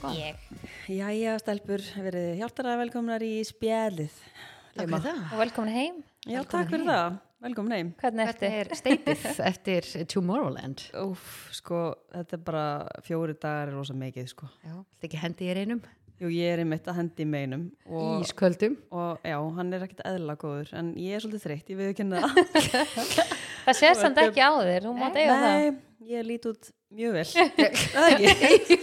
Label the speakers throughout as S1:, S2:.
S1: hvað?
S2: ég
S3: Jæja, stelpur, verið hjáltaræða velkomnar í spjælið.
S1: Takk fyrir það.
S2: og velkomin heim,
S3: Já,
S1: Velkomin
S3: takk fyrir
S1: heim.
S3: það. Velkomin heim.
S2: hvernig ertu?
S1: Hvernig er steipið eftir Tomorrowland?
S3: Úf, sko, þetta er bara fjóri dagar er rosa mikið, sko.
S1: Já, þetta ekki hendi ég einum
S3: Jú, ég er einmitt að hendi í sko. meinum og,
S1: Ísköldum
S3: og já, hann er ekkert eðla góður, en ég er svolítið þreytt, ég við ekki henni það.
S2: það sést samt ekki á þér, hún mátt eiga það
S3: Nei, ég lít út mjög vel. Það er ekki.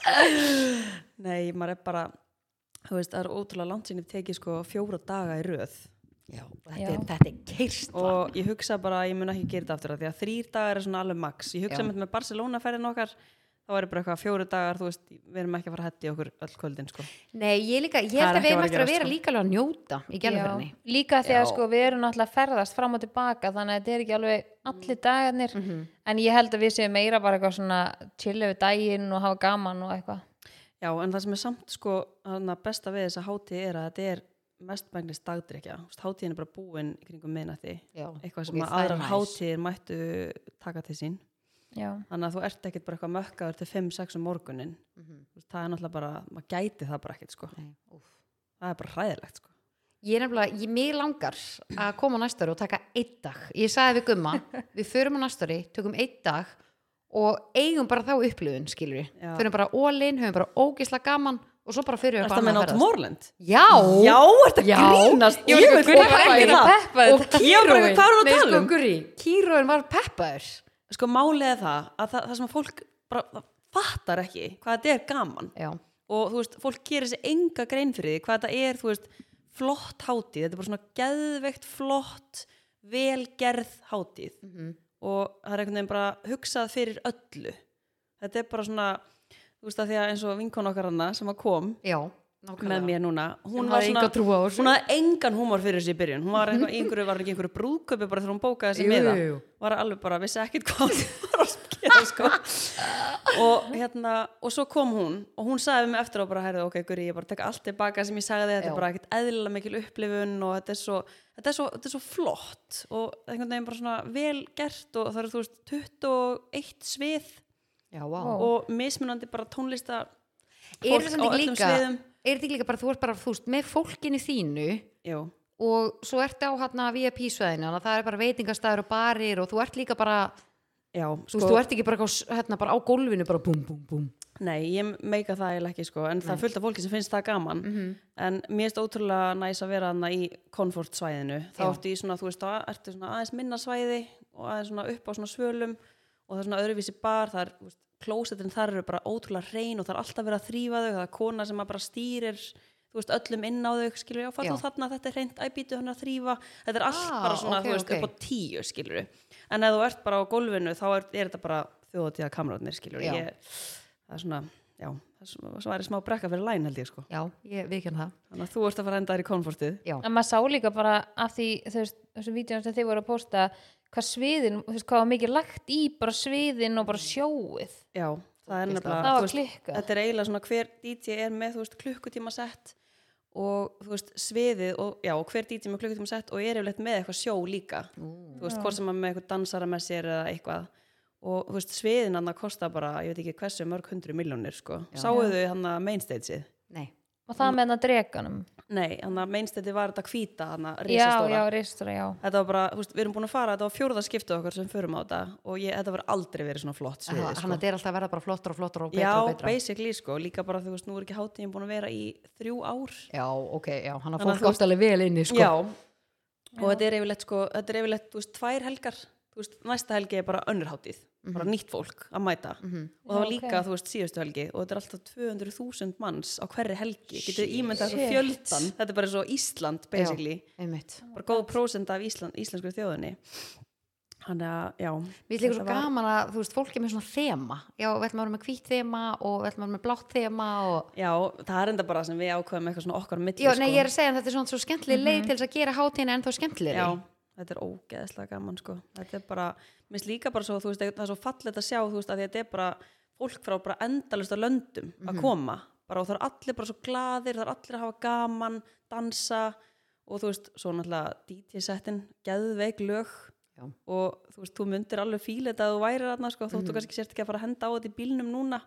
S3: Nei, maður er bara, þú veist, það er ótrúlega langt sinni tekið sko fjóra daga í röð.
S1: Já,
S2: Já.
S1: þetta er, þetta er keirstla
S3: og ég hugsa bara að ég mun ekki gera þetta aftur af því að þrýr dagar er svona alveg max ég hugsa
S1: Já.
S3: með, með Barcelona ferðin okkar þá er bara eitthvað fjóru dagar, þú veist, við erum ekki að fara að hætti okkur öll kvöldin, sko
S1: Nei, ég líka, ég
S3: Það er
S1: held að
S3: ekki
S1: við erum
S3: að
S1: eftir
S3: vera að gerast,
S1: að vera
S3: sko.
S1: líka alveg að njóta í gerðinni
S2: Já, líka því að
S1: Já.
S2: sko, við erum náttúrulega að ferðast fram og tilbaka þannig að þetta er ekki alveg allir dagarnir
S3: Mhm.
S2: en ég held að við séum meira bara eitthvað svona chilla við daginn og hafa gaman og eitthvað
S3: Já, en það sem er samt, sko, hana, besta við þessa hátíð er að þetta er mestmægnist dagdrykja, Þú veist, hátíðin er bara búin í kringum miðnætti,
S1: Já,
S3: eitthvað
S1: ok,
S3: sem að
S1: það er
S3: aðrar
S1: næs.
S3: hátíðir mættu taka til sín
S2: Já.
S3: þannig að þú ert ekkit bara eitthvað mökkaður til 5-6 um morgunin,
S1: Mhm.
S3: Þú veist, það er náttúrulega bara maður gæti það bara ekkit, sko
S1: Nei, úff.
S3: það er bara hræðilegt, sko
S1: Ég er nefnilega, ég mig langar að koma á næstari og taka einn dag. Ég sagði við Gumma, við förum á næstari, tökum einn dag og eigum bara þá upplifun, skilur við.
S3: Já.
S1: Förum bara ólinn, höfum bara ógisla gaman og svo bara fyrir við
S3: Er það
S1: eitthvað
S3: með
S1: annað ferðast.
S3: Náttmórland?
S1: Já!
S3: Já, ertu að
S1: Já.
S3: grínast
S1: Ég var
S3: vil
S1: ekki
S3: koma
S1: peppa
S3: inn í
S1: þér.
S3: það.
S2: peppa þér.
S1: Og
S3: Ég var bara
S1: kýróin,
S3: eitthvað, hvað er hún að
S1: nei,
S3: tala um?
S1: sko, Guri, kýróin var peppaður.
S3: Sko málið er það að það, það sem að fólk bara það fattar ekki hvað þetta er gaman
S1: Já,
S3: og þú veist, fólk gerir sér enga grein fyrir því hvað þetta er, þú veist, flott hátíð þetta er bara svona geðveikt flott velgerð hátíð og það er einhvern veginn bara hugsað fyrir öllu þetta er bara svona, þú veist að því að eins og vinkon okkar hana sem að kom
S1: já,
S3: með
S1: nákvæmlega.
S3: mér núna, hún
S1: Sem
S3: var
S1: hafði
S3: svona
S1: enga trú á þessu.
S3: hún hafði engan húmor fyrir þessu í byrjun hún var eitthvað, í einhverju, var ekki einhverju brúðköpi bara þegar hún bókaði þessi
S1: Jú,
S3: miða
S1: jú, jú.
S3: var alveg bara, vissi ekkert hvað hún var að gera sko og hérna, og svo kom hún og hún sagði við mig eftir á bara, herðu, ok, guri ég bara tek allt tilbaka sem ég sagði, þetta
S1: Já.
S3: er bara ekkert eðlilega mikil upplifun og þetta er svo þetta er svo, þetta er svo flott og einhvern veginn bara svona vel gert og það eru þú veist 21 svið
S1: Já, vá.
S2: Vá.
S3: og mismunandi bara tónlista
S1: Er
S3: fólk
S1: þetta
S3: á
S1: ekki
S3: öllum
S1: líka,
S3: sviðum.
S1: er þetta ekki líka bara, þú ert bara, þú veist, með fólkinu þínu
S3: Jú.
S1: og svo ertu á hérna VIP-svæðinu, þannig að það er bara veitingastæður og barir og þú ert líka bara,
S3: Já,
S1: þú veist, þú ert ekki bara, eitthvað s- hérna, bara á gólfinu, bara búm, búm, búm.
S3: Nei, ég meika það eiginlega ekki sko en það er fullt af fólki sem finnst það gaman
S1: Mhm.
S3: en mér finnst ótrúlega næs að vera hana í komfortsvæðinu, þá
S1: Já.
S3: ertu í svona þú veist, þá ertu svona aðeins minna svæði og aðeins svona upp á svona svölum og það er svona öðruvísi bar, það er þú veist, klósetin þar eru bara ótrúlega reyn og það er alltaf verið að þrýfa þau, það er kona sem að bara stýrir þú veist, öllum inn á þau skilur, já, fatt
S1: Já.
S3: þú þarna, þetta er reynd, æbítu hann er að þrýfa þetta er allt
S1: Ah,
S3: bara svona,
S1: ok,
S3: þú veist,
S1: ok.
S3: upp á tíu skilur en ef þú ert bara á gólfinu þá er, er þetta bara þjóðatíða kamrarnir skilur
S1: Já.
S3: ég, það er svona, já það er svona- svo væri smá brekka fyrir læn held ég sko
S1: Já, ég hérna. viðkjörn það.
S3: þannig að þú ert að fara að enda þær í komfortið
S1: Já,
S2: en maður sá líka bara af því þú veist, þessum vídeoum sem þið voru að posta hvað sviðin, þú veist, hvað var mikið lagt í bara sviðin og bara sjóið
S3: já, það er
S1: Ógeðslega.
S3: nefnilega
S2: Það var
S3: þú veist,
S2: klikkað.
S3: þetta er eiginlega svona hver DJ er með þú veist, klukkutíma sett og þú veist, sviðið og, já, og hver DJ með klukkutíma sett og er yfirleitt með eitthvað sjó líka þú veist, hvort sem maður með eitthvað dansara með sér eða eitthvað og þú veist, sviðin hann að kosta bara, ég veit ekki hversu mörg hundru miljónir sko, sáuðu hann að mainstageið
S1: nei.
S2: og það með hérna hennar dreganum
S3: Nei, hann að mainstætti var þetta hvíta, hann að
S2: já,
S3: risastóra.
S2: já, risastóra, já
S3: Þetta var bara, þú veist, við erum búin að fara, þetta var fjórða skiptið okkar sem förum á þetta og ég, þetta var aldrei verið svona flott sviði,
S1: Þannig
S3: sko.
S1: að þetta er alltaf að verða bara flottar og flottar og betra
S3: Já,
S1: og betra.
S3: basically, sko, líka bara, þú veist, nú er ekki hátíðin búin að vera í þrjú ár.
S1: Já, ok, já, hann að
S3: Þannig að
S1: fólk
S3: þú
S1: átt alveg vel inni, sko.
S3: Já, og þetta er yfirleitt, sko, þetta er yfirleitt, þú veist, tvær helgar, þú veist, næsta helgi er bara önnur hátíð, bara nýtt fólk að mæta og það var
S2: Já,
S3: líka,
S2: ok.
S3: þú veist, síðustu helgi og þetta er alltaf 200.000 manns á hverri helgi, getur ímyndað þessu fjöldan, þetta er bara svo Ísland, basically.
S1: Einmitt.
S3: bara góð prósend af Ísland, íslensku þjóðinni hann að, já
S1: Mér líka svo
S3: þetta var-
S1: gaman að, þú veist, fólk er með svona þema. Já, við ætlum að vera með hvít þema og við ætlum að vera með blátt þema og...
S3: Já, það er enda bara sem við ákveðum eitthvað svona okkar á milli
S1: Já, nei, ég er að segja að þetta er svona svo skemmtileg leið til þess að gera hátíðina ennþá skemmtilegri.
S3: Mhm. Já, þetta er ógeðslega gaman sko þetta er bara, mér finnst líka bara svo þú veist, það er svo fallet að sjá, þú veist, að þetta er bara fólk frá bara endalust að löndum
S1: Mhm.
S3: að koma, bara og það er allir bara svo glaðir, það er allir að hafa gaman dansa og þú veist svo náttúrulega DJ-settin, geðveik lög
S1: Já. Mhm.
S3: og þú veist, þú myndir alveg fíla þetta að þú værir þarna sko, þóttu kannski sért ekki að fara að henda á þetta í bílnum núna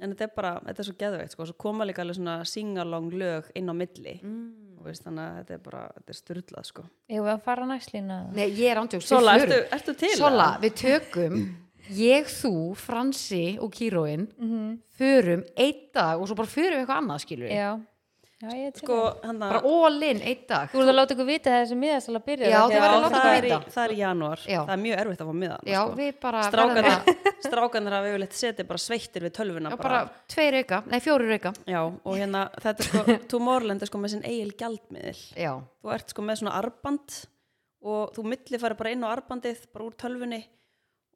S3: en þetta er bara, þetta er svo geðveikt sko, svo koma líka alveg svona singalong lög inn á milli
S1: Mm.
S3: og veist þannig að þetta er bara, þetta er styrlað sko
S2: Ég var að fara næstlína
S1: Nei, ég er ándjóks
S3: Sola, ertu, ertu til?
S1: Sola, við tökum ég, þú, Fransi og Kíróin
S3: Mhm.
S1: förum einn dag og svo bara förum við eitthvað annað skilur við,
S2: Já, já ég er til
S3: Sko,
S2: sko,
S3: hana,
S1: bara all in einn dag
S2: Þú voru að láta ykkur vita þegar þessi miðasala byrja
S1: Já, þið
S3: já,
S1: verður að láta
S3: það,
S1: okkur
S3: er í,
S1: vita.
S3: það er í janúar
S1: Já.
S3: það er mjög erfitt að fá miðan
S1: Já,
S3: sko.
S1: við bara verðum að-
S3: strákanar, strákanar hafa yfirleitt setið bara sveittir við tölvuna
S1: Já, bara tveir auka, nei fjórir auka
S3: Já, og hérna, þetta er sko, Tomorrowland er sko með sinn eigil gjaldmiðil.
S1: Já,
S3: Þú ert sko með svona arband og þú milli færi bara inn á arbandið, bara úr tölfunni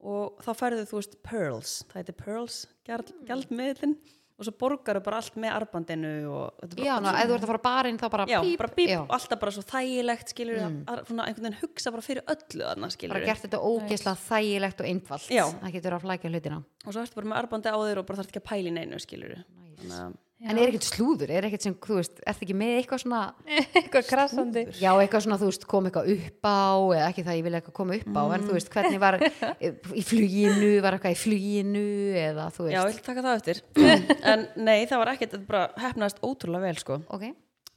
S3: og þá færðu þú veist Pearls, það heitir Pearls, gjald,
S1: Hmm.
S3: gjaldmiðilinn og svo borgaru bara allt með arbandinu og þetta er
S1: já, ná,
S3: bara,
S1: ef þú ert að fara á barinn þá bara
S3: já,
S1: píp,
S3: bara bíp,
S1: já,
S3: og alltaf bara svo þægilegt skilur, mm. svona einhvern veginn hugsa bara fyrir öllu þarna skilur.
S1: bara gert þetta ógeðslega þægilegt og einfalt
S3: Já.
S1: það getur að flækja hlutina
S3: Og svo ertu bara með arbandi á þér og bara þarf ekki að pæli neinu skilur. Nice.
S1: en er ekkert slúður, er ekkert sem, þú veist, ert ekki með eitthvað svona
S2: Eitthvað krassandi
S1: já, eitthvað svona, þú veist, kom eitthvað upp á eða ekki það ég vilja eitthvað koma upp á en
S3: Mm.
S1: þú veist, hvernig var í fluginu var eitthvað í fluginu eða þú
S3: Já, ég
S1: veist,
S3: vil taka það eftir. en nei, það var ekkert, þetta bara hefnaðist ótrúlega vel sko.
S1: ok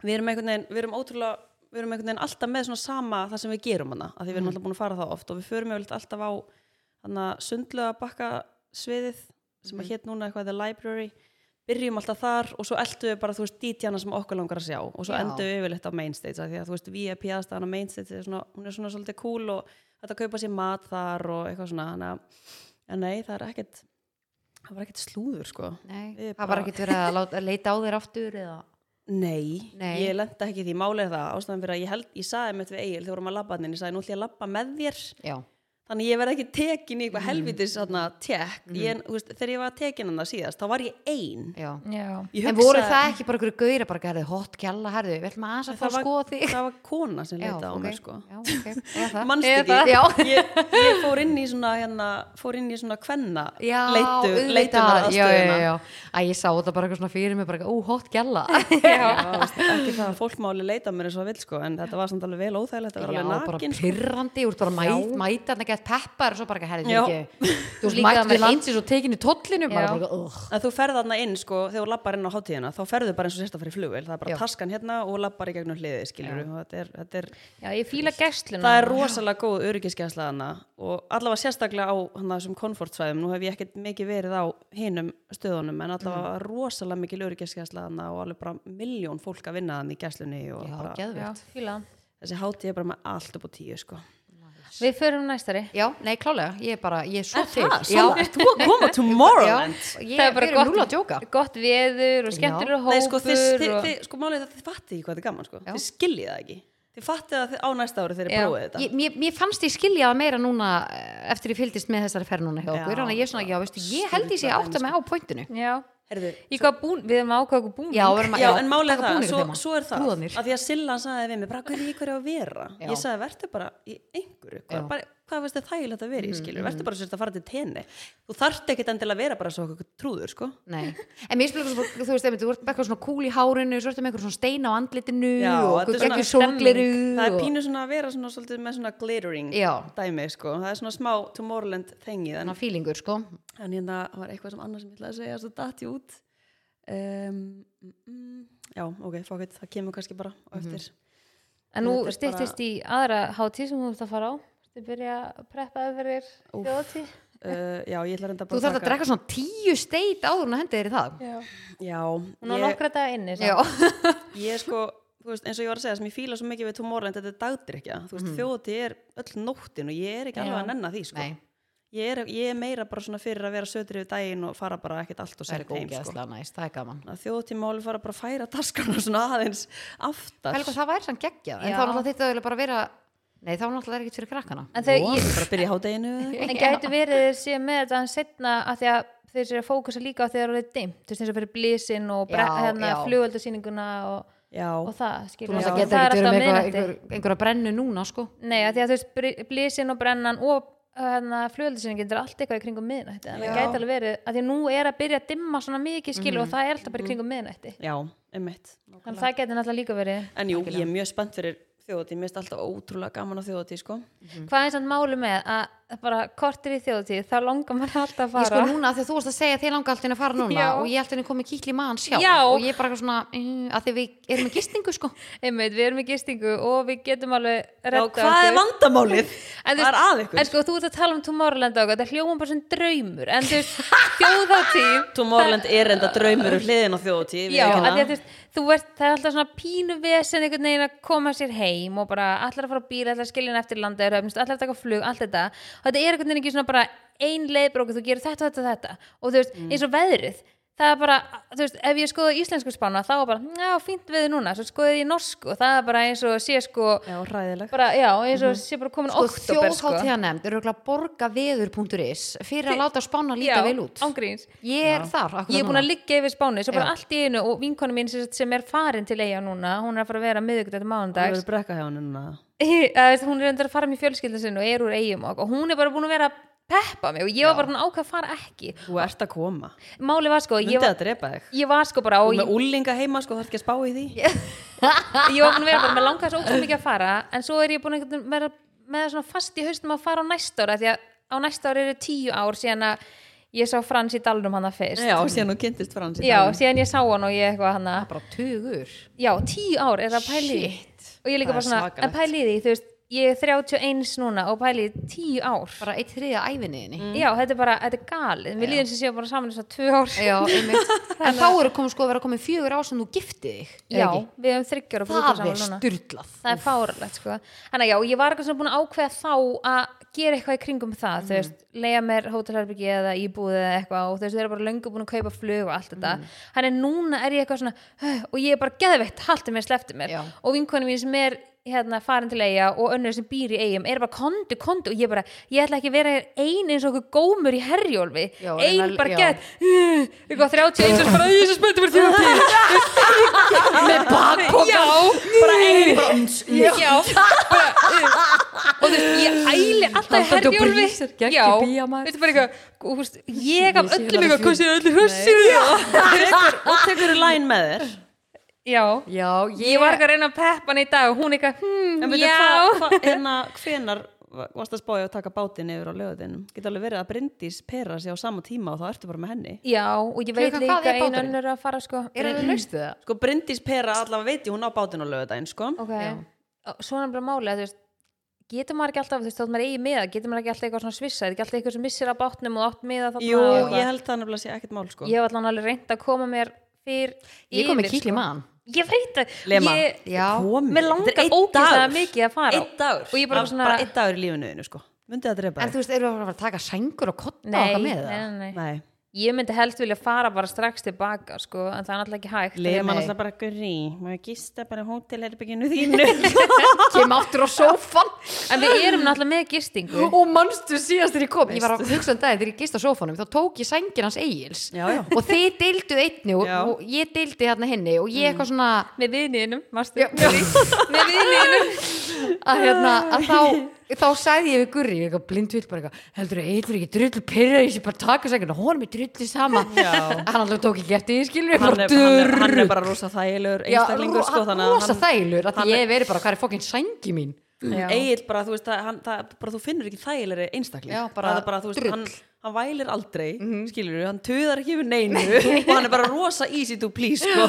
S3: við erum einhvern veginn, við erum ótrúlega við erum einhvern veginn alltaf með svona sama það sem við gerum hana, af því við erum alltaf búin að fara það oft og við förum yfirleitt alltaf á hana, sundlega bakkasviðið sem að hétt núna eitthvað The Library byrjum alltaf þar og svo eldum við bara þú veist dítjana sem okkur langar að sjá og svo
S1: Já.
S3: endum við yfirleitt á main stage af því að þú veist VIP aðstæðan á main stage er svona, hún er svona svolítið cool og þetta kaupa sér mat þar og eitthvað svona hana, en nei það er ekkert það var ekkert slúður sko
S1: Nei,
S3: Við
S1: það var
S3: bara-
S1: ekkert verið að láta, leita á þér aftur eða
S3: Nei,
S1: Nei.
S3: ég lenda ekki í því málið er það ástæðan fyrir að ég held, ég sagði mitt við Egil þegar við vorum að labba hann, ég sagði nú ætlum ég að labba með þér
S1: já,
S3: þannig ég verð ekki tekin í
S1: Mm.
S3: eitthvað helvitis þarna tek, ég, þú veist, þegar ég var tekin hann síðast, þá var ég ein
S1: já
S2: Já,
S3: ég
S1: en voru það ekki bara einhverju gauðir bara, herðu, hot kjalla, herðu, við ætlum aðeins að fá að
S3: var,
S1: skoða þig
S3: það var kona sem
S1: já,
S3: leita á
S1: ok.
S3: mig sko
S1: já, ok, eða það
S3: Manstu
S2: Eða
S3: ekki,
S2: það?
S1: Já.
S3: ég, ég fór inn í svona hérna, fór inn í svona kvenna
S1: Já,
S3: leitu,
S1: auðvitað,
S3: leitunar
S1: já, já, já, já. Æ, ég sá þetta bara eitthvað svona fyrir mig, bara eitthvað, ú, hot gæla.
S3: ekki það að fólk máli leita mér eins og það vill sko en þetta var samt alveg vel óþægilegt að vera
S1: Já,
S3: alveg
S1: bara
S3: nakin sko.
S1: pyrrandi, úr bara mæt, mæta, þannig að peppar og svo bara eitthvað, herri,
S3: Já.
S1: þetta er ekki, þú veist,
S2: Líka
S1: mættu
S2: með
S1: við landsins og tekinu tóllinu,
S2: Já.
S1: bara bara eitthvað, ugh.
S3: að þú ferð þarna inn sko þegar þú lappar inn á hátíðina þá ferðu bara eins og sérst að fyrir flugvél það er bara
S1: Já.
S3: taskan hérna og lappar í gegnum hliði skilur þetta er, þetta er,
S2: já ég fíla
S1: Hérna-
S2: gestluna
S3: það er rosalega góð öryggiskesla þarna og allavega sérstaklega á hana, þessum komfortsvæðum nú hef ég ekkert mikið verið á hinum stöðunum en
S1: Mm.
S3: allavega rosalega mikil öryggiskesla þarna og alveg bara miljón fólk að vinna þannig í geslunni og
S1: Já,
S3: bara,
S2: Já,
S1: geðvegt.
S2: fíla
S3: þessi hátíð er bara með allt upp á tíu sko
S2: Við förum næstari
S1: Já, nei, klálega, ég er bara, ég er svo til. Já,
S3: Sala, ert þú að koma Tomorrowland
S1: já, ég er bara núla að djóka.
S2: gott veður og skemmtilegur hópur
S3: Nei, sko, þið, þið,
S2: og...
S3: þið, sko málið er að þið fattið ekki hvað þetta er gaman, sko. Þið skiljið það ekki. Þið fattið það á næsta ári þegar þið
S2: Já.
S3: prófið þetta.
S1: Ég, mér, mér fannst ég skilja það meira núna eh, eftir ég fylgdist með þessari ferð núna hjá okkur,
S3: Já,
S1: þannig að ég er svona, já, veistu, ég held ég sé
S3: Sturlað
S1: átt að með á pointinu.
S2: Já,
S3: Herðu,
S2: ég hvað bún, við erum ákvæða okkur búning
S1: Já, við erum að-
S3: já, en málið er
S1: taka
S3: það,
S1: búninga
S3: svo,
S1: þeim á.
S3: svo er það
S1: Trúðanir.
S3: að því að Silla sagði við mig, bara hverju í hverju á að vera
S1: Já.
S3: ég sagði, verður bara í einhverju
S1: Já. Mm,
S3: hvað, bara, hvað veist þið þægilegt að vera í, skilur verður bara sérst að fara til tenni þú þarft ekkit endilega að vera bara svo okkur trúður, sko
S1: Nei, en mér spilur svo, þú veist, einmitt, þú ert með eitthvað svona kúl í hárinu, svo ertu með eitthvað svona stein á andlitinu
S3: Já,
S1: og
S3: þetta er
S1: eitthvað
S3: svona
S1: geggjur sólgleru
S3: það er
S1: og-
S3: pínu svona að vera svona svolítið með svona glittering
S1: Já.
S3: dæmi, sko, það er svona smá Tomorrowland þengið, en,
S1: Svona fílingur, sko.
S3: en hérna var eitthvað sem annars sem ég ætlaði að segja, svo datt ég út um, mm, mm, já, ok, fuck it, það kemur kannski bara
S1: Mhm.
S3: á eftir
S2: En nú
S3: Þetta er
S2: styrtist í aðra hátíð sem þú ert að fara á Þú byrja að preppa þig fyrir
S3: Úff.
S2: þjóðatíð
S3: Uh, já, ég ætla reynda bara
S1: Þú þarf að drekka svona tíu steit áður en að hendi þér í það.
S2: Já
S3: Já,
S2: Hún á
S3: ég-
S2: nokkra daga inni samt.
S1: Já,
S3: ég er sko þú veist, eins og ég var að segja sem ég fíla svo mikið við Tomorrowland þetta er dagdrykja, þú
S1: Mhm.
S3: veist, mm. er öll nóttin og ég er ekki alveg
S2: Já.
S3: að nenna því sko.
S1: nei,
S3: ég, er, ég er meira bara svona fyrir að vera sötri við daginn og fara bara ekkert allt og
S1: það er
S3: sætt heim sko.
S1: góðgæðslega næst, það er gaman.
S3: þjóðatíð máli fara bara að færa taskana svona aðeins aftar
S1: Helga, það væri sann geggjað, en
S2: Já.
S1: þá náttúrulega þetta auðvitað bara að vera, nei, þá náttúrulega er ekkert fyrir krakkana.
S2: En þau,
S3: og
S2: ég,
S3: bara að byrja í hádeginu eða eitthvað.
S2: En gætu verið þeir séu með þetta en setna að því að þeir séu að fókusa líka á þegar það er dimt, þú veist eins og fyrir blísin og bre-
S1: Já,
S2: hérna,
S1: já.
S2: flugöldasýninguna og, og
S3: já,
S2: það,
S1: Þú
S2: skilur
S1: náttúrulega
S2: við.
S1: getur
S2: það
S1: ekki verið með eitthvað-
S2: miðnætti.
S1: einhver- einhverja brennu núna, sko.
S2: Nei, að því að þú veist blísin og brennan og hérna, flugöldasýningin það er allt eitthvað í kringum miðnætti þannig að
S3: Já.
S2: það gæti alveg verið að því að nú er að byrja að dimma svona mikið skilur
S1: Mhm.
S2: og það er alltaf bara í kringum miðnætti
S3: já, einmitt
S2: þannig að það gæti náttúrulega líka verið
S3: en jú,
S1: Mhm.
S3: ég er mjög spennt fyrir þjóðatíð, mér er alltaf ótrúlega gaman á þjóðatíð sko.
S2: hvað er samt máli með að bara kortir í þjóðtíð þá langar mann alltaf að
S1: Ég sko
S2: fara
S1: núna, þegar þú varst að segja að þið langa alltaf að fara núna
S2: Já.
S1: og ég alltaf komið kýtli í maðan sjálf
S2: Já.
S1: og ég er bara eitthvað svona, uh, að því við erum með gistingu sko
S2: einmitt, við erum í gistingu og við getum alveg
S3: Já,
S2: reddað
S3: hvað er
S2: okkur.
S3: vandamálið?
S2: En þú
S3: Hvað er
S2: veist-
S3: að ykkur?
S2: en sko þú ert að tala um Tomorrowland og eitthvað, það hljóma bara sem draumur en þú veist, þjóðatíð
S3: Tomorrowland er enda draumur um hliðin á þjóðatíð
S2: Já, að því að þú veist, þú ert, það er alltaf svona pínu vesen einhvern veginn að koma sér heim og bara allar að fara á bíl, allar að skilja hann eftir landa allar að taka flug, allt þetta og þetta er einhvern veginn ekki svona bara ein leiðbrók þú gerir þetta, þetta, þetta og þú veist, eins og veðrið það er bara, þú veist, ef ég skoða íslensku spána þá er bara, já, fínt veður núna svo skoðið ég norsku, það er bara eins og sé sko,
S3: Já, ræðileg
S2: bara, já, eins og sé bara komin
S1: sko
S2: oktober, sko
S1: þjóðháttíða nefnd eru ekki að borga veður.is fyrir að láta spána líta
S2: Já,
S1: vel út
S2: ángríns
S1: ég er þar, akkurat
S2: ég er búin að
S1: núna.
S2: liggja yfir spáni svo bara
S1: Já.
S2: allt í einu og vinkonu mín sem, sagt sem er farin til eiga núna hún er að fara að vera miðugdætt
S3: Það
S2: mánundags
S3: eru brekka hjá henni núna
S2: Eða, hún er reyndar að fara með fjölskyldin sinn og er úr eigum og og hún er bara búin að vera að peppa mig og ég var bara svona ákvað að fara ekki
S3: Þú ert að koma
S2: máli var sko, ég
S3: Myndið
S2: var,
S3: að drepa þig
S2: ég var sko bara og
S3: Og
S2: ég,
S3: með úlinga heima, sko, þarf ekki að spá í því
S2: ég var búin að vera bara með langaði svo óksum mikið að fara en svo er ég búin að vera með það svona fast í haustum að fara á næsta ára því að á næsta ára eru tíu ár síðan að ég sá Frans í dalnum hana fyrst
S3: Já, síðan þú kynntist frans í
S2: Já,
S3: dag.
S2: síðan ég sá hann og ég eitthvað hana
S1: bara tugur
S2: já, tíu ár er það pæli í því. og ég líka
S3: Það
S2: bara
S3: er
S2: svona,
S3: svakalegt.
S2: en pæli í því, þú veist ég er 31 núna og pæli í tíu ár
S1: bara mm. eitt þriða ævinniðinni
S2: já, þetta er bara, þetta er galið mér líður eins og séu bara saman þess að tvö ár
S1: Já, einmitt. en þá eru komið sko að vera komið fjögur á sem þú giftið þig eða
S2: já
S1: ekki?
S2: við höfum þryggjur og
S1: það
S2: saman
S1: er
S2: um núna
S1: styrlað
S2: það er fáralegt sko þannig að já, ég var eitthvað svona búin að ákveða þá að gera eitthvað í kringum það, þú veist
S1: Mhm.
S2: leiða mér hótelherbyggi eða íbúið eða eitthvað og þú veist, þau eru bara löngu búin að kaupa flug og allt þetta
S1: Mhm.
S2: þannig að núna er ég eitthvað svona "Huh," og ég er bara geðveitt, haldi mér, slefti mér
S1: Já.
S2: og vinkonu mín sem er hérna farin til eiga og önnur sem býr í eigum er bara kondu, kondu og ég bara, ég ætla ekki að vera ein eins og okkur gómur í herjólfi
S1: Já,
S2: ein
S1: reyna-
S2: bara
S1: já.
S2: gett "Ugh," eitthvað 31 bara, ég er svo spenntur fyrir tíma með bakpoka bara ein já, bara, uh, og þú veist, ég æli alltaf
S1: Haldandi og
S2: herjólfi
S1: brýsir gegn
S2: já,
S1: í bíómaður.
S2: veistu bara eitthvað og þú veist, ég af öllum
S1: sé það
S2: eitthvað
S1: fyrir-
S2: hvað séu öllu hussir
S3: Og tekur þú læn með þér
S2: já,
S1: Já,
S2: ég var eitthvað að reyna að peppa hann í dag og hún eitthvað,
S3: En
S2: hmm,
S3: veitu,
S2: já
S3: hvað- hvað- Hérna, hvenar varst að spája að taka bátinn yfir á löðinum? Geta alveg verið að Bryndís pera sig á sama tíma og þá ertu bara með henni
S2: já, og ég veit
S1: Klukkan hvað
S2: líka
S1: er
S2: einu
S1: báturinn?
S2: önnur að fara sko
S1: er það laust við það?
S3: Sko, Bryndís pera allavega veit ég hún á bátinn á löðin, sko
S2: ok, svona er bara málið að þú veist getur maður ekki alltaf, þú veist, þá er maður eigi miða getur maður ekki alltaf eitthvað svona svissa, er ekki alltaf eitthvað sem missir að bátnum og átt miða þarna
S3: Jú,
S2: og eitthvað?
S3: ég held það nefnilega sé ekkert mál, sko
S2: ég hef allan alveg reynd að koma mér fyrr
S1: Ég kom með
S2: yfir,
S1: kýtli í maðan
S2: sko. ég veit það
S3: Lema.
S2: ég,
S1: Já,
S3: Komið.
S2: mér
S3: Þetta er
S2: langar
S3: einn
S2: ógeðslega
S3: dagur.
S2: mikið að fara
S3: Einn dagur
S2: og ég bara svona
S3: bara einn dagur í lífinu þínu, sko Myndið að drepa
S1: en
S3: þig
S1: þú veist, eru að fara að taka sængur og kotta og
S2: nei,
S1: eitthvað
S2: nei,
S1: með það?
S2: nei, nei.
S3: Nei,
S2: ég myndi helst vilja fara bara strax tilbaka sko, en það er náttúrulega ekki hægt
S3: lema
S1: Nei.
S3: náttúrulega bara gurri Má ég gista bara hótelherbygginu þínu
S1: Kem aftur á sófan
S2: en við erum náttúrulega með gistingu
S1: og mannstu síðast þegar ég kom ég var að hugsa um daginn þegar ég gist á sófanum þá tók ég sængin hans eigils
S3: Já, já.
S1: og þeir deildu einni og,
S3: Já. Mm.
S1: og ég deildi hérna henni og ég eitthvað svona
S2: með vininum, mástu
S1: Já.
S2: með vininum
S1: að, hérna, að þá þá sagði ég við Gurri, ég eitthvað blindvill bara eitthvað, heldur að eitthvað ekki drullu pyrra ég sé bara að taka sængin og honum er drullu sama
S3: Já.
S1: hann alveg tók ekki eftir, ég skilur
S3: hann er, hann, er, hann er bara rosa þægilegur
S1: Já,
S3: einstaklingur sko,
S1: hann
S3: þannig að
S1: rosa þælur, að
S3: hann Mm.
S1: ég hef verið bara hvað er fokkin sængi mín
S3: Egil bara, þú veist, það, hann, það, bara þú finnur ekki þægilegri einstakling
S1: Já, bara
S3: Það er bara þú veist,
S1: drull.
S3: hann, hann vælir aldrei mm hann töðar ekki yfir neinu og hann er bara rosa easy to please sko.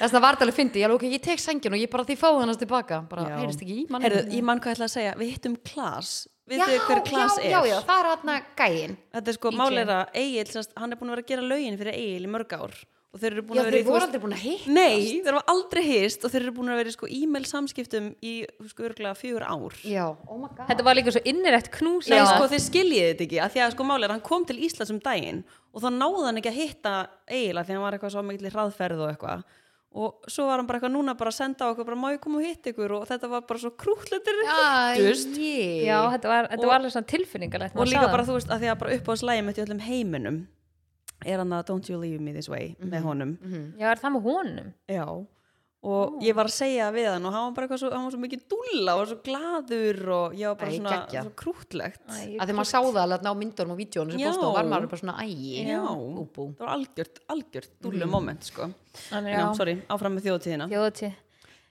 S1: þess að vartalega fyndi, ég, alveg, ok, ég tek sængin og ég bara því fáið hann tilbaka, bara
S3: Já.
S1: heyrist ekki í manni
S3: Heyrðu, ég mann hvað ég ætla að segja, við hittum klas Við þau hver klas
S1: já,
S3: er?
S1: já, já, það er hann gæinn
S3: Þetta er sko
S2: DJ.
S3: máleira Egil, semst, hann er búin að vera að gera lögin fyrir Egil í mörg ár og þeir eru búin
S1: Já,
S3: að vera
S1: þeir
S3: í, þú
S1: voru
S3: veist-
S1: aldrei búin að hitt
S3: Nei, þeir eru aldrei hist og þeir eru búin að vera í sko e-mail samskiptum í sko örgulega fjögur ár
S1: Já, oh my god
S2: þetta var líka svo innrætt knús
S3: Nei, sko, þeir skiljiði þetta ekki, að því að sko málið er að hann kom til Íslands um daginn og þá náði hann ekki að hitta eiginlega því að hann var eitthvað svo mikillir hraðferð og eitthvað og svo var hann bara eitthvað núna bara að senda á okkur bara má ég koma og hitta ykkur og þetta var bara svo krútletur hittust
S2: já, þetta var, þetta
S3: Og-
S2: var alveg svona tilfinningalegt
S3: og líka bara þú veist að því að bara upp á slægjum í öllum heiminum er hann að Don't You Leave Me This Way
S2: Mhm,
S3: með honum
S2: já, er það með honum
S3: Já og ég var að segja við hann og hann var bara eitthvað svo, hann var svo mikið dúlla og svo gladur og ég var bara
S1: Æ,
S3: svona,
S1: geggjað.
S3: svo krútlegt
S2: Æ,
S1: að þegar maður sá það alveg að ná myndunum og vídjónum sem
S3: Já.
S1: bósta og var maður bara svona ægi
S3: Já,
S1: bú.
S3: það var algjört, algjört dúllu moment sko.
S2: Þannig
S3: Já,
S2: Mhm. já.
S3: sorry, áfram með þjóðtíðina
S2: þjóðatíð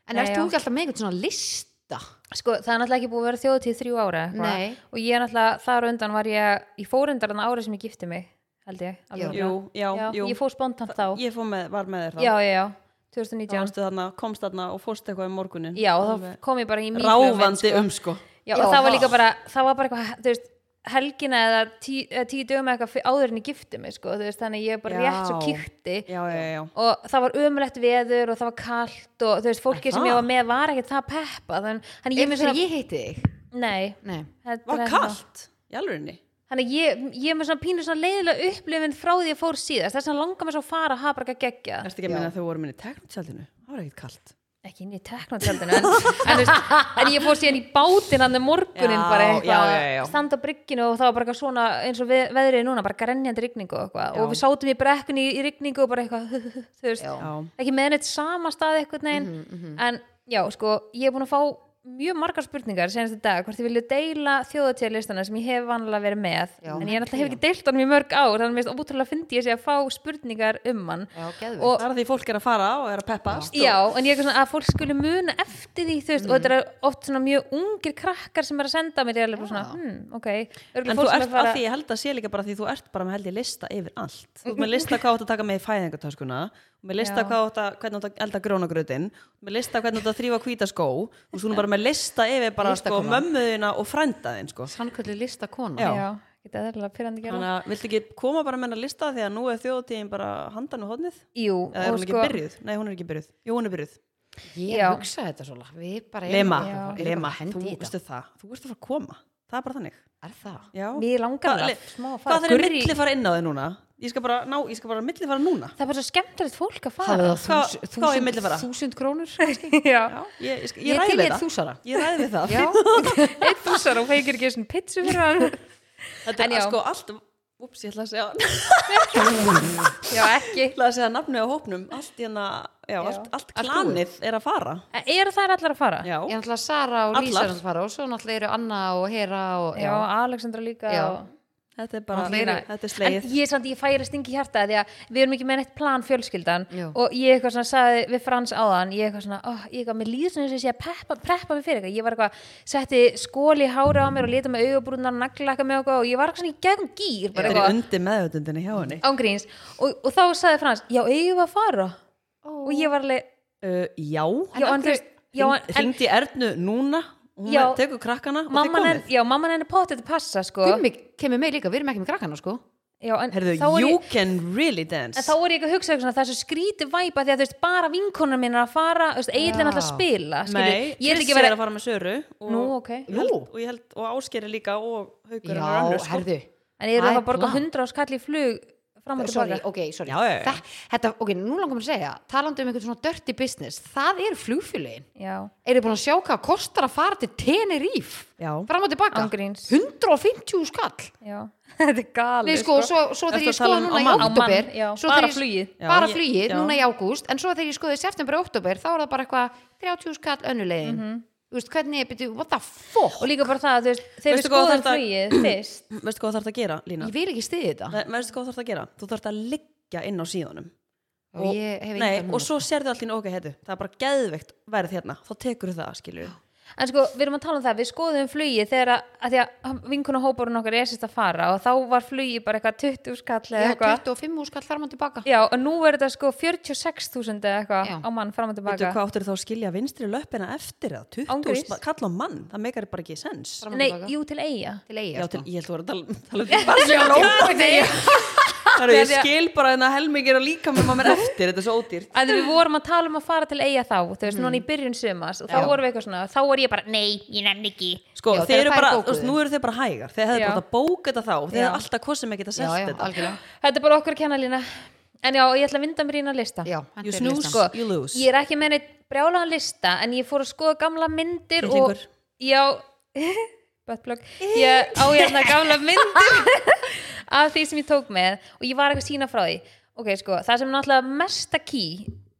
S1: en
S2: Nei,
S1: ert
S2: já.
S1: þú ekki alltaf með einhvern svona lista lista
S2: sko, það er náttúrulega ekki búið að vera þjóðatíð þrjú ára eitthvað.
S1: Nei.
S2: og ég er náttúrulega, þar á undan var ég ég fór undan þarna árið sem ég gifti mig held ég, alveg
S1: Jú.
S2: örugglega.
S3: Jú, já,
S2: já,
S3: jú.
S2: ég fór spontant þá
S3: Ég fór með, var með þér þá.
S2: já, já, já,
S3: Þá
S2: 2019
S3: varstu þarna, komst þarna og fórst eitthvað um morgunin.
S2: já, og þá
S3: Alveg
S2: kom ég bara í mýflugum
S3: Ráfandi um sko.
S2: já,
S1: Já,
S2: og það var
S1: ha.
S2: líka bara, það var bara eitthvað þú veist, helgina eða tíu, eða tíu dögum eða eitthvað fyr- áður en ég gifti mig sko, þú veist, þannig að ég bara
S3: Já.
S2: rétt svo kíkti
S3: Já, já, já.
S2: og það var ömulegt veður og það var kalt og þú veist, fólki
S3: Er
S2: sem
S3: það?
S2: ég var með var ekkert það peppa þannig, þannig ég
S1: Ef
S2: mér svona,
S1: þegar ég heiti þig
S2: nei
S1: Nei,
S2: þetta
S3: Var
S2: er ennþá-
S3: kallt í alvörinni.
S2: þannig að ég, ég er með svona pínu svona leiðilega upplifin frá því að ég fór síðast þess að langar mér svo að fara að hafa bara ekki að gegja
S3: Erstu ekki að minna að þau voru minni í teknotjaldinu? Það var ekkert kallt.
S2: ekki inn í teknotjaldinu en, en, þú veist, en ég fór síðan í bátinn hann morgunin
S3: Já,
S2: bara
S3: já, já, já.
S2: eitthvað standa á brygginu og það var bara eitthvað svona eins og veð, veðrið núna, bara grenjandi rigningu og, eitthvað. og við sátum í brekkunni í, í rigningu og bara eitthvað þú veist,
S1: Já.
S3: Já. Mhm,
S2: ekki með neitt sama stað eitthvað neginn en já, sko, ég er búin að fá mjög margar spurningar senast í dag hvort ég vilja deila þjóðatíðalistana sem ég hef vanlega verið með
S1: Já.
S2: en ég er alltaf hef ekki deilt honum í mörg ár þannig að mér finnst ótrúlega fyndi ég sé að fá spurningar um hann
S1: já, geðveikt.
S2: Og-
S3: Það er að því fólk er að fara og er að peppast.
S2: Já, en ég er eitthvað svona að fólk skulle muna eftir því, þú veist,
S3: Mm.
S2: og þetta er oft svona mjög ungir krakkar sem er að senda mér, ég er alveg bara svona, hmm, ok,
S3: Og,
S2: örgulega
S3: en þú ert, að því ég held að sé líka bara því þú ert bara með held ég lista yfir allt. Þú ert með lista hvað þú átt að taka með í fæðingartöskuna, með lista
S2: Já.
S3: hvað þú átt að, hvernig þú átt að elda grónagröðin, með lista hvernig þú átt að þrýfa hvítaskó og svo nú bara með lista yfir bara sko
S1: Listakona.
S3: mömmuðina og frændaðin sko.
S1: sannköllu lista
S3: Já.
S1: kona
S2: Já, geta eðlilega pyrrandi gera.
S3: Þannig að viltu ekki koma bara með hennar lista því að nú er þjóðtíðin bara handan og hodnið?
S2: Jú,
S3: Eða er
S2: og
S3: hún
S2: sko,
S3: ekki byrjuð? Nei, hún er ekki byrjuð. Jú, hún er byrjuð.
S1: Ég
S2: Já.
S1: hugsa þetta svona Við bara erum
S3: Lema,
S1: bara- erum bara
S3: Lema,
S1: að hendi
S3: þú
S1: í þetta
S3: veistu það. Þú veist að fara að koma. Það er bara þannig.
S1: Er það?
S3: Já.
S2: mér langar
S3: Hvað-
S2: það, smá að fara.
S3: Hvað er
S2: Gurrý-
S3: milli fara inn á þig núna? Ég skal bara, ná, ég skal bara milli fara núna.
S2: Það er bara svo skemmtilegt fólk að
S1: Hafið
S2: fara.
S1: það
S3: Hvað-
S1: þús-
S3: hvað á ég
S1: þúsund-
S3: milli fara?
S1: Þúsund krónur
S2: Já,
S3: Já, ég, ég, skal-
S1: Ég
S3: ég ræði
S1: til
S3: við
S1: ég
S3: það.
S1: þúsara
S3: Ég ræði við það.
S1: Já,
S2: eitt þúsar og feikir ekki svona pitsu fyrir hann.
S3: Þetta
S2: En
S3: er
S2: já.
S3: sko allt, ups, ég ætla að segja, ég
S2: Já, ekki.
S3: ætla að segja nafnu á hópnum, allt hérna, já, allt, allt klanið er að fara.
S2: Er það allar að fara?
S3: Já,
S1: ég er náttúrulega Sara og Lísa
S3: Allar.
S1: er að fara og svo náttúrulega eru Anna og Hera og
S2: Já, Alexandra líka.
S1: Já.
S2: og-
S3: þetta er bara,
S2: Lína.
S3: þetta er sleið.
S2: En ég, samt, ég færi stingi hjarta því að við erum ekki með neitt plan fjölskyldan
S1: Jú.
S2: og ég eitthvað svona sagði við Frans áðan ég eitthvað svona, oh, ég eitthvað, mér líður svona eins og ég sé að peppa, preppa mig fyrir eitthvað, ég var eitthvað setti skóli hára á mér og lita með augabrúnar naglaka með eitthvað og ég var eitthvað svona í gegn gýr bara
S3: Þetta er
S2: eitthvað,
S3: undir meðutundinni hjá henni.
S2: ángríns og, og þá sagði Frans, já, eigum við að fara og ég var alveg,
S3: Uh, já,
S1: En
S2: já,
S1: af
S2: en þú
S1: hverju-
S2: veist já, en, en
S3: hringdi Ernu núna, hún
S2: Já.
S3: tekur krakkana og þið
S2: mamman
S3: komið.
S2: henni, já, mamman henni potið að passa, sko
S1: Gummi kemur með líka, við erum ekki með krakkana sko
S2: já, en,
S3: Herðu,
S2: þá er
S3: you
S2: ég-
S3: can really dance.
S2: En þá voru ég ekki að hugsa eitthvað svona, það er svo skrítið væpa því að þú veist, bara vinkonar mín er að fara, þú veist, eiginlega alltaf að spila, skilju,
S3: Nei,
S2: ég er ekki
S3: Chris
S2: að vera,
S3: að fara með Söru og,
S2: nú, ok,
S3: ég held, og, ég held, og áskeri líka og haukur hennar
S1: Já,
S3: önnur, sko.
S1: herðu
S2: en ég er
S1: Það
S2: það
S1: er
S2: að borga
S1: plan.
S2: hundra á skalli í flug fram og
S1: Sorry,
S2: tilbaka.
S1: ok, sorry
S3: Já, já, já.
S1: Þa- Þetta, ok, nú langar mér að segja talandi um einhvern svona dirty business það eru flugfélögin
S2: Já,
S1: Eru búin að sjá hvað kostar að fara til Tenerife
S3: Já.
S1: fram og tilbaka
S2: Ángríns.
S1: 150 skall
S2: já, þetta er galið,
S1: Nei, sko, svo, svo
S3: Ertu að tala
S1: þegar ég skoði
S3: um
S1: núna
S3: á
S1: í
S3: mann?
S2: Á
S1: oktober
S2: mann, já.
S1: svo
S2: Bara
S1: þegar ég-
S2: flugið.
S3: Já,
S1: bara
S3: ég-
S1: flugið,
S3: já.
S1: núna í ágúst en svo þegar ég skoði í september og oktober þá er það bara eitthvað 30 skall önnulegin þú veist, hvernig, byrju, what the fuck
S2: og líka bara það, þú veist, þegar við
S3: Veistu hvað
S2: skoðum
S3: þetta-
S2: flugið fyrst,
S3: Veistu hvað þarf að gera, Lína?
S1: ég vil ekki stiði þetta
S3: Ve- Veistu hvað þarf að gera? Þú þarf að liggja inn á síðunum
S1: og ég hef
S3: Nei,
S1: engan
S3: og
S1: hugmynd.
S3: svo sérðu allir, ok, heyrðu, það er bara geðveikt verð hérna, þá tekur það, skilju
S2: en sko, við erum að tala um það, við skoðum flugið þegar að, að því að vinkona hóparun okkar er sérst að fara og þá var flugið bara eitthvað 20 skall eða
S1: ég hef
S2: eitthvað.
S1: 25 skall fram og tilbaka
S2: Já, og nú er þetta sko 46.000 eða eitthvað
S1: Já.
S2: á mann fram og
S3: Veitu
S2: tilbaka.
S3: hvað áttur þá að skilja vinstri löppina eftir eða 20
S2: Ángríns.
S3: spa- kall á mann, það meikar bara ekki sens
S1: fram og
S2: Nei,
S1: tilbaka
S2: jú, til eiga.
S1: til eiga
S3: Já,
S1: sko.
S3: til, ég held þú voru að tala, tala um Það eru, ég skil bara þennan helmingir að líka með maður eftir, þetta er svo ódýrt
S2: að við vorum að tala um að fara til eiga þá þú veist, núna í byrjun sumas og þá vorum við eitthvað svona, þá var ég bara, nei, ég nefn ekki
S3: Sko,
S1: Já,
S3: þeir
S1: þegar
S3: eru
S1: þær
S3: bara,
S1: bókuðu.
S3: þú veist, nú eru þeir bara hægar Þeir hefðu
S2: Já.
S3: bara bókað þetta þá, þeir
S2: Já.
S3: hefðu alltaf hvað sem ekki að
S1: já, já,
S3: sest þetta
S1: algjörlega
S2: þetta er bara okkur kennalína en já, ég ætla að vinda mér inn að lista
S1: já,
S3: You
S1: hendur í
S3: snooze,
S2: sko,
S1: listan.
S3: you lose
S2: ég er ekki með neitt brjálaðan lista en ég fór að skoða gamla myndir og,
S3: Tittlingur.
S2: já buttplug, ég á hérna gamla myndir af því sem ég tók með og ég var eitthvað sína frá því ok, sko, það sem er náttúrulega mesta ký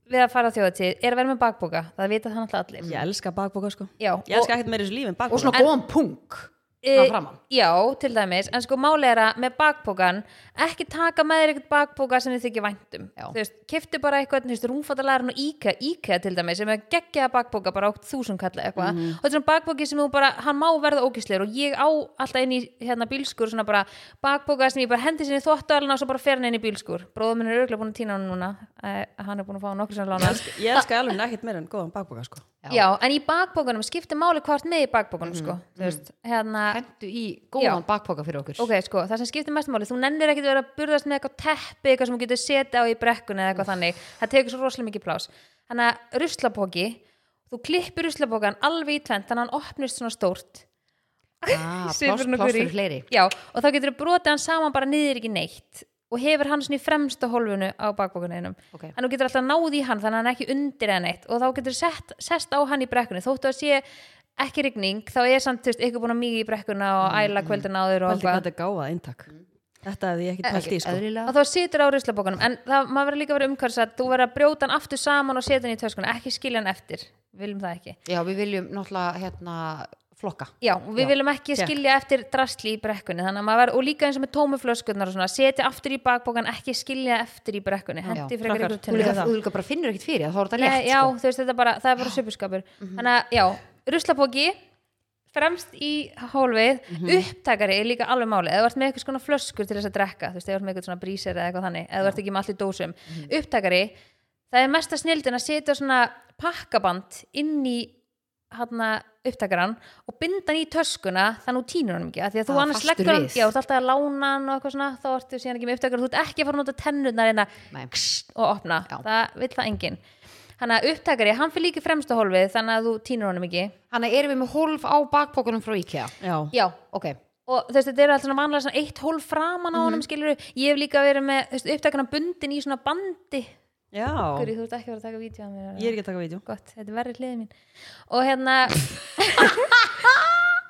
S2: við að fara á þjóðatíð er að vera með bakbóka það vita það náttúrulega allir
S3: Ég elska bakboka sko
S2: Já,
S3: Ég elska ekkert meira í þessu lífi en
S1: og
S3: bakboka
S1: svona góðan punk Ná framan.
S2: Eh, já, til dæmis, en sko máli er að með bakpókan, ekki taka með þér eitthvað bakpóka sem þið þykir væntum
S1: Já.
S2: þú veist, kefti bara eitthvað, þú veist, rúmfattalærin og IKEA, IKEA til dæmis, sem er geggjaða bakpóka bara á þúsund kalla eitthvað
S1: Mhm.
S2: og þetta er svona bakpóki sem þú bara, hann má verða ógisleir og ég á alltaf inn í hérna bílskur svona bara bakpóka sem ég bara hendi sinni þvóttalina og svo bara fer hann inn í bílskur bróðum minn er örgulega búin að tína hann núna eh, hann er búin að fá hann okkur sem lána
S3: Ég elska alveg ekkert meira en góðan bakboka sko.
S1: Já. Mhm.
S2: já. en í bakpókanum skiptir máli hvort með í bakpókanum sko, þú veist, hérna
S1: hendu í góðan bakpoka fyrir okkur
S2: ok, sko, það sem skiptir mest máli þú nennir ekkit að vera að burðast með eitthvað teppi eitthvað sem þú getur setið á í brekkun eða eitthvað þannig það tekur svo rosalega mikið plás þannig að ruslapóki, þú klippir ruslapókan alveg í tvent, þannig að hann opnist svona stórt
S1: ah, pláss,
S2: Sefur hann
S1: pláss
S2: okkur í.
S1: fyrir fleiri
S2: já, og þá getur þú brotið hann saman bara niður ekki neitt og hefur hann svona í fremsta holfunu á bakbókaninum
S1: Ok.
S2: en þú getur alltaf náð í hann þannig að hann er ekki undir eða neitt og þá getur sett, sest á hann í brekkunni þóttu að sé ekki rigning þá er samt, þú veist, ykkur búin að mikið í brekkuna
S1: Mm,
S2: og æla kvöldin áður og
S3: Pældi hvað þetta er gáða inntak Þetta hefði ég ekkert pælt í sko.
S1: eðlilega
S2: og þá situr á ruslabókunum en það, maður verður líka að vera umkvæmst að þú verður að brjóta hann aftur saman og setja hann í töskuna ekki skilja hann eftir, við viljum það ekki
S1: já, við viljum náttúrulega hérna, flokka
S2: já, og við viljum ekki
S3: Tékk.
S2: skilja eftir drasli í brekkunni, þannig að maður verður, og líka eins og með tómu flöskunnar og svona, setja aftur í bakbókan ekki skilja eftir í brekkunni, hendi frekar
S3: Krakkar,
S2: ykkur
S1: þú
S2: tunnu
S1: líka, þú líka bara finnur ekkert fyrir þá er þetta
S2: Nei,
S1: létt
S2: já,
S1: sko. Mhm.
S2: þú veist, þetta er bara, það er bara söpurskapur þannig að, já, ruslapóki fremst í hólfið
S1: Mhm.
S2: upptakari er líka alveg máli eða þú ert með eitthvað svona flöskur til þess að drekka þú veist, eða þú ert með eitthvað svona brísir eða eitthvað þannig eða þú ert ekki með allt í dósum
S1: Mhm.
S2: upptakari, það er mesta snildin að setja svona pakkaband inn í hana, upptakaran og binda hann í töskuna þannig að þú tínur hann ekki, af því að þú
S1: Ah,
S2: annars
S1: fastur
S2: leggur hann,
S1: við.
S2: já, þú ert alltaf að lána hann og eitthvað svona, þá ertu síðan ekki með upptakar þú ert ekki að fara að nota tennurnar en
S1: Nei.
S2: og opna,
S1: Já.
S2: það vill það enginn þannig að upptakari, hann fyrir líka í fremsta hólfið þannig að þú tínur honum ekki
S1: þannig erum við með hólf á bakpokunum frá IKEA
S3: Já,
S2: já,
S1: ok,
S2: og þú veist, þetta er alltaf svona vanlega svona eitt hólf framan á honum, skilur ég hef líka verið með þú veist, upptakarna bundin í svona bandi
S3: já
S2: Guri, þú ert ekki að vera að taka vídeo af mér
S3: Ég er ekki að taka vídeo
S2: gott, þetta er verri hliðið mín og hérna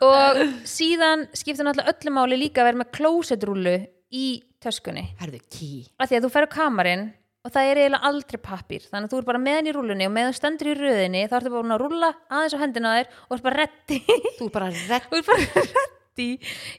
S2: og síðan skiptir náttúrulega öllu máli líka að vera með klósetrúlu í töskunni
S1: herðu ký
S2: að því að þú ferur kamarinn og það er eiginlega aldrei pappir þannig að þú er bara með hann í rúlunni og með þú stendur í röðinni þá ertu bara búin að rúlla aðeins á hendina á þér og ert bara reddi og
S1: þú er bara redd
S2: ert bara reddi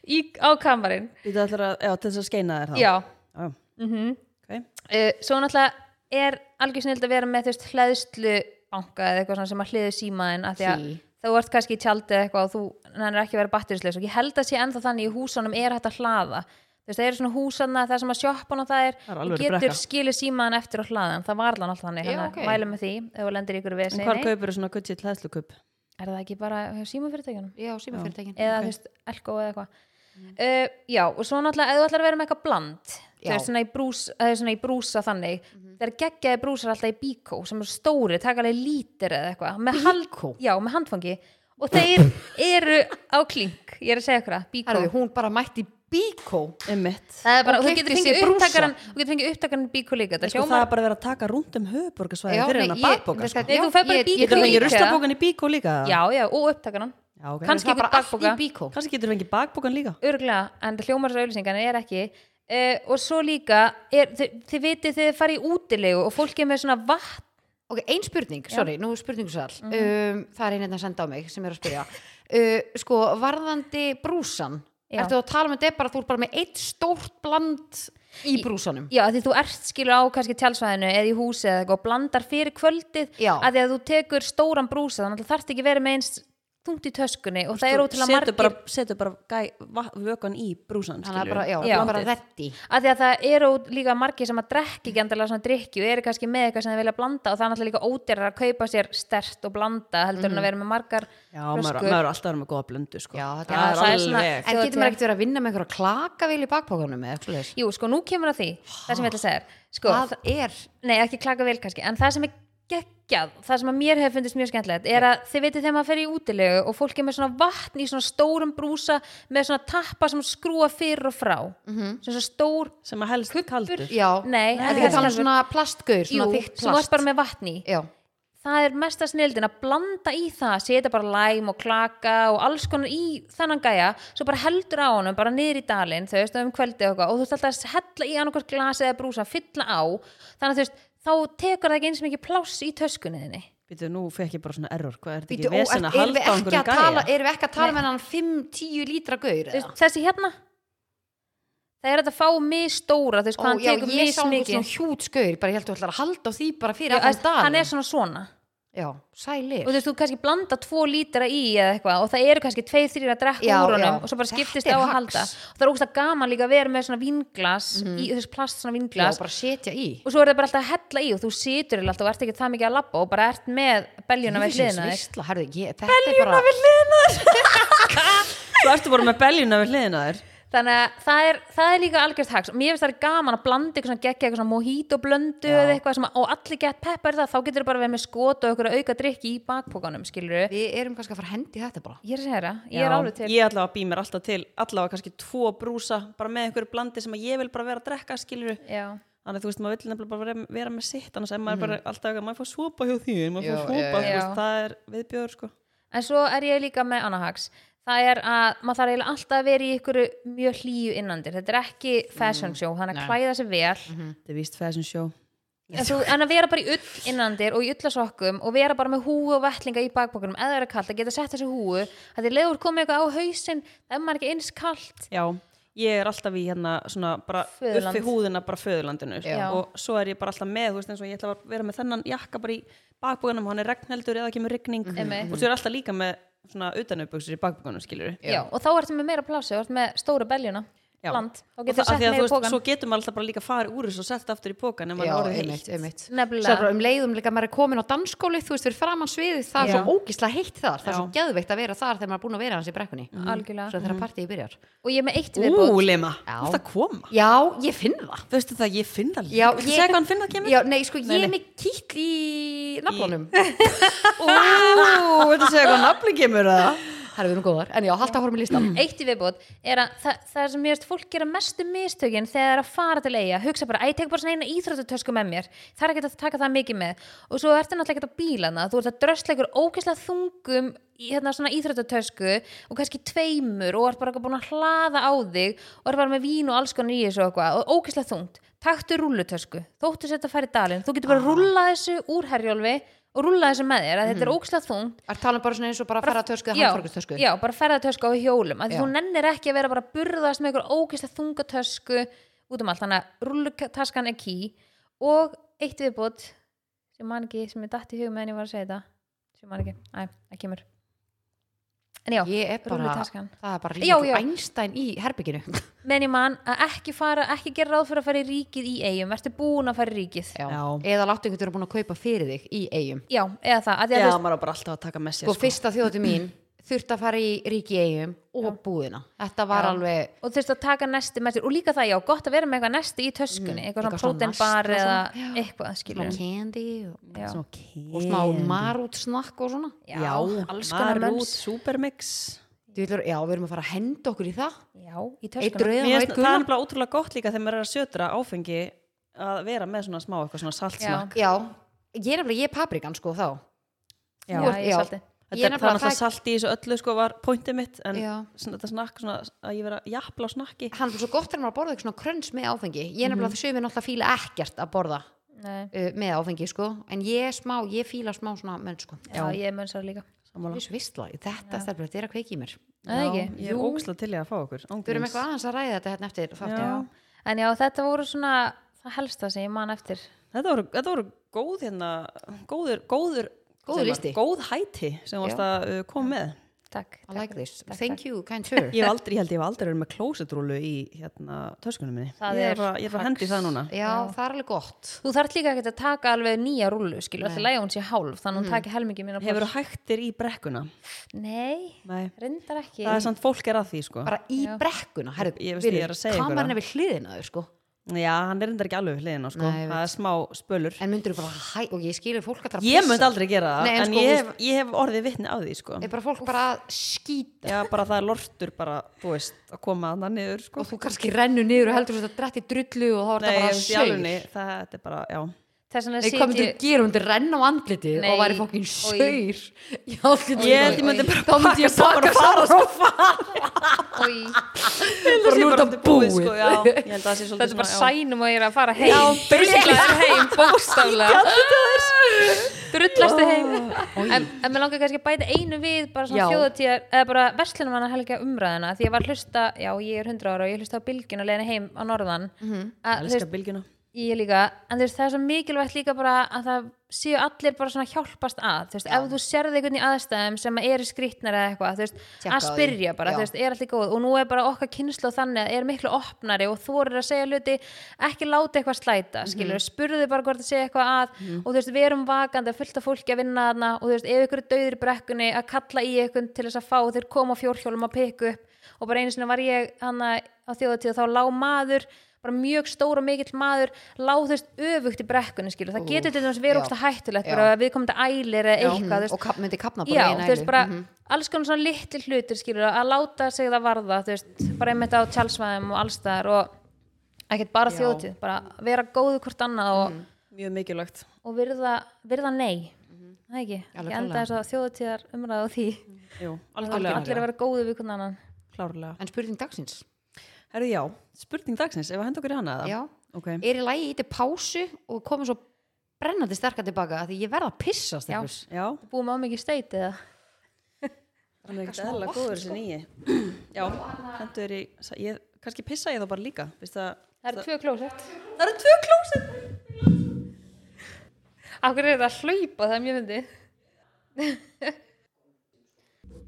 S2: í, á kamarinn
S3: Þetta ætlar að, já, til þess að skeina þér það
S2: já,
S3: Já. Mhm. Ok.
S2: uh, svo náttúrulega er algjör snild að vera með þú veist hlæðslu banka eða eitthvað svona sem að hliðu símaðin að því að
S1: Hí.
S2: þú ert kannski í tjaldi eða eitthvað og þú nennir ekki að vera batterisleis og ég held að sé ennþá þannig í húsanum er hægt að hlaða þú veist það eru svona húsanna það sem að sjoppan og það er
S3: Það er
S2: og
S3: alveg
S2: getur
S3: brekka.
S2: skilið símaðan eftir og hlaðan það var allan alltaf þannig,
S1: Já,
S2: þannig
S1: ok.
S2: okay. mælum með því ef þú lendir í ykkur við
S3: En
S2: segir
S3: hvar
S2: nei,
S3: kaupir svona guttið hlæðslukup?
S2: er það ekki bara hjá símafyrirtækjunum
S1: já, símafyrirtækin
S2: eða þú veist, elko eða eitthvað uh, já, og svo náttúrulega ef þú ætlar að vera með eitthvað bland
S1: Já.
S2: það er svona í, brús, það er svona í brúsa þannig mm -hmm. það er geggjaði brúsar alltaf í bíkó sem eru stóri, taka alveg lítir eða eitthvað með
S1: Bíkó?
S2: já, með handfangi og þeir eru á klink ég er að segja ykkur það, bíkó
S1: herðu, hún bara mætti bíkó
S3: Emmitt
S2: það er bara,
S1: Og
S2: þú
S1: keypti
S2: getur
S1: sér
S2: fengið
S1: brúsa.
S2: upptakaran þú getur fengið upptakaran í bíkó líka það
S3: Sko
S2: sjóma
S3: það er bara að vera að taka rúnd um höfuborgarsvæði
S1: Já,
S3: fyrir
S1: nei,
S3: hennar
S1: ég-
S3: bakboka
S1: þetta-
S3: sko.
S2: Nei,
S1: já,
S2: þú ferð bara í
S1: ég-
S2: bíkó
S1: ég-
S3: Getur
S1: ég-
S3: þú fengið
S2: líka.
S3: ruslabókan í bíkó líka?
S2: já, já, og upptakaran
S3: Já, ok.
S2: kannski
S1: það
S2: ykkur
S1: er bara allt í
S2: bakpoka.
S1: bíkó
S3: Kannski getur þú fengið bakbókan líka
S2: örglega, en það hljómar svo auðlýsing en það er ekki uh, og svo líka, er, þið, þið vitið þið farið í útilegu og fólk er með svona vatn
S1: Ok, ein spurning, sorry, nú spurningsal
S2: Mhm.
S1: um, Það er einhvern að senda á mig sem er að spyrja uh, Sko, varðandi brúsan
S2: Já.
S1: Ertu að tala með þetta bara, þú er bara með eitt stórt bland í brúsanum
S2: já, af því þú ert skilur á kannski tjálsvæðinu eða í húsi eða eitthvað og blandar fyrir kvöldið
S1: Já.
S2: að því að þú tekur stóran brúsa þannig að þarft ekki verið með eins þungt í töskunni og það er ótrúlega
S3: Setur
S2: margir
S3: bara, setur bara gæ, va, vökan í brúsan
S1: Þannig að
S3: skilurðu.
S1: bara, já,
S2: Já.
S1: bara reddi
S2: að því að það eru líka margir sem að drekki ekki endilega svona drikki og eru kannski með eitthvað sem þeir vilja blanda og það er náttúrulega líka ódýrar að kaupa sér stert og blanda heldur en að vera með margar
S3: Mhm. Já, maður,
S2: flöskur.
S3: maður er alltaf að vera með góða blöndu sko.
S1: Já, þetta
S3: það
S1: er-
S2: það
S3: er
S2: er
S3: alveg
S2: svona-
S1: En
S2: Þjóðhátíð.
S1: getur maður ekkert verið að vinna með einhverja klakavél í bakpókanum eða eitthvað svoleiðis?
S2: Jú, sko, nú kemur að því, það sem ég ætla að segja er, sko,
S1: Það er
S2: nei, ekki klaka vel kannski, en það sem er geggjað, það sem að mér hefur fundist mjög skemmtilegt, er að þið veitir þegar maður fer í útilegu og fólk er með svona vatn í svona stórum brúsa með svona tappa sem skrúa fyrir og frá, mm
S1: Mhm.
S2: -hmm. svona stór,
S3: sem að helst kaldur
S1: Já,
S2: Nei,
S1: en
S2: nei.
S1: þið getur hann um svona plastgaur,
S2: jú,
S1: svona þykkt
S2: sem varst
S1: plast
S2: bara með vatn í.
S1: Já,
S2: Það er mesta snildin að blanda í það, setja bara læm og klaka og alls konar í þannan gæja, svo bara heldur á honum, bara niður í dalinn, þau veist, um kveldi og eitthvað, og þú veist alltaf að hella í annarkvært glasi eða brúsa, fylla á, þannig að þú veist, þá tekur það ekki eins mikið pláss í töskunni þinni.
S3: Býtu, nú fekk ég bara svona error, hvað er þetta
S1: Býtu,
S3: ekki
S1: ó, er,
S3: vesen að
S1: erum við
S3: halda á
S1: ekki
S3: einhverjum
S1: að
S3: gæja?
S1: tala erum við ekki að tala um með hann 5-10 lítra gaur
S2: Þú
S1: eða?
S2: veist, þessi hérna það er hægt að fá misstóra þú veist
S1: Ó,
S2: hvað hann
S1: já,
S2: tekur
S1: ég sá hann
S2: mismikið
S1: svona hjút gaur bara ég held að þú ætlar að halda á því bara fyrir
S2: Já,
S1: allan
S2: þú veist, hann er
S1: dag
S2: svona svona
S1: já, sælir
S2: og þú veist, þú kannski blanda tvo lítra í eða eitthvað og það eru kannski tveir, þrýr að drekka
S1: Já,
S2: úr honum
S1: já.
S2: og svo bara skiptist á
S1: Þetta er
S2: að
S1: hacks.
S2: halda og það er ógst að gaman líka að vera með svona vinglas í þessu plast svona
S1: Mhm. já,
S2: vinglas
S1: bara setja í
S2: og svo er það bara alltaf að hella í og þú situr eiginlega alltaf og ert ekki það mikið að labba og bara ert með beljuna við
S1: Jöfisins
S2: hliðina á þér
S1: veisla, herðu, ég, þetta er bara
S3: Svo ertu bara með beljuna við hliðina þér
S2: þannig að það er, það er líka algjörst hacks og mér finnst það er gaman að blanda eitthvað svona geggja eitthvað svona mojito blöndu eða eitthvað sem að, og allir gett peppar það þá getur bara verið með skot og eitthvað auka drikki í bakpókanum skilur
S1: við erum kannski að fara að hendi í þetta bara
S2: ég er að segja það, ég er
S3: Já,
S2: alveg til
S3: Ég allavega bý mér alltaf til, allavega kannski tvo brúsa, bara með einhverju blandi sem að ég vil bara vera að drekka, skilur
S2: Já.
S3: Þannig að þú veist, maður vill nefnilega bara vera, vera með sitt, annars er
S2: Mhm.
S3: maður bara alltaf eitthvað, maður fór svopa hjá því, maður
S1: Já,
S3: fór
S1: já,
S2: já.
S3: svopa, þú veist, það er viðbjör, sko.
S2: En svo er ég líka með annað hacks. Það er að maður þarf eiginlega alltaf að vera í ykkur mjög hlýju innandir. Þetta er ekki fashion show, þannig að klæða sér vel.
S3: Mm. Þetta er víst fashion show.
S2: En, þú, en að vera bara í ull innandir og í ullasokkum og vera bara með húu og vettlinga í bakbókunum eða vera kallt að geta sett þessi húu. Það er leiður komið eitthvað á hausinn, það er maður ekki eins kallt.
S3: Já, ég er alltaf í hérna svona bara
S2: Föðurland.
S3: uppi húðina bara föðurlandinu sko.
S2: Já.
S3: og svo er ég bara alltaf með, þú veist eins og ég ætla að vera með þennan jakka bara í bakbúinum og hann er regnheldur eða kemur rigning
S2: Mhm. Einmitt.
S3: og svo er alltaf líka með svona utanauðbuksur í bakbúinum skilur við.
S2: Já. og þá ertu með meira plási, þú ert með stóru beljuna, land, og getur sett
S3: það, af því að,
S2: meira
S3: þú
S2: í
S3: veist,
S2: pókan.
S3: svo getur maður alltaf bara líka farið úr þessu og sett aftur í pókan ef maður
S1: já,
S3: er orðið heitt.
S1: einmitt, einmitt
S2: Nefnilega.
S1: Svo er bara um leiðum líka maður er komin á dansskóli þú veist, fyrir framann sviðið, það
S3: Já.
S1: er svo ógislega heitt þar það er svo
S3: Já.
S1: geðveikt að vera þar þegar maður er búin að vera hans í brekkunni
S2: Mhm. Algjörlega.
S1: svo þegar partíið byrjar
S2: Og ég er með eitt viðbót.
S3: Ú, Lema,
S1: Já.
S3: þú ert að koma.
S1: já, ég finn það
S3: Þú veistu það, ég finn það líka.
S1: já,
S3: Viltu segja hvað hann finn það kemur?
S1: já, nei, sko,
S3: Nei,
S1: ég er
S3: nei.
S1: með kýll í naflunum
S3: Ú, veistu segja hvað nafli kemur það?
S1: það er við erum góðar, en já, halda horfum í listan
S2: eitt í viðbót er að það, það sem mér veist fólk gera mestu mistökin þegar það er að fara til eiga hugsa bara, að ég tek bara svona eina íþróttutösku með mér það er ekki að taka það mikið með og svo ertu náttúrulega ekki að bílana, þú ert að drösla ykkur ógeðslega þungum í hérna svona íþróttutösku og kannski tveimur og ert bara eitthvað búin að hlaða á þig og ert bara með vín og alls konar í þessu og eitthvað og ógeðslega þungt, taktu rullutösku þóttu setja að fara í dalinn, þú getur bara ah. þessu úr herjólfi og rúlla þessu með þér að þetta er ógeðslega þungt
S1: er talað um bara svona eins og bara ferðartösku eða
S2: Já,
S1: handfórkustösku
S2: já, bara ferðartösku á hjólum að
S1: Já.
S2: þú nennir ekki að vera bara að burðast með ykkur ógeðslega þungatösku út um allt, þannig að rullutaskan er key og eitt viðbót sem man ekki, sem ég datt í hug meðan ég var að segja þetta sem man ekki, næ, það kemur en já,
S1: ég er bara,
S2: rúllutaskan
S1: það er bara
S2: Já, já.
S1: líka Einstein í herbygginu
S2: meðan ég man að ekki fara, ekki gera ráð fyrir að fara í ríkið í eigum, ertu búin að fara í ríkið já,
S1: já.
S3: Já.
S1: eða láttu einhvern vera búin að kaupa fyrir þig í eigum
S2: eða það, að því
S3: Já,
S2: að þú
S3: maður er bara alltaf að taka með sér,
S1: sko, fyrsta þjóðati mín þurfti að fara í ríki eigum og búðina þetta
S2: Já.
S1: var alveg
S2: og þurfti að taka nesti með sér og líka það já, gott að vera með eitthvað nesti í töskunni eitthvað svona
S1: Mm, eitthvað svona
S2: prótenbar eða
S1: nasl og svona. Já.
S2: eitthvað
S1: smá
S2: skilur
S1: candy og,
S2: já.
S3: Svona
S1: og smá
S3: kem.
S1: marút snakk og svona
S2: Já, alls konar
S3: Marút,
S2: mönns
S3: Supermix
S1: Þú veitur, já, við erum að fara að henda okkur í það
S2: Já, í
S1: eitt
S2: töskunum
S1: rauðan
S3: Mér finnst það
S1: og eitt
S3: er
S1: gulan
S3: nefnilega ótrúlega gott líka þegar maður er að södra áfengi að vera með svona smá eitthvað svona saltsmakk
S1: já, ég er nefnilega, ég er paprikan sko þá
S2: Já,
S1: Þú ert-
S2: ég er saltið.
S3: Þetta
S1: ég er
S3: er það
S1: nefnilega
S3: náttúrulega
S1: það
S3: salt í þessu öllu sko var pointið mitt en
S1: Já.
S3: svona, þetta snakk svona að ég vera jafnla á snakki
S1: hann er svo gott þegar maður borða eitthvað svona krönns með áfengi ég er nefnilega, þessu við náttúrulega fíla ekkert að borða
S2: Nei,
S1: uh, með áfengi sko en ég er smá, ég fíla smá svona menn sko
S2: já, ég er mönnsar líka
S3: Sammála.
S1: Viss, vissla, þetta stelpur, þetta er að kveiki í mér
S2: Það er ekki?
S3: Ég er ógslag til ég að fá okkur
S1: Við erum eitthvað aðeins að ræða þetta hérna eftir þáttinn.
S3: Já.
S2: En já, þetta voru svona það helsta sem ég man eftir
S3: Þetta voru, þetta voru góð hérna góður, góður
S1: Góður
S3: sem var-
S1: listi.
S3: Góð hæti sem varst
S1: Já.
S3: að uh, koma með
S2: Takk, takk.
S1: I like this. Thank you, kind sir.
S3: Ég hef aldrei, ég held ég hef aldrei verið með klósetrúlu í hérna töskunum minni
S2: Það
S3: Ég
S2: er
S3: er bara- ég er bara að hendi það núna
S1: Já, það er alveg gott.
S2: Þú þarft líka ekkert að taka alveg nýja rúlu skilur, alltaf lægja hún sé hálf, þannig hún taki helmingi mín
S3: Hefur þú hægtir í brekkuna?
S2: Nei,
S3: Nei.
S2: reyndar ekki
S3: Það er samt fólk er að því sko.
S1: Bara í brekkuna. Herru,
S3: Ég veist, ég er að segja ykkur það.
S1: kameran er við hliðina á þér, sko.
S3: Já, hann er reyndar ekki alveg við hliðina sko.
S1: Nei, ég veit.
S3: það er smá spölur.
S1: En myndur þú bara, hæ, og ég skilur fólk að það
S3: ég myndi aldrei gera það,
S1: Nei, en
S3: en,
S1: sko,
S3: ég,
S1: þú
S3: hef, ég hef orðið vitni á því sko.
S1: Er bara fólk bara að skýta
S3: Já, bara það er lortur bara, þú veist, að koma að það niður sko.
S1: og þú kannski rennu niður og heldur þú þetta drett í drullu og þá er
S3: Nei, ég
S1: þetta bara
S3: veist, í
S1: sögur.
S3: alunni, það þetta er bara, já.
S2: Þess vegna
S1: Nei, hvað myndur
S2: sitjum
S1: þú gera? Myndur renna á andlitið
S2: Nei,
S1: og væri
S2: oj.
S1: fokkin sögur. Já, allir
S3: Ég held ég
S2: oj,
S3: myndi
S2: oj.
S3: bara
S1: Þá myndi ég
S3: pakka saman og fara.
S1: sko. Bara nú er þetta búið.
S3: Sko, já, ég held að það
S2: Þetta
S3: sé svolítið
S2: er bara
S3: já.
S2: sænum og ég er að fara heim
S3: Já, basically.
S2: Sigla þér heim, bókstaflega drullastu heim
S1: Oj.
S2: en, en mér langar kannski að bæta einu við bara svona
S1: Já.
S2: þjóðatíðar, eða bara verslunum hann að helga umræðina, því ég var að hlusta já, ég er 100 ára og ég hlusta á bylgjuna leiðin heim á norðan,
S1: Mhm.
S2: að, þú
S3: elskar
S2: veist,
S3: Ah, bylgjuna
S2: ég líka en þú veist, það er svo mikilvægt líka bara að það séu allir bara svona hjálpast að þú veist, ef þú sérði einhvern í aðstæðum sem eru skrýtnar eða eitthvað, þú veist,
S1: Tékka á
S2: að
S1: því.
S2: spyrja bara,
S1: Já.
S2: þú veist, er allir góð og nú er bara okkar kynslu þannig að er miklu opnari og þorir að segja hluti, ekki láta eitthvað slæta,
S1: Mhm.
S2: skilur, spurðu bara hvort það segja eitthvað að og þú veist, við erum vakandi að fullta fólki að vinna þarna og þú veist, ef ykkur er dauður í brekkunni að kalla í ykkur til þess að fá þeir koma á fjórhjólum að pikku upp og bara einu sinni var ég hana á þjóðatíð og þá lá maður bara mjög stór og mikill maður láðust öfugt í brekkunni skilur það
S1: Úff,
S2: getur til dæmis verið
S1: já.
S2: ógsta hættulegt
S1: Já. mhm.
S2: bara að við komum til ælir eða eitthvað þú veist.
S1: og kap, myndi kapna bara
S2: já,
S1: í eina
S2: þú veist
S1: ælu.
S2: bara
S1: Mhm.
S2: alls konar svona litli hlutir skilur að láta sig það varða þú veist, bara einmitt á tjálsvæðum og alls þar og ekkert bara
S3: Já.
S2: þjóðtíð bara vera góðu hvort annað
S1: Mhm.
S2: og,
S3: mjög mikilvægt
S2: og virða, virða nei það ekki,
S1: Mhm.
S2: ekki enda
S1: Alveg klárlega. Mhm.
S2: þess að þjóðtíðar umræða á því
S3: Jú,
S2: allir
S3: algjörlega,
S2: allir að vera góðu við hvort annan
S3: klárlega
S1: en spurning dagsins
S3: Herðu já, spurning dagsins, ef að henda okkur í hana eða?
S1: já.
S3: Ok,
S1: er í lagi íti pásu og komið svo brennandi sterkar tilbaka af því ég verða að pissa
S2: Já.
S1: stelpur.
S3: já
S2: búum á mikið steiti eða
S3: Hann er ekkert
S1: smá
S3: eðla
S1: vatn,
S3: góður þessi nýji Já, hendur er í ég, Kannski pissa ég þá bara líka Vist að,
S2: það eru tvö klósett
S3: Það eru tvö klósett
S2: Akkur er þetta að hlaupa, það er mjög myndi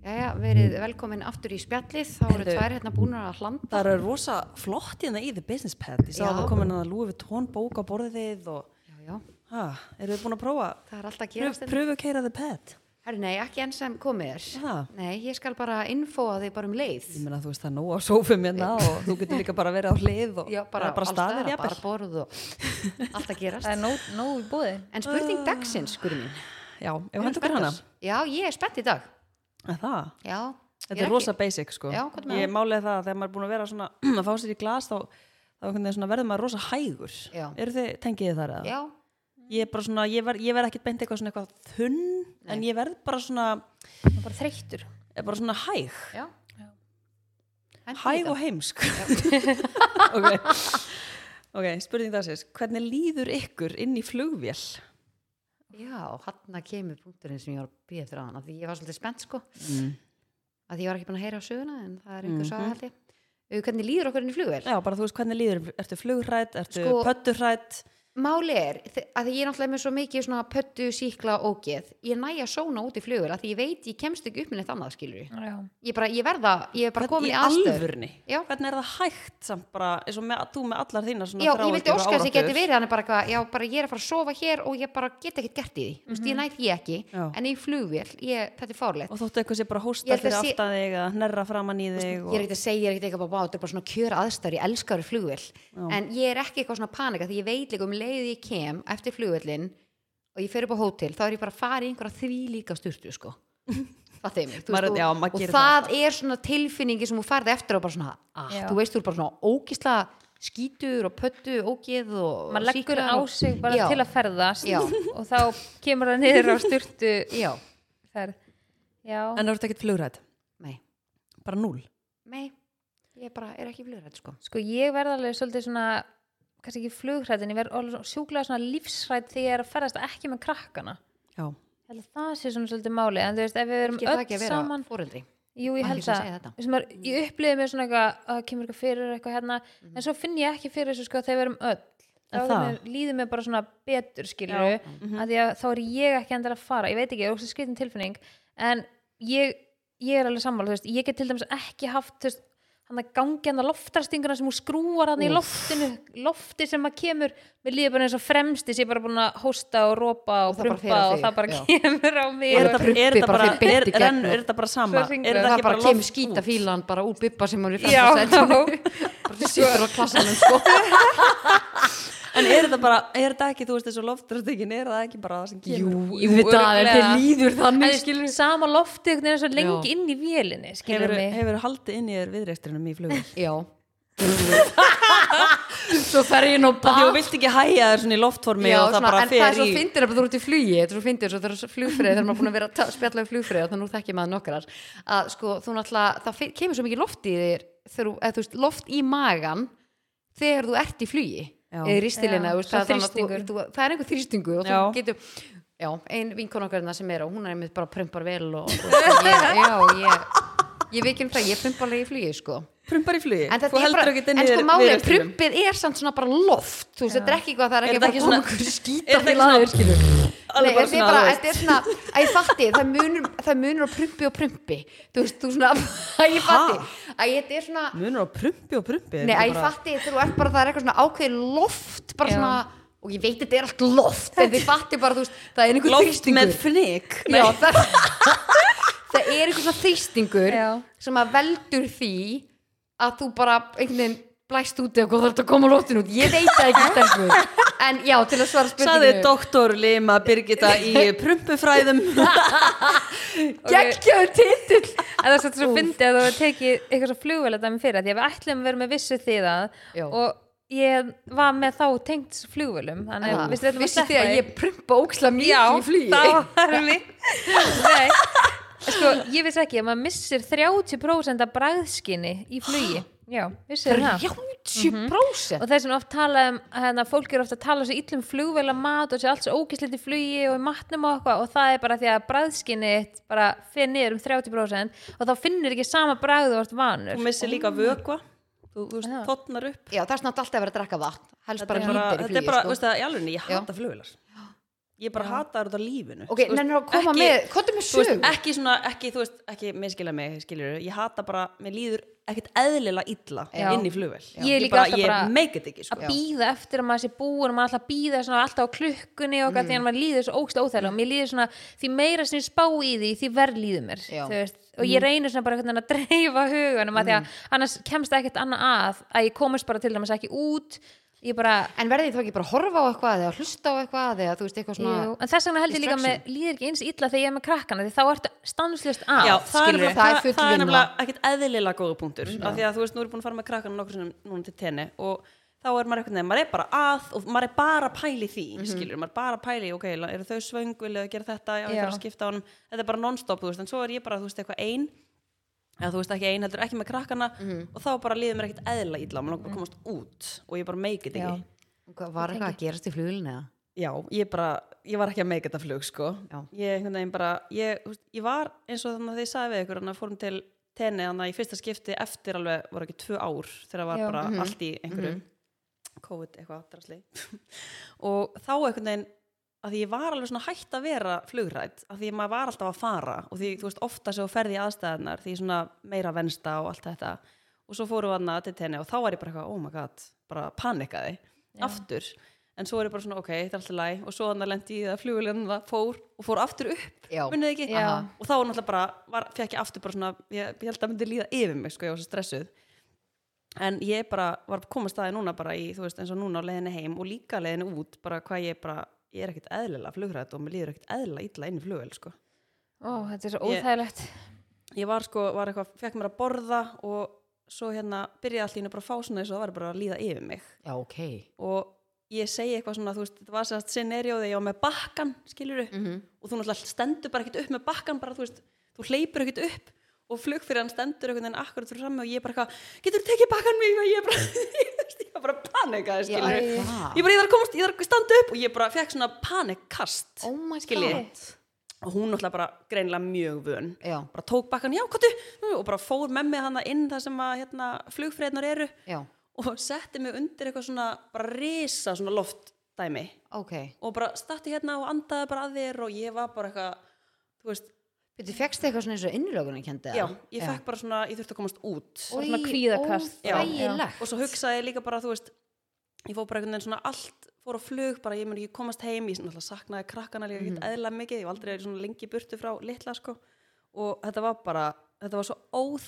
S1: Jæja, verið velkomin aftur í spjallið þá eru tvær hérna búnar að hlanda
S3: Það eru rosa flott hérna í The Business Pad Ég sá
S1: Já.
S3: að það komin að lúi við tónbók á borðið og
S1: já, já,
S3: ha, eru þið búin að prófa
S1: það er alltaf að
S3: pröf,
S1: gerast hérna.
S3: pröfu keira The Pad
S1: herru, nei, ekki enn sem komið er
S3: Það,
S1: nei, ég skal bara infoa þig bara um leið
S3: ég meina þú veist það er nóg á sófum hérna og þú getur líka bara verið á hlið og
S1: já, bara,
S3: eða bara
S1: alls
S3: staðir
S1: staðar,
S3: jafnvel.
S1: bara borð og alltaf að
S2: Það
S1: gerast
S2: er nóg, nóg í búði
S1: en spurning dagsins, skurðu mín
S3: Já, ef hendur okkur hana
S1: já, ég er spennt í dag
S3: Að Það
S1: já,
S3: Þetta er rosa basic sko.
S1: Já, hvað er með
S3: ég málega það að þegar maður er búin að vera svona að fá sér í glas þá, þá einhvern veginn svona verður maður rosa hægur.
S1: Já.
S3: Eru þið, tengið þið þar eða?
S1: já,
S3: Ég er bara svona, ég verð, ég verð ekki beint eitthvað svona eitthvað þunn, en ég verð bara svona,
S2: Það er bara þreyttur
S3: er bara svona hæg.
S1: já Hentu í
S3: Hæg
S1: þetta.
S3: og heimsk. ok, ok, spurning það sérst. Hvernig líður ykkur inn í flugvél?
S1: já, hann kemur punkturinn sem ég var að býja eftir aðan því ég var svolítið spennt sko að ég var ekki búin að heyra á söguna en það er einhver mm saga held ég Uh, hvernig líður okkur inn í flugvél?
S3: Mhm. Já, bara þú veist hvernig líður, ertu flugrætt, ertu sko,
S1: Sko-
S3: pötturrætt?
S1: Máli er, þe- að því ég er náttúrulega með svo mikið svona pöttu, síkla og geð ég næja sóna út í flugvél að því ég veit ég kemst ekki upp með neitt annað skilur
S2: Já,
S1: ég bara, ég verða, ég er bara komin í
S3: Í
S1: aðstöð
S3: alvörni?
S1: Já.
S3: Hvernig er það hægt samt bara, eins og með, þú með allar þínar svona
S1: Já, ég
S3: þráhyggjur
S1: vildi
S3: og
S1: óska þess að ég
S3: áráttur?
S1: geti verið hann bara, eitthvað, já, bara ég er að fara að sofa hér og ég bara get ekkert gert í því, þú veist, ég næ því ekki
S3: Já.
S1: en í flugvél, ég, þetta er fárlegt
S3: og þóttu eitthvað sé bara
S1: Ég
S3: hósta
S1: held að
S3: fyrir
S1: sé-
S3: aftan þig eða hnerra framann í þig
S1: ég
S3: og...
S1: er ekkert að segja, ég er ekkert eitthvað bara, "Vá, þetta er bara svona kjör aðstæður, ég elskar flugvél en ég er ekki eitthvað svona panika því ég veit líka um leið ég kem eftir flugvélinn og ég fer upp á hótel þá er ég bara að fara í einhverja því líka sturtu sko Það þeim,
S3: Maður- já, maður
S1: og
S3: gerir
S1: það er svona tilfinningi sem þú færði eftir og bara svona, ah,
S2: Já.
S1: þú veist, þú er bara svona ógisla skítur og pöttu, ógeð og
S2: maður leggur
S1: sýklar
S2: á
S1: og-
S2: sig bara
S1: já,
S2: til að ferðast
S1: Já.
S2: og þá kemur það niður á styrtu
S1: Já,
S2: ferð Já,
S3: en það eru ekkert flugrætt,
S1: nei,
S3: bara núl
S1: nei ég bara er ekki flugrætt sko
S2: sko ég verð alveg svolítið svona kannski ekki flugrætt en ég verð alveg svona sjúklega svona lífsrætt þegar ég er að ferðast ekki með krakkana
S3: já,
S2: Ég held að Það sé svona svolítið máli en þú veist, ef við erum
S1: Getur það ekki
S2: öll
S1: að vera
S2: saman
S1: foreldri
S2: Jú, ég
S1: Margir
S2: held
S1: sem
S2: það.
S1: segja þetta. Mm.
S2: Þú veist, maður- Ég upplifði mér svona eitthvað að það kemur eitthvað fyrir eitthvað hérna,
S1: Mhm.
S2: en svo finn ég ekki fyrir þessu sko þegar við erum öll. Þá
S3: Er
S2: er
S3: það?
S2: mér, líður mér bara svona betur skilur við,
S1: Mhm.
S2: að því að þá er ég ekki endur að fara. Ég veit ekki, ég er óslega skritin tilfinning, en ég, ég er alveg sammála, þú veist, ég get til dæmis ekki haft, þú veist, hann að gangi hann að loftarstinguna sem hún skrúar hann í loftinu, lofti sem maður kemur, mér líður bara eins og fremsti sem ég bara búin að hósta og rópa og,
S1: Og það bara fer
S2: prumpa
S1: á
S2: og
S1: þig,
S2: það bara
S1: já.
S2: kemur á mig. og-
S3: er
S1: bara
S3: þetta er
S1: prumpi
S3: þetta
S1: bara
S3: bara
S1: fyrir beint
S3: er
S1: í gegn
S3: en-
S1: og-
S3: er þetta bara sama,
S2: Svo hringur
S3: er
S1: það
S3: þetta ekki
S1: bara
S3: bara
S1: kem
S3: loft
S1: skýta
S3: út?
S1: fílan bara úr bibba sem hún er
S2: Já,
S1: fyrst að
S2: já.
S1: bara sittur á klassanum sko
S3: en er þetta bara, er þetta ekki, þú veist þessu loftröstingin er það ekki bara það sem kemur
S2: Jú, auðvitað, en þér
S1: líður sko.
S2: En þú skilur sama loftið einhvern veginn er svo lengi inn í vélinni skilur
S3: hefur,
S2: mig
S3: hefur haldið inn í þér viðreistrinum í flugvél
S1: Já Svo fer ég nú
S3: því
S1: bara
S3: þú vilt ekki hæja þér svona í loftformi
S1: Já,
S3: og það
S1: svona,
S3: bara
S1: en það er
S3: fer
S1: svo
S3: í
S1: fyndir að þú ert í flugi þetta er svo fyndir, svo þegar flugfrið þegar maður er búin að vera að ta- spjalla við flugfrið þannig að nú þekki maður nokkrar að sko, þú náttúrulega, það fi- kemur svo mikið loft í þér þegar, þú- eða, þú veist, loft í magan þegar þú ert í flugi
S3: Já.
S1: eða í
S2: Já,
S1: ristilina, þú veist,
S2: svo
S1: það, er þannig að þú,
S2: þrýstingur.
S1: þú, það er einhver þrýstingu og þú
S3: Já.
S1: getur já, ein vinkon okkar hérna sem er og hún er einmitt bara prumpar vel og, og ég, já, ég ég veit ekki um það, ég prumpar alveg í flugi sko.
S3: Prumpar í flugi.
S1: en, þetta
S3: Þú
S1: er
S3: heldur
S1: bara,
S3: ekki
S1: en sko málið er prumpið er samt svona bara loft þú veist, þetta er ekki hvað það er
S3: Er
S1: ekki
S3: þetta
S1: að
S3: ekki svona-
S1: fara að koma ykkur
S3: Er
S1: skýta
S3: það ekki svona örskilu?
S1: Nei, þetta er bara, þetta er svona, að ég fatti, það munur, það munur á prumpi og prumpi, þú veist, þú svona, að ég fatti, að þetta er svona,
S3: Munur á prumpi og prumpi.
S1: nei, að ég fatti, þú ert bara, það er eitthvað svona ákveðið loft, bara svona, og ég veit þetta er allt loft, en þið fatti bara, þú veist, það er einhver
S3: Lóft
S1: þrýstingur.
S3: með fnik.
S1: Já, það, það er einhver svona þrýstingur
S2: Já.
S1: sem að veldur því að þú bara einhvern veginn blæst út eða hvað þarf að koma lóttin út, ég veit það ekki stelpur, en já, til að svara
S3: Saði
S1: spurninginu.
S3: doktor Lima Birgitta í prumpufræðum.
S1: Geggjaður titill
S2: En það er svolítið svo fyndið að þú hefur tekið eitthvað svo flugvél dæmi fyrir því að við ætlum að vera með vissu þið að
S1: Já.
S2: og ég var með þá tengt flugvélum þannig að við ætlum að
S1: Vissi
S2: sleppa
S1: þið að ég prumpa óksla mikið
S2: Já,
S1: í flugi
S2: þá erum við Nei, sko, ég vissi ekki að maður missir 30% af bragðskinni í flugi Já, vissið þið það
S1: 30%
S2: og þeir sem oft tala um hérna, fólk eru ofta að tala svo illum flugvela mat og sé allt svo ógislegt í flugi og í matnum og eitthvað og það er bara því að bræðskinni bara fyrir niður um 30% og þá finnir ekki sama bræð og vart vanur
S3: Þú missir líka vökva. Þú þú veist, þotnar upp.
S1: Já, það er svona alltaf að vera að drekka vatn helst bara
S3: er bara,
S1: lítir í
S3: þetta
S1: flugi
S3: er bara,
S1: sko.
S3: veist það, í alveg, ég hata flugvilar ég bara hata það út af lífinu
S1: Ok,
S3: Þú veist,
S1: nennir að koma
S3: ekki-
S1: með, hvað er með
S3: þú veist,
S1: sög?
S3: ekki svona, ekki, þú veist, ekki miskila mig, skilur ég hata bara, mér líður ekkert eðlilega illa
S2: Já.
S3: inn í flugvel
S2: Ég er líka alltaf
S3: ég
S2: bara-
S3: meik þetta ekki,
S2: að
S3: sko
S2: býða eftir að maður sé búin og maður alltaf býða svona alltaf á klukkunni og mm. því að maður líður svo ógst óþægilega og mér líður svona því meira sem ég spá í því því verð líður mér
S1: Já.
S2: þú veist, og ég reynir svona bara einhvern veginn að dreifa hugunum að því að annars kemst ekkert annað að að ég komist bara til dæmis ekki út ég bara
S1: En verði þið þá ekki bara að horfa á eitthvað eða hlusta á eitthvað eða þú veist eitthvað svona
S2: Jú, en þess vegna held ég líka með líður ekki eins illa þegar ég er með krakkana því þá ertu stanslust að
S3: Já, það er,
S1: skilurðu.
S3: það,
S1: Það er
S3: það,
S1: full
S3: það er
S1: vinna.
S3: nefnilega ekkert eðlilega góða punktur af því að þú veist, nú erum búin að fara með krakkana nokkur sinnum núna til tenni og þá er maður eitthvað nefn, maður er bara að og maður er bara að pæli því, mm maður er bara að pæli, ok, eru þau svöng, vilja þau gera þetta já, ég
S2: Já.
S3: þarf að skipta á honum, þetta er bara non-stop þú veist, en svo er ég bara, þú veist, eitthvað ein eða þú veist ekki ein, heldur ekki með krakkana og þá bara líður mér ekkert eðlilega illa maður langar bara að komast út og ég bara meikið
S2: Já.
S3: ekki
S1: Hvað Var eitthvað að gerast í flugilinu eða?
S3: Já, ég bara, ég var ekki að meika þetta flug sko.
S1: Já.
S3: ég einhvern veginn bara ég, þú veist, ég var eins og þannig að ég sagði við ykkur þannig að fórum til tenni þannig að í fyrsta skipti eftir alveg voru ekki tvö ár þegar það var
S2: Já.
S3: bara allt í einhverju COVID eitthvað drasli og þá einhvern veginn að því ég var alveg svona hætt að vera flugrætt að því maður var alltaf að fara og því þú veist ofta sem þú ferði í aðstæðanar því svona meira vensta og allt þetta og svo fórum við annað til tenni og þá var ég bara eitthvað oh my god, bara panikaði aftur, en svo er ég bara svona ok, þetta er alltaf læg og svo annað lendi ég í það flugulinn fór og fór aftur upp
S1: Já.
S3: munið ekki,
S2: Já.
S3: Aha. og þá var náttúrulega bara var, fekk ég aftur bara svona, ég, ég held að myndi líða yfir mig sko, ég var svo stressuð en ég bara var að koma staði núna bara í, þú veist, eins og núna á leiðinni heim og líka leiðinni út, bara hvað ég bara ég er ekkert eðlilega flugrætt og mér líður ekkert eðlilega illa inn í flugvel, sko
S2: ó, þetta er svo óþægilegt
S3: ég var sko, var eitthvað, fekk mér að borða og svo hérna byrjaði allt í hennu bara að fá svona eins og það var bara að líða yfir mig
S1: Já, ok
S3: og ég segi eitthvað svona, þú veist, þetta var sérst scenarióði, ég var með bakkan, skilur og þú náttúrulega stendur bara ekkert upp með bakkan bara, þú veist, þú hleypur ekkert upp og flug fyrir hann stendur einhvern veginn akkurat fyrir frammi og ég bara eitthvað, getur þú tekið bakkan mig og ég bara, ég veist, ég var bara panikað,
S1: Já,
S3: skilur
S1: æ.
S3: ég bara, ég þarf að komast, ég þarf að standa upp og ég bara fekk svona panikkast
S1: Oh my
S3: Skilji.
S1: god
S3: og hún náttúrulega bara greinilega mjög vön
S1: Já.
S3: bara tók bakkan, já, kottu og bara fór með mig hana inn þar sem að hérna, flugfreðnar eru
S1: Já,
S3: og setti mig undir eitthvað svona bara risa svona loftdæmi
S1: ok
S3: og bara statti hérna og andaði bara að þér og ég var bara eitthvað þú veist,
S1: Þú fegst eitthvað svona eins og innlögunin kendi
S3: já, ég fekk bara svona ég þurfti að komast út
S2: bara svona kvíðakast.
S1: Já, óþægilegt.
S3: og svo hugsaði ég líka bara, þú veist ég fór bara einhvern veginn svona allt fór á flug, bara ég mun ekki komast heim ég náttúrulega saknaði krakkana líka ekkert
S1: Mhm.
S3: eðla mikið ég var aldrei svona lengi í burtu frá litla sko og þetta var bara, þetta var svo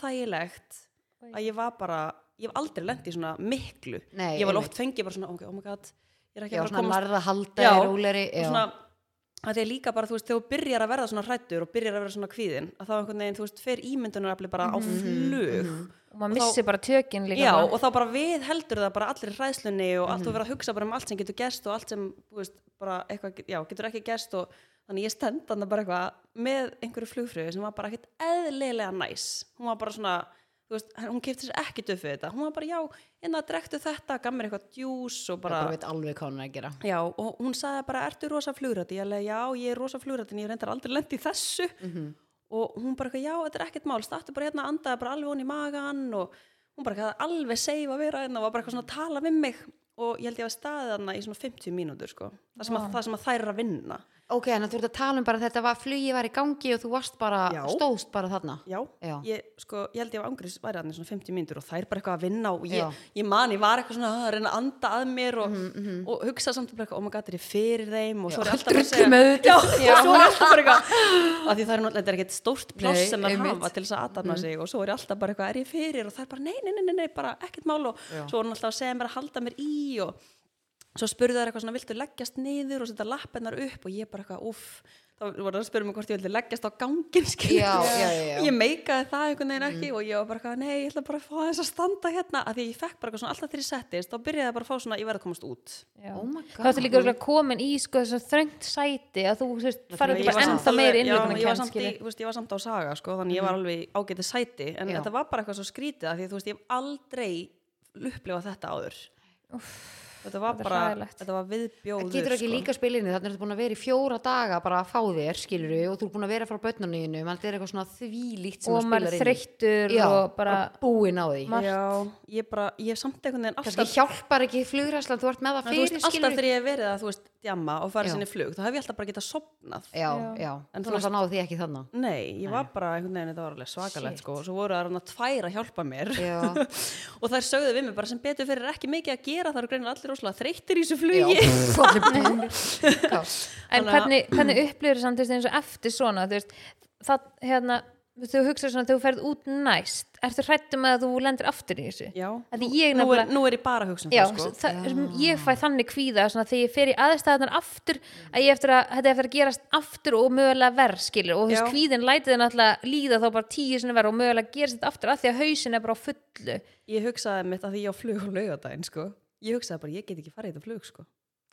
S3: óþægilegt að ég var bara ég hef aldrei lent í svona miklu
S1: Nei,
S3: ég var
S1: einmitt.
S3: oft fengið bara svona, ok, oh my god ég er ekki
S1: Já,
S3: að fara að
S1: svona
S3: komast
S1: lærða halda
S3: Já,
S1: í róleri
S3: og svona að því að líka bara, þú veist, þegar þú byrjar að verða svona hrættur og byrjar að verða svona kvíðin að þá einhvern veginn, þú veist, fer ímyndunarafli bara á flug
S2: og maður missir bara tökin líka
S3: Já,
S2: bara.
S3: og þá bara við heldur það bara allir hræðslunni og allt þú verður að hugsa bara um allt sem getur gerst og allt sem, þú veist, bara eitthvað, get- já, getur ekki gerst og þannig ég stend þannig bara eitthvað með einhverju flugfröðu sem var bara ekkert eðlilega næs. Hún var bara svona, þú veist, hann- hún kefti sér ekki döfið þetta hún var bara, já, en það drektu þetta gaf mér eitthvað djús og bara,
S1: bara veit alveg hvað hún er að gera
S3: já, og hún sagði bara, ertu rosa flugrætt, ég alveg, já, ég er rosa flugrætt en ég reyndar aldrei lendi í þessu og hún bara, eitthvað, já, þetta er ekkert mál stattu bara hérna, andaði bara alveg hún í magan og hún bara, eitthvað, alveg seif að vera hérna og var bara eitthvað svona að tala við mig og ég held ég að staðið hana í svona 50 mínútur sko. það, sem að, það sem að þær eru að vinna
S1: ok, en þú ert að tala um bara að þetta var flugi var í gangi og þú varst bara,
S3: Já.
S1: stóðst bara þarna
S3: Já,
S1: Já.
S3: Ég, sko, ég held ég að angriðs væri hann svona 50 mínútur og það er bara eitthvað að vinna og
S1: Já.
S3: ég, ég man, ég var eitthvað svona að reyna að anda að mér og, og hugsa samt bara eitthvað, oh my god, er ég fyrir þeim og svo er ég alltaf að segja
S2: Drullum auðvitað.
S3: Já, og svo er ég alltaf bara eitthvað að því það er náttúrulega þetta er ekkert stórt
S2: Nei,
S3: pláss sem það
S2: einmitt.
S3: hafa til þess að aðdana
S1: Mm.
S3: sig og svo er ég alltaf bara eitthvað, er ég fyrir og það er bara, nei, nei, nei, nei, nei bara ekkert mál og svo er hann alltaf að segja mér að halda mér í og svo spurðu þær eitthvað svona, viltu leggjast niður og setja lappinnar upp og ég bara eitthvað, uff þá voru það að spyrja mig hvort ég vildi leggjast á gangin skilur.
S1: Já, já, já, Mm. já.
S3: ég meikaði það einhvern veginn ekki og ég var bara eitthvað, nei, ég ætla bara að fá þess að standa hérna af því að ég fekk bara eitthvað svona alltaf þegar ég settist þá byrjaði ég bara að fá svona, ég verði að komast út
S2: Já.
S1: Oh my
S2: þá ertu líka örugglega komin í sko, þessu þröngt sæti að þú þú veist, farið
S3: Ég
S2: bara
S3: var samt
S2: ennþá
S3: alveg-
S2: meiri
S3: já, ég var
S2: innlökunarkennd,
S3: samt í-
S2: skilur.
S3: þú veist, ég var samt á saga, sko, þannig ég var alveg ágætið sæti, en
S1: Mhm. Já.
S3: þetta var bara eitthvað svo skrítið af því að, þú veist, ég hef aldrei upplifað þetta áður þetta var
S2: þetta er
S3: bara,
S2: hræðilegt.
S3: þetta var viðbjóður sko.
S1: getur ekki líka spilinu, þannig að þú búin að vera í fjóra daga bara að fá þér, skilur og þú er búin að vera frá börnunniðinu, mann þetta er eitthvað svona þvílíkt sem
S2: og
S1: að
S2: maður
S1: spila
S2: er þreyttur
S1: já,
S2: og bara
S1: búin á því
S2: Margt.
S3: Já, ég bara, ég hef samt einhvern veginn
S1: kannski
S3: alltaf
S1: hjálpar ekki flugræslan, þú ert með
S3: En
S1: það
S3: þú veist,
S1: fyrir,
S3: alltaf
S1: skilur
S3: þegar ég hef verið að, þú veist, djamma og farið
S1: Já.
S3: sinni í flug, þá hef ég alltaf bara getað sopnað.
S1: já,
S2: Já.
S1: já,
S3: En
S1: en
S3: þú
S1: þú náðu því ekki þannig
S3: Nei, ég var bara einhvern veginn, þetta var alveg svakalegt,
S1: Shit.
S3: sko, og svo voru það rann að tvær að hjálpa mér.
S1: Já.
S3: og þær sögðu við mig bara sem betur fyrir er ekki mikið að gera, það eru greinir allir rosalega þreyttir í þessu
S1: Já,
S3: flugi.
S1: þú allir búnir. Kás.
S2: en
S3: Þannig að-
S2: hvernig, hvernig upplifur samt þú veist, eins og eftir svona þú veist, það, hérna, þú veist, þú hugsa svona þegar þú ferð út næst ertu hrættum að þú lendir aftur í þessu
S3: Já,
S2: að ég
S3: nú er,
S2: nefnilega
S3: nú er ég bara að hugsa um
S2: Já,
S3: það, sko.
S2: það, ég fæ þannig kvíða svona, þegar ég fer í aðstæðanar aftur að ég eftir að, þetta er eftir að gerast aftur og mögulega verð skilur og
S3: Já.
S2: þess kvíðin lætið náttúrulega líða þá bara tíu sinni verð og mögulega gerist þetta aftur að því að hausin er bara á fullu
S3: Ég hugsaði mitt að því ég á flug á laugardaginn, sko. Ég hugsaði bara, ég get ekki farið í þetta flug, sko.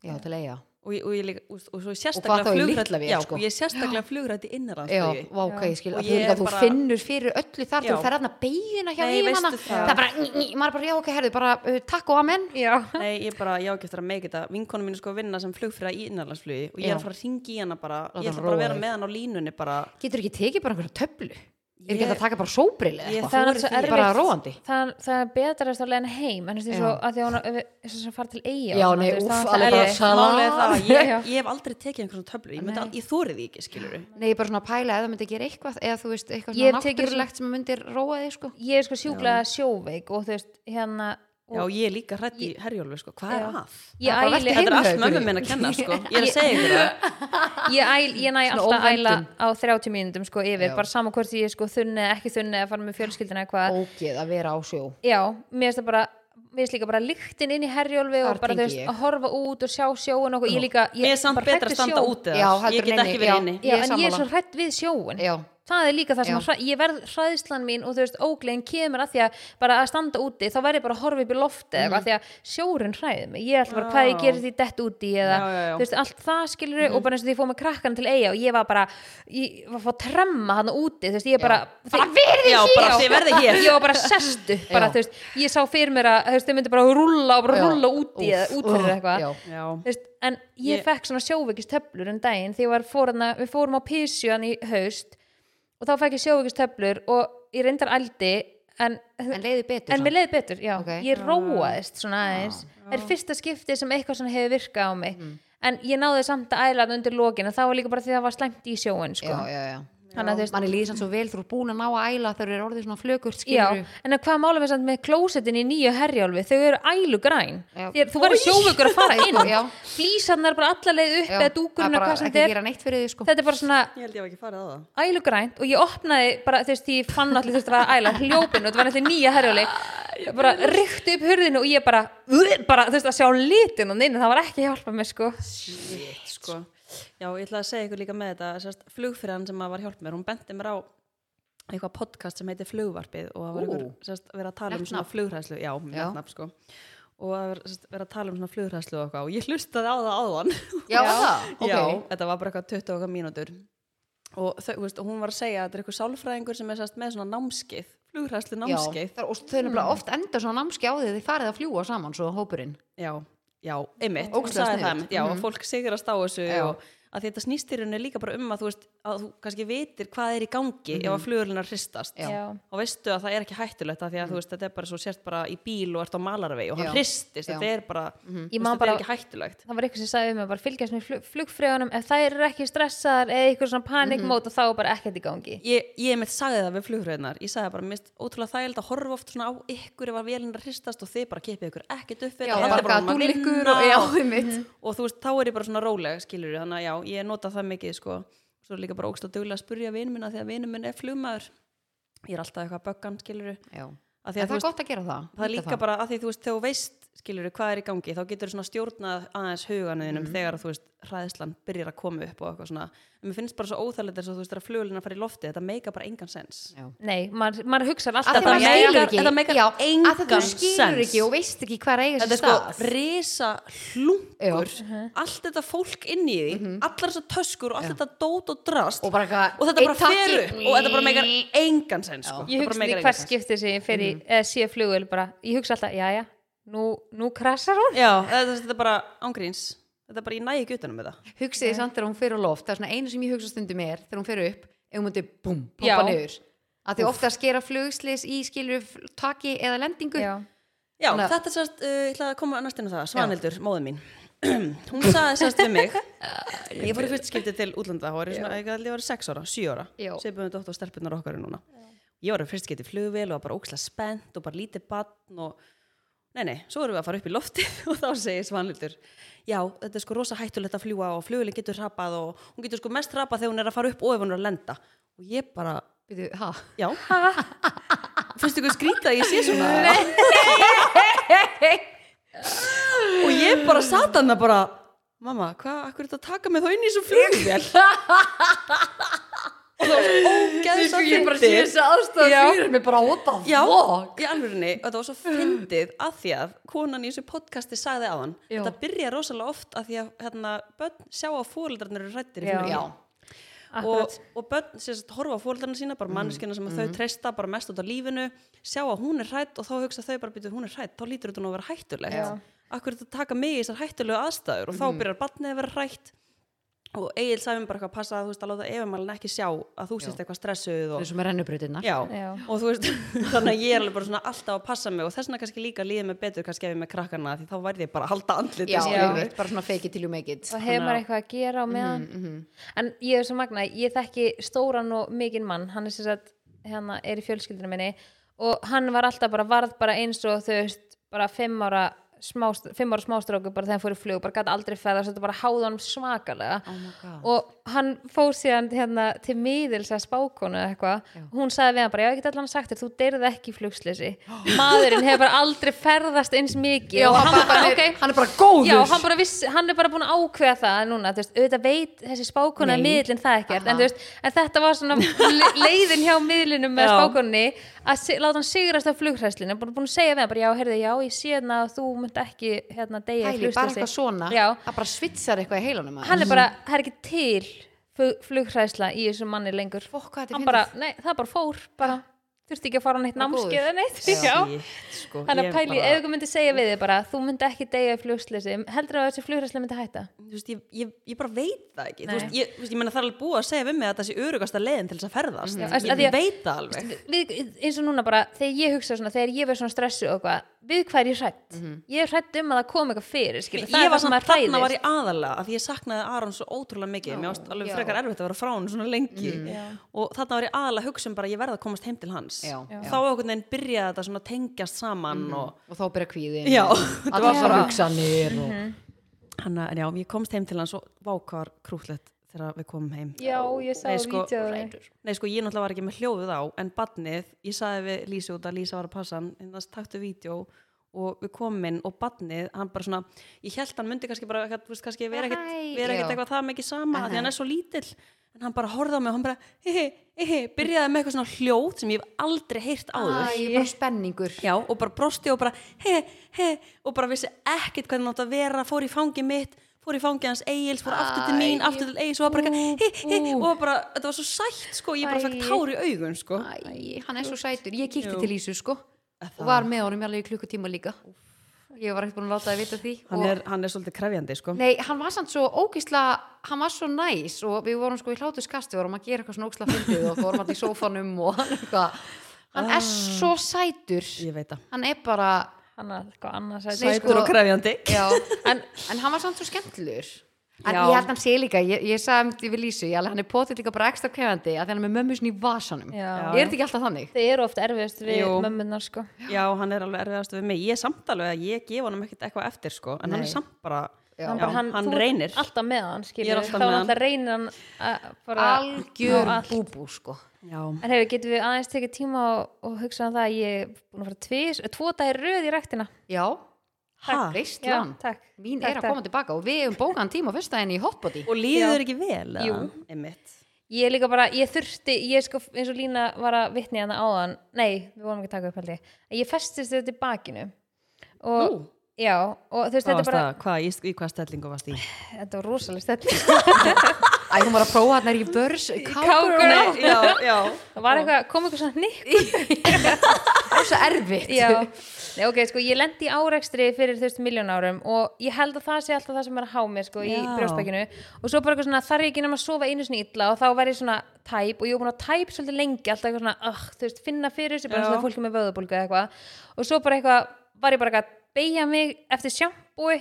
S1: Já, til eiga.
S3: Og, ég, og, ég, líka- og, og svo
S1: þá
S3: sérstaklega
S1: í
S3: flugrætt,
S1: Lillavél,
S3: já,
S1: sko.
S3: og ég sérstaklega flugrætt í
S1: Já,
S3: innanlandsflugi.
S1: vá, ok, ég skil.
S3: Og
S1: Að
S3: ég
S1: Þú, líka,
S3: er
S1: þú
S3: bara-
S1: finnur fyrir öllu þar,
S3: Já.
S1: þú ferð hann að beigina hjá
S3: Nei,
S1: yfirmanna.
S3: veistu það.
S1: Það er bara, ný, ný, maður bara, já, ok, herðu, bara uh, takk og amen.
S2: Já,
S3: Nei, ég bara, ég á ekki eftir að meika þetta vinkonu mín er sko að vinna sem flugfyrra í innanlandsflugi og ég
S1: Já.
S3: er að fara að ringi í hana bara
S1: Láta
S3: ég
S1: hana
S3: ætla bara að
S1: róa
S3: vera
S1: þig.
S3: með hana á línunni bara
S1: Getur ekki tekið bara einhverja töflu? Er
S3: Ég-
S1: ekki hægt að taka bara sóbril eða
S3: Ég-
S1: eitthvað?
S2: það er
S3: Þorir
S2: alltaf
S3: því.
S2: erfitt
S1: Bara róandi.
S2: það, það er betra að leiðin heim en þú veist eins og
S1: Já.
S2: að því að hún er þess að fara til eiga
S1: Já, nei, úff, alveg bara
S2: bara
S1: salat.
S3: Málið er það, að ég,
S2: Já.
S3: ég hef aldrei tekið einhverjum töflu ég, myndi, al- ég þórið því ekki, skilur
S1: Nei, ég bara svona að pæla eða myndi gera eitthvað, eða þú veist, eitthvað
S2: Ég
S1: svona
S2: hef tekið
S1: náttúrulegt sem myndir róa þig, sko.
S2: ég er sko sjúklega sjóveik og þú veist hérna
S3: Já,
S2: og,
S3: ég er líka hrætt í herjólfi, sko, hvað er að?
S2: Ég
S1: Það er bara
S2: æli-
S1: velti
S3: Þetta er allt
S1: heimahaukur.
S3: mömmu minn að kenna, sko Ég er að segja ykkur það
S2: ég, æl, ég næ
S1: Svona
S2: alltaf að æla
S1: óvöndun.
S2: á 30 mínútum sko yfir,
S1: Já.
S2: bara sama hvort ég er sko þunni eða ekki þunni að fara með fjölskyldina eða hvað
S1: Ógeð að vera á sjó.
S2: já, mér finnst það bara mér finnst líka bara lyktin inn í herjólfi
S1: Þar
S2: og bara þú
S1: tengi
S2: veist
S1: ég.
S2: að horfa út og sjá sjóun og okkur. ég líka,
S3: Ég er samt
S2: bara hrædd
S3: betra
S2: við
S3: að standa
S2: sjó.
S3: út
S1: Já,
S3: eða
S1: heldur
S3: Ég get
S1: en inni,
S3: ekki verið
S1: já.
S3: inni
S1: Ég
S2: Já,
S1: er
S2: en ég er
S1: sammála.
S2: svo hrætt við sjóun
S1: Já.
S2: það er líka það sem
S1: Já.
S2: að hræ, ég verð hræðslan mín og þú veist óglegin kemur að því að bara að standa úti þá verð ég bara að horfa upp í lofti
S3: Mhm.
S2: eða mm. því að sjórun hræði mig ég er alltaf bara hvað ég gerir því dett úti eða
S3: Já, Mhm. já, já.
S2: þú veist allt það skilur og bara eins og því ég fóð með krakkan til eiga og ég var bara ég var að fá tremma hann úti þú veist ég bara bara verði
S3: Já, bara þið verðið hér.
S2: ég var bara sestu bara
S1: Já.
S2: þú veist ég sá fyrir mér að þú veist þau myndi bara rúlla og bara
S1: Já.
S2: rúlla úti eða
S1: Úff,
S2: út fyrir
S1: úff,
S2: eitthvað
S1: já.
S3: Já,
S2: Þú veist, en ég,
S3: Ég-
S2: fekk svona sjóveikistöflur um daginn því ég var fórna, við fórum á písjuan í haust og þá fekk ég sjóveikistöflur og ég reyndar aldi en,
S1: En leiði betur
S2: en mér leiði betur, já,
S1: Ok. Ah.
S2: ég róaðist svona aðeins, það er fyrsta skipti sem eitthvað svona hefur virkað á mig
S1: Mhm.
S2: en ég náði samt að æla þarna undir lokin en það var líka bara því það var slæmt í sjóin sko.
S1: Já, já, já.
S2: Þannig að þú veist-
S1: Manni líður samt svo vel, þú eru búin að ná að æla þegar þú eru orðið svona
S2: Já,
S1: flökurt, skilur
S2: en að hvað málum við samt með klósetin í nýju herjálfi, þau eru ælugræn
S1: Já.
S2: Þér, þú verður sjóveikur að fara inn
S1: Já.
S2: flýsarnar bara alla leið upp eða dúkurinn eða hvað sem
S1: þetta
S2: þetta er
S1: er bara ekki gera neitt fyrir þig, sko.
S2: þetta er bara svona
S3: ég held ég hef ekki farið að það
S2: ælugrænt og ég opnaði bara þú veist, því ég fann allir þurfti að vera að æla hljópinu og þetta var allir nýja herjóli bara rykti upp hurðinu og ég bara uh, bara þú veist að sjá litin og neina það var ekki að hjálpa mér sko
S3: Shit, sko. Já, ég ætla að segja ykkur líka með þetta sérst, flugfyrirhann sem að var hjálp mér, hún benti mér á eitthvað podcast sem heitir Flugvarpið og það var
S1: Ú.
S3: ykkur sérst, verið að tala um
S1: Nett
S3: svona
S1: nafn.
S3: flugræslu já,
S1: Já.
S3: netnafn sko og það var sérst, verið að tala um svona flugræslu og eitthvað og ég hlustaði á það áðan
S1: Já, það, ok.
S3: já, þetta var bara eitthvað 20 okkar mínútur og þau, þú veist, og hún var að segja að þetta er eitthvað sálfræðingur sem er sest, með svona námskeið flugræslu námskeið
S1: Já, þar- og þau
S2: Mm.
S1: nefnilega oft enda svona námskeið á því að þið farið að fljúa saman svo hópurinn
S3: já, já, einmitt,
S1: Ógeðslega
S3: hún sagði
S1: sniðugt. Mhm.
S3: það einmitt, já, mm. fólk sigurast á þessu
S1: Já.
S3: og að því þetta snýst í rauninni líka bara um að þú veist, að þú kannski vitir hvað er í gangi ef
S1: Mhm.
S3: að flugurlunar hristast
S2: Já. Já.
S3: og veistu að það er ekki hættulegt að því að þú veist, þetta er bara svo sért bara í bíl og ert á malarvegi og hann
S1: Mhm. Já.
S3: hristist,
S1: Já. Mhm.
S3: þetta er bara,
S2: Ég
S3: þú veist,
S2: man
S3: þetta er
S2: bara-
S3: ekki hættulegt
S2: það var eitthvað sem sagði um að bara fylgjast með flug, flugfrjónum ef þær eru ekki stressaðar eða eitthvað svona panikmót mm -hmm. þá er bara ekkert í gangi
S3: Ég, ég mitt sagði það við flugröðnar Ég sagði bara, mér finnst ótrúlega þægild að horfa oft svona á ykkur ef að vélinn er að hristast og þið bara kipið ykkur ekkert upp við
S1: Já,
S3: þetta,
S1: bara
S3: haldið bara
S1: að
S3: um að
S1: dúllikkur
S3: vinna
S1: og- já,
S3: og,
S1: einmitt.
S3: og þú veist, þá er ég bara svona róleg skilur þannig að já, ég nota það mikið sko. Svo er líka bara ógst að duglega að spurja vinum minna því að vinum minn er flugmaður Ég er alltaf eitthvað að bögga hann skilur
S1: Já.
S3: Af
S1: en
S3: því að þú
S1: það er
S3: veist-
S1: gott að gera það
S3: Það er
S1: nýta
S3: líka bara að því þú veist, þegar þú veist skilur hvað er í gangi, þá getur þú svona stjórnað aðeins huganuðinum
S1: Mhm.
S3: mm. þegar að, þú veist hræðslan byrjar að koma upp og eitthvað svona en mér finnst bara svo óþægilegt þess að þú veist, þegar flugulina fara í lofti þetta meika bara engan sens
S1: Já.
S2: nei, maður, maður hugsar alltaf
S1: Af því
S3: Þetta
S1: maður
S3: meikar-
S1: skilur ekki-
S3: þetta meikar
S1: já,
S3: engan
S1: af því þú skilur
S3: sens.
S1: ekki og veist ekki hvað er eiga
S3: þetta
S1: sér
S3: er sko
S1: stað
S3: risa hlungur
S1: Já. Uh-huh. Mhm.
S3: allt þetta fólk inn í því allar þessar töskur og allt þetta dót og drast
S1: Og bara eitthvað-
S3: og þetta
S1: einn
S3: bara
S1: takki.
S3: fer upp og þetta bara meikar engan sens sko.
S2: ég
S3: Þetta bara
S2: hugsa
S3: meikar
S2: því
S3: engan
S2: hvers
S3: sens.
S2: skipti sem ég fer í eða sé flugvel bara, ég hugsa alltaf, já já nú, nú krasar hún
S3: já, þetta þetta er bara ángríns þetta er bara, ég næ ekki utanum þetta
S1: hugsið þið samt þegar hún fyrir á loft það er svona einu sem ég hugsa stundum er þegar hún fyrir upp ef hún myndi búm,
S2: Já.
S1: poppa niður að því ofta að skera flugslis í skilur taki eða lendingu
S2: já,
S3: Já,
S1: Þannig að-
S3: þetta er sérst, uh, ég ætla að koma næst inn á það, Svanhildur, móðu mín. hún sagði sérst við mig, ég fór í fyrst skipti til útlanda, þá var ég svona, ég ætla að ég var sex ára, sjö ára,
S1: Já.
S3: segbjörnum dótt á stelpunar okkar eru núna. Ég var í fyrst skipti í flugvél og var bara ókslega spennt og bara lítið bann og, nei, nei, svo erum við að fara upp í loftið og þá segir Svanhildur, já, þetta er sko rosa hættulegt að fljúa og flugvélin getur hrapað og hún getur sko mest hrapað þegar hún er að fara upp og ef hún er að lenda. Og ég bara,
S1: Byrju, ha?
S3: já, finnst ykkur skrítið að ég sé svona? Nei. og ég bara satt hann að bara mamma, hvað, akkur er þetta að taka mig þá inn í svo flugvél og það var svo ógeðs að fyndið
S1: aðstæða
S3: Já.
S1: fyrir mig bara út á
S3: já, í alvörinni og það var svo fyndið að því að konan í þessu podcasti sagði á hann
S1: Já.
S3: þetta byrja rosalega oft að því að hérna, börn sjá að fóreldrarnir eru rættir í
S2: Já.
S3: flugvél
S1: já,
S3: og, og börn sem sagt, horfa á fólkarna sína bara
S2: Mhm,
S3: manneskina sem þau treysta bara mest út á lífinu sjá að hún er hrætt og þá hugsa þau bara býtu hún er hrætt, þá lítur þetta nú að vera hættulegt
S2: Já. Mhm.
S3: akkur þetta taka mig í þessar hættulegu aðstæður og þá byrjar barnið að vera hrætt og Egil sagði mér bara eitthvað að passa að þú veist að láta efumælin ekki sjá að þú sést eitthvað stressuð og,
S1: eins og með rennubrutinnar
S3: Já.
S2: Já.
S3: og þú veist, þannig að ég er alveg bara svona alltaf að passa mig og þessna kannski líka líðið mig betur kannski ef ég er með krakkana því þá værið ég bara að halda andlit
S1: já,
S2: Já.
S1: einmitt, bara svona fake it till you make it Mhm.
S2: og hefur maður eitthvað að gera á meðan en ég er svo magna, ég þekki stóran og mikinn mann, hann er sem sagt hérna er í fjölskyldinu minni og hann var alltaf bara, varð bara eins og þau veist, bara fimm ára smá, fimm ára smástróku bara þegar hann fór í flug bara gæti aldrei ferða, þetta bara háði honum svakalega
S1: Oh God.
S2: og hann fór síðan hérna til miðils að spákonu eða eitthvað, hún sagði við hann bara já, ég get allan sagt þér, þú deyrið ekki í flugslisi maðurinn hefur bara aldrei ferðast eins mikið
S1: Já,
S2: og hann var bara,
S1: hann,
S2: ok
S1: er, hann er bara góður
S2: Já, hann, bara viss, hann er bara búin að ákveða það núna, þú veist, auðvitað veit þessi spákona
S1: Nei.
S2: miðlinn það ekkert, en,
S1: Aha.
S2: þú veist, en þetta var svona le- leiðin hjá miðlinum með
S3: Já.
S2: spákonni að si- láta hann sigrast á flughræslinu, bara búin að segja við hann bara, já, heyrðu, já, ég sé hérna að þú munt ekki hérna degja
S1: Pæli, bara eitthvað svona,
S2: Já,
S1: það bara svitsar eitthvað í heilanum
S2: hann er bara, það er ekki til flug, flughræsla í þessum manni lengur
S1: Fokk, hvað þetta er
S2: hann bara, nei, það bara fór bara, þurfti ekki að fara á neitt
S1: Bara góður.
S2: námskeið eða neitt, já.
S3: sko,
S2: Þannig
S3: ég
S2: að pæli,
S3: bara-
S2: ef ykkur myndi segja við þig bara þú myndi ekki deyja í flugslisi, heldur að þessi flugræsla myndi hætta?
S3: þú veist, ég, ég, ég bara veit það ekki
S2: Nei.
S3: þú veist, ég, þú veist, ég meina það er alveg búið að segja við mig að það sé örugasta leiðin til þess að
S2: Já,
S3: ferðast
S2: að
S3: ég,
S2: Mhm. því að-
S3: veit það alveg
S2: Við, eins og núna bara, þegar ég hugsa svona þegar ég verð svona stressu og eitthvað, við hvað er ég hrætt? Ég er hrætt um að það kom eitthvað fyrir skilur, það
S3: Mhm. ég
S2: er það
S3: var
S2: sem
S3: samt
S2: maður
S3: þarna
S2: hræðist
S3: var ég aðalega af því ég saknaði Aron svo ótrúlega mikið mér varst alveg
S1: já.
S3: frekar erfitt að vera frá hann svona lengi
S2: Mhm.
S3: og þarna var ég aðalega að hugsa um bara að ég verða að komast heim til hans
S1: Já,
S3: þá
S1: já.
S3: einhvern veginn byrjaði þetta svona að tengjast saman
S2: Mhm.
S3: og
S1: og þá byrja kvíðin
S3: Já, þetta var
S1: allar
S3: bara- Mhm.
S1: hugsanir og...
S3: hann að, en já, ég komst heim til hans og vákvar krúllett þegar við komum heim
S2: Já, ég sá
S3: Nei, sko,
S2: vídeo eh. af því.
S3: Nei, sko, ég náttúrulega var ekki með hljóðið á, en badnið, ég sagði við Lísa út að Lísa var að passa hann, en það taktu vídeo og við komum inn og badnið, hann bara svona, ég held hann myndi kannski bara, eitthvað, þú veist, kannski vera ekkert,
S1: Hæ,
S3: vera ekkert
S1: já.
S3: eitthvað það mikið sama, af því hann er svo lítill, en hann bara horfði á mig og hann bara, hehe, hehe, byrjaði með eitthvað svona hljóð sem ég hef aldrei heyrt áður.
S1: Æ, bara spenningur
S3: Já, og bara brosti og bara he, he, og bara vissi ekkit hvernig hann átt að vera, fór í fangi mitt, fór í fangið hans Egils, fór aftur til mín, aftur til Egils og var bara eitthvað, hi, hi, og var bara, þetta var svo sætt sko, ég bara fekk tár í augun sko.
S1: Æ, hann er svo sætur, ég kíkti
S3: Jú.
S1: til Ísu sko og
S3: það-
S1: var með honum alveg í klukkutíma líka ég var ekkert búin að láta það vita því
S3: Hann
S1: og,
S3: er, hann er svolítið krefjandi sko.
S1: nei, hann var samt svo ógisla hann var svo næs og við vorum sko í hlátuskast við vorum að gera eitthvað svona ógisla fyndið og fórum allir í sófanum og hann eitthvað hann
S3: Ah.
S1: er svo sætur
S3: Ég veit það.
S1: hann er bara
S2: hann er eitthvað annars
S1: Nei,
S2: sætur.
S1: sko-
S3: Sætur og krefjandi.
S1: já, en, en hann var samt svo skemmtlur en
S3: Já.
S1: ég held hann sé líka, ég, ég sagði um því við Lísu ég, alveg- hann er potið líka bara ekstra kefandi að því hann er með mömmu sinni í vasanum
S2: Já.
S1: er þetta ekki alltaf þannig?
S2: Þau eru oft erfiðast við
S3: Jú.
S2: mömmunar sko.
S3: Já, hann er alveg erfiðast við mig. Ég er samt alveg að ég gef honum ekkert eitthvað eftir sko, en hann
S1: Nei.
S3: er samt bara,
S1: Já.
S3: já,
S1: Hann
S3: hann,
S2: bara, þú ert
S3: reynir.
S2: alltaf með hann skilur
S3: Ég er
S2: við.
S3: alltaf
S2: þá
S3: með hann.
S2: alltaf reynir hann að bara
S1: algjör
S2: ná allt.
S1: búbú sko
S3: Já,
S2: en hefur getum við aðeins tekið tíma og, og hugsa um það að ég er búin að fara tvis, tvo dagir röð í ræktina
S1: Já,
S3: Ha?
S1: veistlan
S2: Já, takk.
S1: Mín
S2: Takk,
S1: er að
S2: takk.
S1: koma tilbaka og við hefum bókaðan tíma á fyrstæðinni í hotbody
S3: og líður þér ekki vel? eða?
S2: Jú.
S3: Einmitt.
S2: ég er líka bara, ég þurfti ég sko, eins og Lína var að vitni hana áðan nei, við vorum ekki að taka upp held ég að ég festist þetta í bakinu og,
S3: Nú?
S2: já, og þú veist, þetta
S3: Hvað varst
S2: bara
S3: það? Hvað, í, í hvað stellingu varst í?
S2: þetta var rosalega stætt
S1: Æ, hún var að prófa hann er í börs Kákur
S2: Cowgirl.
S3: Nei, já, já.
S2: það var eitthvað, kom eitthvað svona nikk
S1: Rosa erfitt
S2: Já, Nei, ok, sko, ég lendi í árekstri fyrir þú veist miljón árum og ég held að það sé alltaf það sem er að há mig, sko, í
S3: Já.
S2: brjóstbækinu og svo bara eitthvað svona, þarf ég ekki nema að sofa einu sinni illa og þá var ég svona tæp og ég var búin að tæp svolítið lengi, alltaf eitthvað svona, uh, þú veist, finna fyrir þessu, bara
S3: Já.
S2: svona fólki með vöðubólgu eða eitthvað og svo bara eitthvað, var ég bara eitthvað að beigja mig eftir sjampúi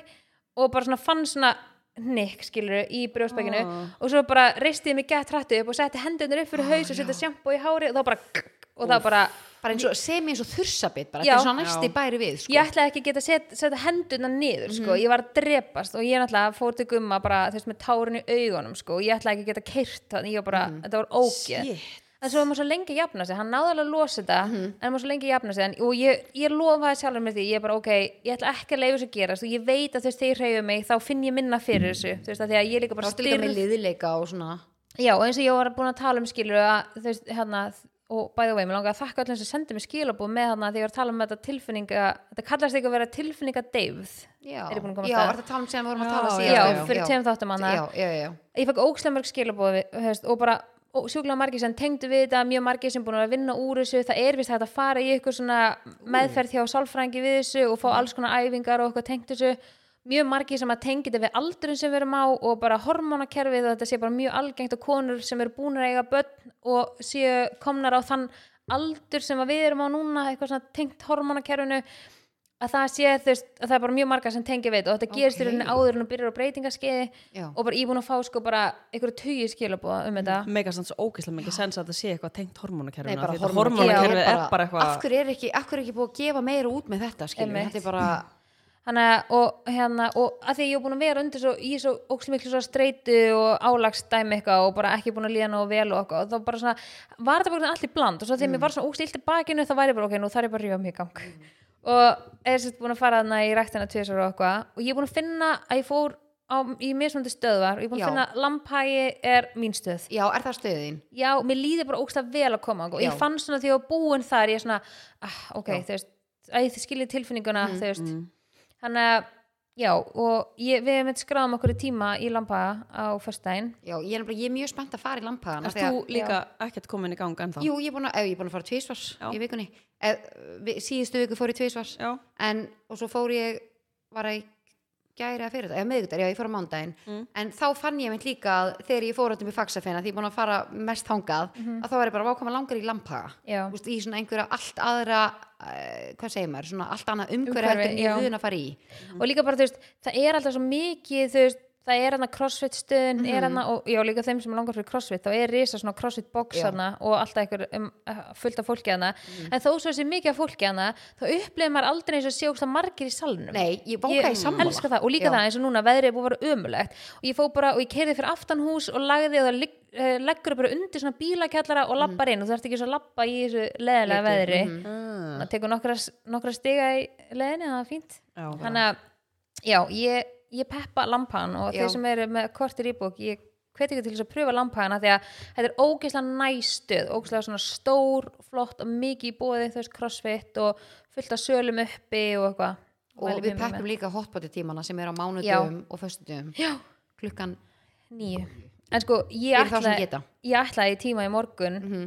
S2: og bara svona fann svona nikk, skilur, í brjóstbækinu
S3: Ah.
S2: og svo bara reisti ég mig gett hrættu upp og setti hendunar upp fyrir haus og setja sjampó í hári og þá bara, og þá bara
S1: Bara eins og, semi eins og þursabit bara,
S2: Já.
S1: þetta er svona næsti bæri við sko. Mhm.
S2: ég ætlaði ekki að geta set, setja hendurna niður sko. ég var að drepast og ég náttúrulega fór til gumma bara, þú veist, með tárun í augunum sko. og ég ætlaði ekki að geta keirt þannig ég var bara,
S1: Mhm.
S2: þetta var ógeð
S3: Shit.
S2: en svo var maður svo lengi að jafna sig, hann náði alveg að losa þetta
S1: Mhm.
S2: en maður svo lengi að jafna sig en, og ég, ég lofaði sjálfur mér því, ég er bara ok ég ætla ekki að leifa þessu að gerast og ég veit að þú veist, þegar ég hreyfi mig, þá finn ég minna fyrir þessu þú veist, að því að ég er líka
S1: Bara
S2: bara
S1: styrð Mhm. líka
S2: styrð
S1: með liðleika og svona
S2: Já, og eins og ég var búin að tala um skilur að þú veist, hérna, og bæði og vei, mér langar að þakka öllum sem sendi mér skilabúð með þarna þegar ég var að tala um þetta tilfinninga, þetta kallast ekki að vera tilfinninga deyfð.
S1: Já,
S2: Er ég búin að koma
S1: já
S2: að
S1: var þetta tala um sem við vorum að tala
S3: Já,
S1: síðan
S2: Já,
S3: já.
S2: fyrir tveim þáttum hana.
S1: Já, já, já,
S2: Ég fekk ógslemörg skilabúð hefst, og bara og sjúklega margir sem tengdu við þetta, mjög margir sem búin að vinna úr þessu, það er vist hægt að fara í eitthvað svona meðferð hjá sálfrængi við þessu og fá alls konar æfingar og eitthvað tengt þessu mjög margir sem að tengja þetta við aldurinn sem við erum á og bara hormónakerfið og þetta sé bara mjög algengt og konur sem eru búin að eiga börn og séu komnar á þann aldur sem að við erum á núna eitthvað svona tengt hormónakerfinu að það sé þú veist að það er bara mjög margar sem tengja við þetta og þetta gerist í
S1: Ókei.
S2: rauninni áður en þú byrjar á breytingaskeiði
S1: já.
S2: og bara ég búin að fá sko bara einhverju tugi skilabóða um þetta
S3: Mega sanns ógeðslega mikið sens að það sé eitthvað tengt
S1: Nei,
S3: hormónakerfinu.
S1: bara
S3: af því að
S1: hormónakerfið
S3: hormónakerfið er bara eitthvað...
S1: Af hverju er ekki, af hverju er ekki búið að gefa meira út með þetta skilur,
S2: Einmitt.
S1: þetta er bara
S2: Þannig að, og hérna, og að því að ég er búin að vera undir svo, ég er svo ókslega miklu svo streitu og álagsdæmi eitthvað og bara ekki búin að líða nógu vel og eitthvað og þá bara svona, var þetta bara allir bland og svo þegar mér var svona ókslega illt í bakinu þá væri ég bara, ok, nú þarf ég bara að rífa mig í gang og er sett búin að fara þarna í ræktina tvisar og eitthvað og ég er búin að finna að ég fór á, í mismunandi stöðvar og ég er búin
S1: Já.
S2: að finna að lampægi er mín stöð
S1: Já, er það stöðin?
S2: já, mér líður bara ógst vel að koma og
S1: Já.
S2: ég fann svona því að ég var búin þar ég svona, ah, ok, þú veist að ég skilji tilfinninguna,
S1: Mm,
S2: þú veist þannig að, já, og ég, við hefum skráðum okkur í tíma í lampa á föstudaginn
S1: Já, ég er, nefnilega- ég er mjög spennt að fara í lampaðan
S3: Erst þú líka ekkert komin í gang ennþá?
S1: Jú, ég er búin að, ef, ég er búin að fara tvísvars
S3: Já.
S1: í vikunni ef, vi, síðustu viku fór ég tvísvars
S3: Já.
S1: en, og svo fór ég var að gæra fyrir þetta, eða meðgudar, já, ég fór á mándaginn
S2: Mm.
S1: en þá fann ég mynd líka að þegar ég fór áttum í faxafina, því ég er búin að fara mest þangað, að þá var ég bara vákama langar í lampaga,
S2: Mhm. Já.
S1: Vist, í svona einhverja allt aðra, uh, hvað segir maður svona allt annað umhverja
S2: Umhverfi,
S1: heldur en
S2: já.
S1: ég vun að fara í
S2: og líka bara, þú veist, það er alltaf svo mikið þú veist, það er hann að crossfit stöðin
S1: Mhm.
S2: er hann og já, líka þeim sem langar fyrir crossfit þá er risa svona crossfit box
S1: Já. Mhm.
S2: hann og alltaf einhver um, eh, fullt af fólki hann en þó svo þessi mikið af fólki hann þá upplifir maður aldrei eins og sjókst að margir í salnum
S1: Nei, ég váka í
S2: ég
S1: sammála
S2: elska það og líka
S1: Já.
S2: það eins og núna veðrið er búið að vera ömulegt og ég fóð bara og ég keirði fyrir aftan hús og lagði og það ligg- eh, leggur bara undir svona bílakjallara og
S1: Mhm.
S2: lappar inn og þú þarft ekki svo að lappa í þessu leðilega veðri
S3: Ah.
S2: það tekur nokkra, nokkra stiga í leðinni það er fínt
S3: Já.
S2: þannig að já, ég, ég peppa lampan og
S1: Já.
S2: þeir sem eru með kortir íbúk ég hveti ekki til þess að pröfa lampana því að þetta er ógeðslega næstuð ógeðslega svona stór, flott og mikið í bóði þú veist crossfit og fullt af sölum uppi og eitthvað
S1: og
S2: Mælum
S1: við
S2: við
S1: peppum
S2: með.
S1: líka hotpotti tímana sem er á mánudum og föstudum
S2: Já.
S1: klukkan
S2: nýju en sko ég
S1: fyrir þá sem
S2: ætlaði
S1: geta Mhm.
S2: ég ætlaði í tíma í morgun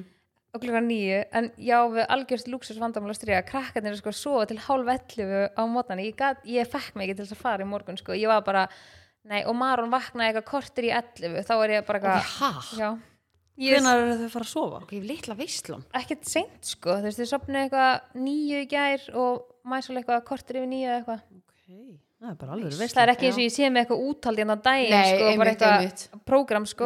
S2: á klukkan nýju en já við algjörst lúksus vandamál að stríða krakkarnir eru sko að sofa til hálf 11 á mótana ég, gat, ég fekk mig ekki til þess að fara í morgun sko ég var bara nei og Maron vaknaði eitthvað kortir í 11 þá er ég bara
S1: og
S2: eitthvað
S1: við ha,
S2: já ég
S3: Hvenær eru þau að fara að sofa?
S1: ok, litla veislum
S2: ekkert seint sko þú veist þið sopnaði eitthvað nýju í gær og mæsul eitthvað kortir yfir nýju eða eitthvað
S3: Okay. Það er bara alveg veist
S2: það er ekki eins og ég sé með eitthvað útald hérna á daginn
S1: Nei,
S2: sko, bara
S1: einmitt,
S2: eitthvað
S1: einmitt. Mhm.
S2: prógram sko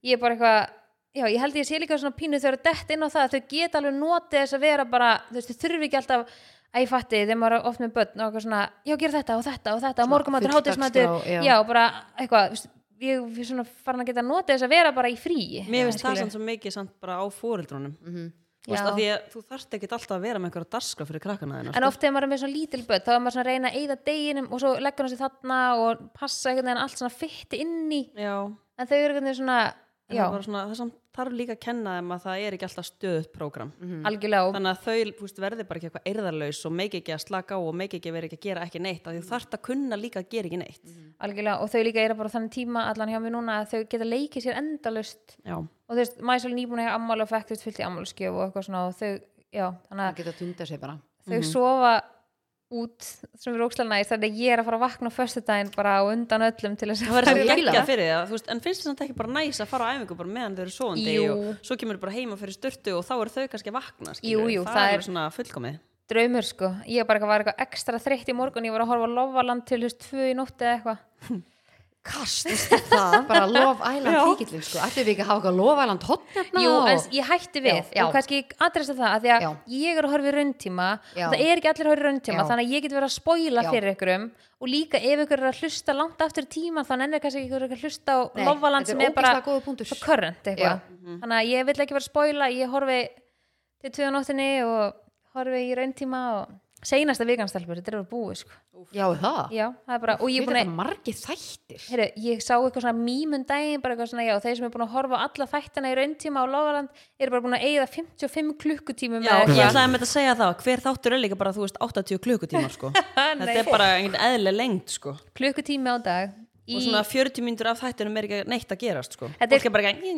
S2: ég er bara eitthvað já, ég held ég sé líka svona pínu þau eru dett inn á það að þau geta alveg notið þess að vera bara þú veist, þau þurfi ekki alltaf að ég fatti þegar maður er oft með börn og eitthvað svona já, gera þetta og þetta og þetta, morgumatur,
S1: full
S2: hátismatur
S1: dagskrá, já.
S2: já, bara eitthvað þú veist, ég er svona farin að geta notið þess að vera bara í frí
S3: Mér finnst það samt svo mikið samt bara á fóreldrunum mm -hmm.
S2: Já.
S3: Því að þú þarft ekkit alltaf að vera með einhverja darska fyrir krakkana sko. þeirna
S2: En oft þegar maður er með svona lítil börn þá er maður svona að reyna að eyða deginum og svo leggur hann sér þarna og passa einhvern veginn allt svona fytti inn í
S3: Já,
S2: en þau eru einhvern veginn svona,
S3: en
S2: já,
S3: það, er bara svona, það samt þarf líka að kenna þeim að það er ekki alltaf stöðut prógram
S2: Mhm. algjörlega og
S3: Þannig að þau fúst, verði bara ekki eitthvað eirðarlaus og meiki ekki að slaka á og meiki ekki að vera ekki að gera ekki neitt af því Þú þarft að kunna líka að gera ekki neitt
S2: algjörlega og þau líka eru bara á þannig tíma allan hjá mér núna að þau geta leikið sér endalaust
S3: Já,
S2: og þú veist, maður svolítið nýbúin að hafa ammála og fekk þú veist fyllt í ammálskjöf og eitthvað svona og þau, já, þannig
S1: það
S2: að
S1: geta tunda sig bara
S2: þau
S3: Mhm.
S2: sofa út sem er ókslega næst þannig að ég er að fara að vakna á föstudaginn bara á undan öllum til þess að
S3: það verður
S1: Ég
S3: svo
S1: fíla
S3: geggjað
S1: það.
S3: fyrir það, þú veist, en finnst þið samt ekki bara næs að fara á æfingu bara meðan þau eru svoandi
S2: Jú.
S3: og svo kemur bara heima fyrir styrtu og þá eru þau kannski að vakna, skilur
S2: Jú, jú, það
S3: það, er
S2: er-
S3: alveg svona fullkomið.
S2: draumur sko ég bara eitthvað var eitthvað ekstra þreytt í morgun ég var að horfa á Lofaland til þess tvö í nótt eða eitthvað
S1: kast, það, bara Love Island tíkillin sko, ættum við ekki að hafa eitthvað Love Island hotnefna
S2: jú, en s- ég hætti við
S1: Já, já.
S2: og kannski adressa það að því að
S1: Já.
S2: ég er að horfa í rauntíma
S1: Já.
S2: það er ekki allir að horfa í rauntíma
S1: Já.
S2: þannig að ég get verið að spoila
S1: Já.
S2: fyrir ykkurum og líka ef ykkur er að hlusta langt aftur í tíma þannig ennir kannski ykkur að hlusta á
S1: Nei,
S2: Lofaland sem
S1: þetta er
S2: er bara
S1: ógeðslega góður punktur.
S2: bara current
S1: Já.
S2: eitthvað þannig að ég vill ekki vera að spoila ég horfi til tvö á nóttinni og horfi í rauntíma og seinasta vikanstelpur, þetta er að búið sko.
S1: já, er það,
S2: já, það er bara, og ég er
S1: við
S2: búin að
S1: þetta margir þættir
S2: Heyru, ég sá eitthvað svona mýmun daginn bara eitthvað svona, já, þeir sem er búin að horfa á alla þættina í rauntíma á Logaland eru bara búin að eigða 55 klukkutímum
S3: Já, ég
S2: eitthvað.
S3: ætlaði með þetta að segja það, hver þáttur er líka bara, þú veist, 80 klukkutímar, sko.
S2: Nei.
S3: þetta er bara einhvern eðlileg lengd, sko.
S2: klukkutími á dag í,
S3: Og svona 40 mínútur af þættinum er ekki neitt að gerast, sko.
S2: Þetta er-
S3: Þetta er bara ekki,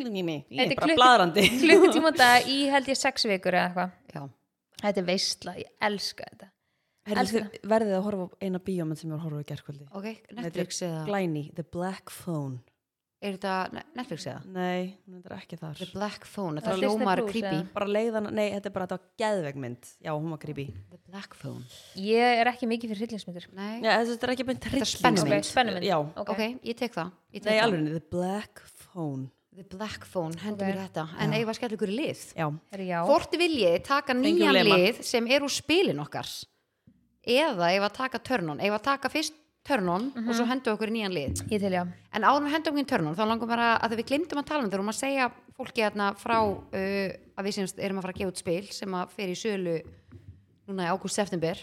S2: Þetta
S3: ég er
S2: er
S3: bara
S2: klukku-
S3: bladrandi.
S2: klukkutími á dag í held ég 6 vikur eða eitthvað
S1: já,
S2: þetta er veistla, ég elska þetta
S3: Herðu, þið verðið að horfa á eina bíómynd sem ég var að horfa í gerkvöldi.
S1: ok, Netflix eða
S3: Glæni, The Black Phone.
S1: er þetta Ne- Netflix eða
S3: Nei, þetta er ekki þar.
S1: The Black Phone,
S2: Það
S1: þetta
S2: er Disney
S1: ljómar
S2: Plus,
S1: creepy
S2: eða?
S3: Bara leiðan, nei, þetta er bara þetta var geðvegmynd. Já, hún var creepy.
S1: The Black Phone,
S2: ég er ekki mikið fyrir hryllingsmyndir
S1: nei
S3: Já, þetta er ekki beint
S1: er
S2: ok,
S1: spennumynd.
S3: hryllingsmynd.
S2: spennumynd
S3: Já,
S1: ok, ég tek það, ég tek
S3: nei,
S1: það.
S3: alveg, The Black Phone.
S1: The Black Phone, hendur
S2: Ok.
S1: mér þetta en eigum við að skella ykkur í lið
S3: Já,
S2: Heru, já.
S1: Hvort viljið taka
S3: Fengjum
S1: nýjan
S3: lema.
S1: lið sem er úr spilin okkar eða ef að taka törnun ef að taka fyrst törnun
S2: Mhm.
S1: og svo hendur okkur í nýjan lið
S2: ég til já
S1: en ánum hendur okkur í törnun þá langum bara að við glimtum að tala um þurfum að segja fólki hérna frá uh, að við semst erum að fara að gefa út spil sem að fer í sölu núna í ágúst-september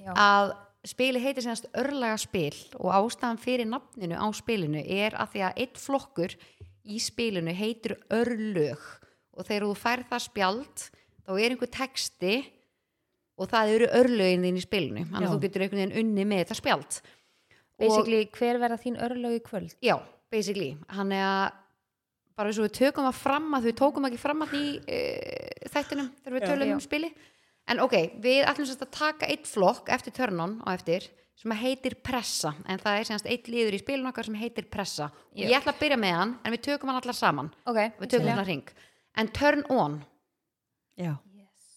S2: Já.
S1: að spili heitir semst örlaga spil og ástæðan fyrir nafninu á spilinu er að því að eitt flokkur í spilinu heitir örlög og þegar þú færð það spjald þá er einhver texti og það eru örlögin þín í spilinu
S3: Já.
S1: þannig að þú getur einhvern veginn unni með þetta spjald
S2: basically, hver verða þín örlög í kvöld
S1: Já, basically hann er að bara eins og við tökum að fram að við tókum ekki fram að því uh, þættunum þegar við
S3: Já.
S1: tölum um spili en ok, við ætlum sérst að taka eitt flokk eftir törnun og eftir sem að heitir pressa, en það er sérst eitt liður í spilin okkar sem heitir pressa og
S2: Já.
S1: ég ætla að byrja með hann, en við tökum hann allar saman
S2: ok,
S1: við tökum hann að ring, en turn on
S3: já,
S2: yes.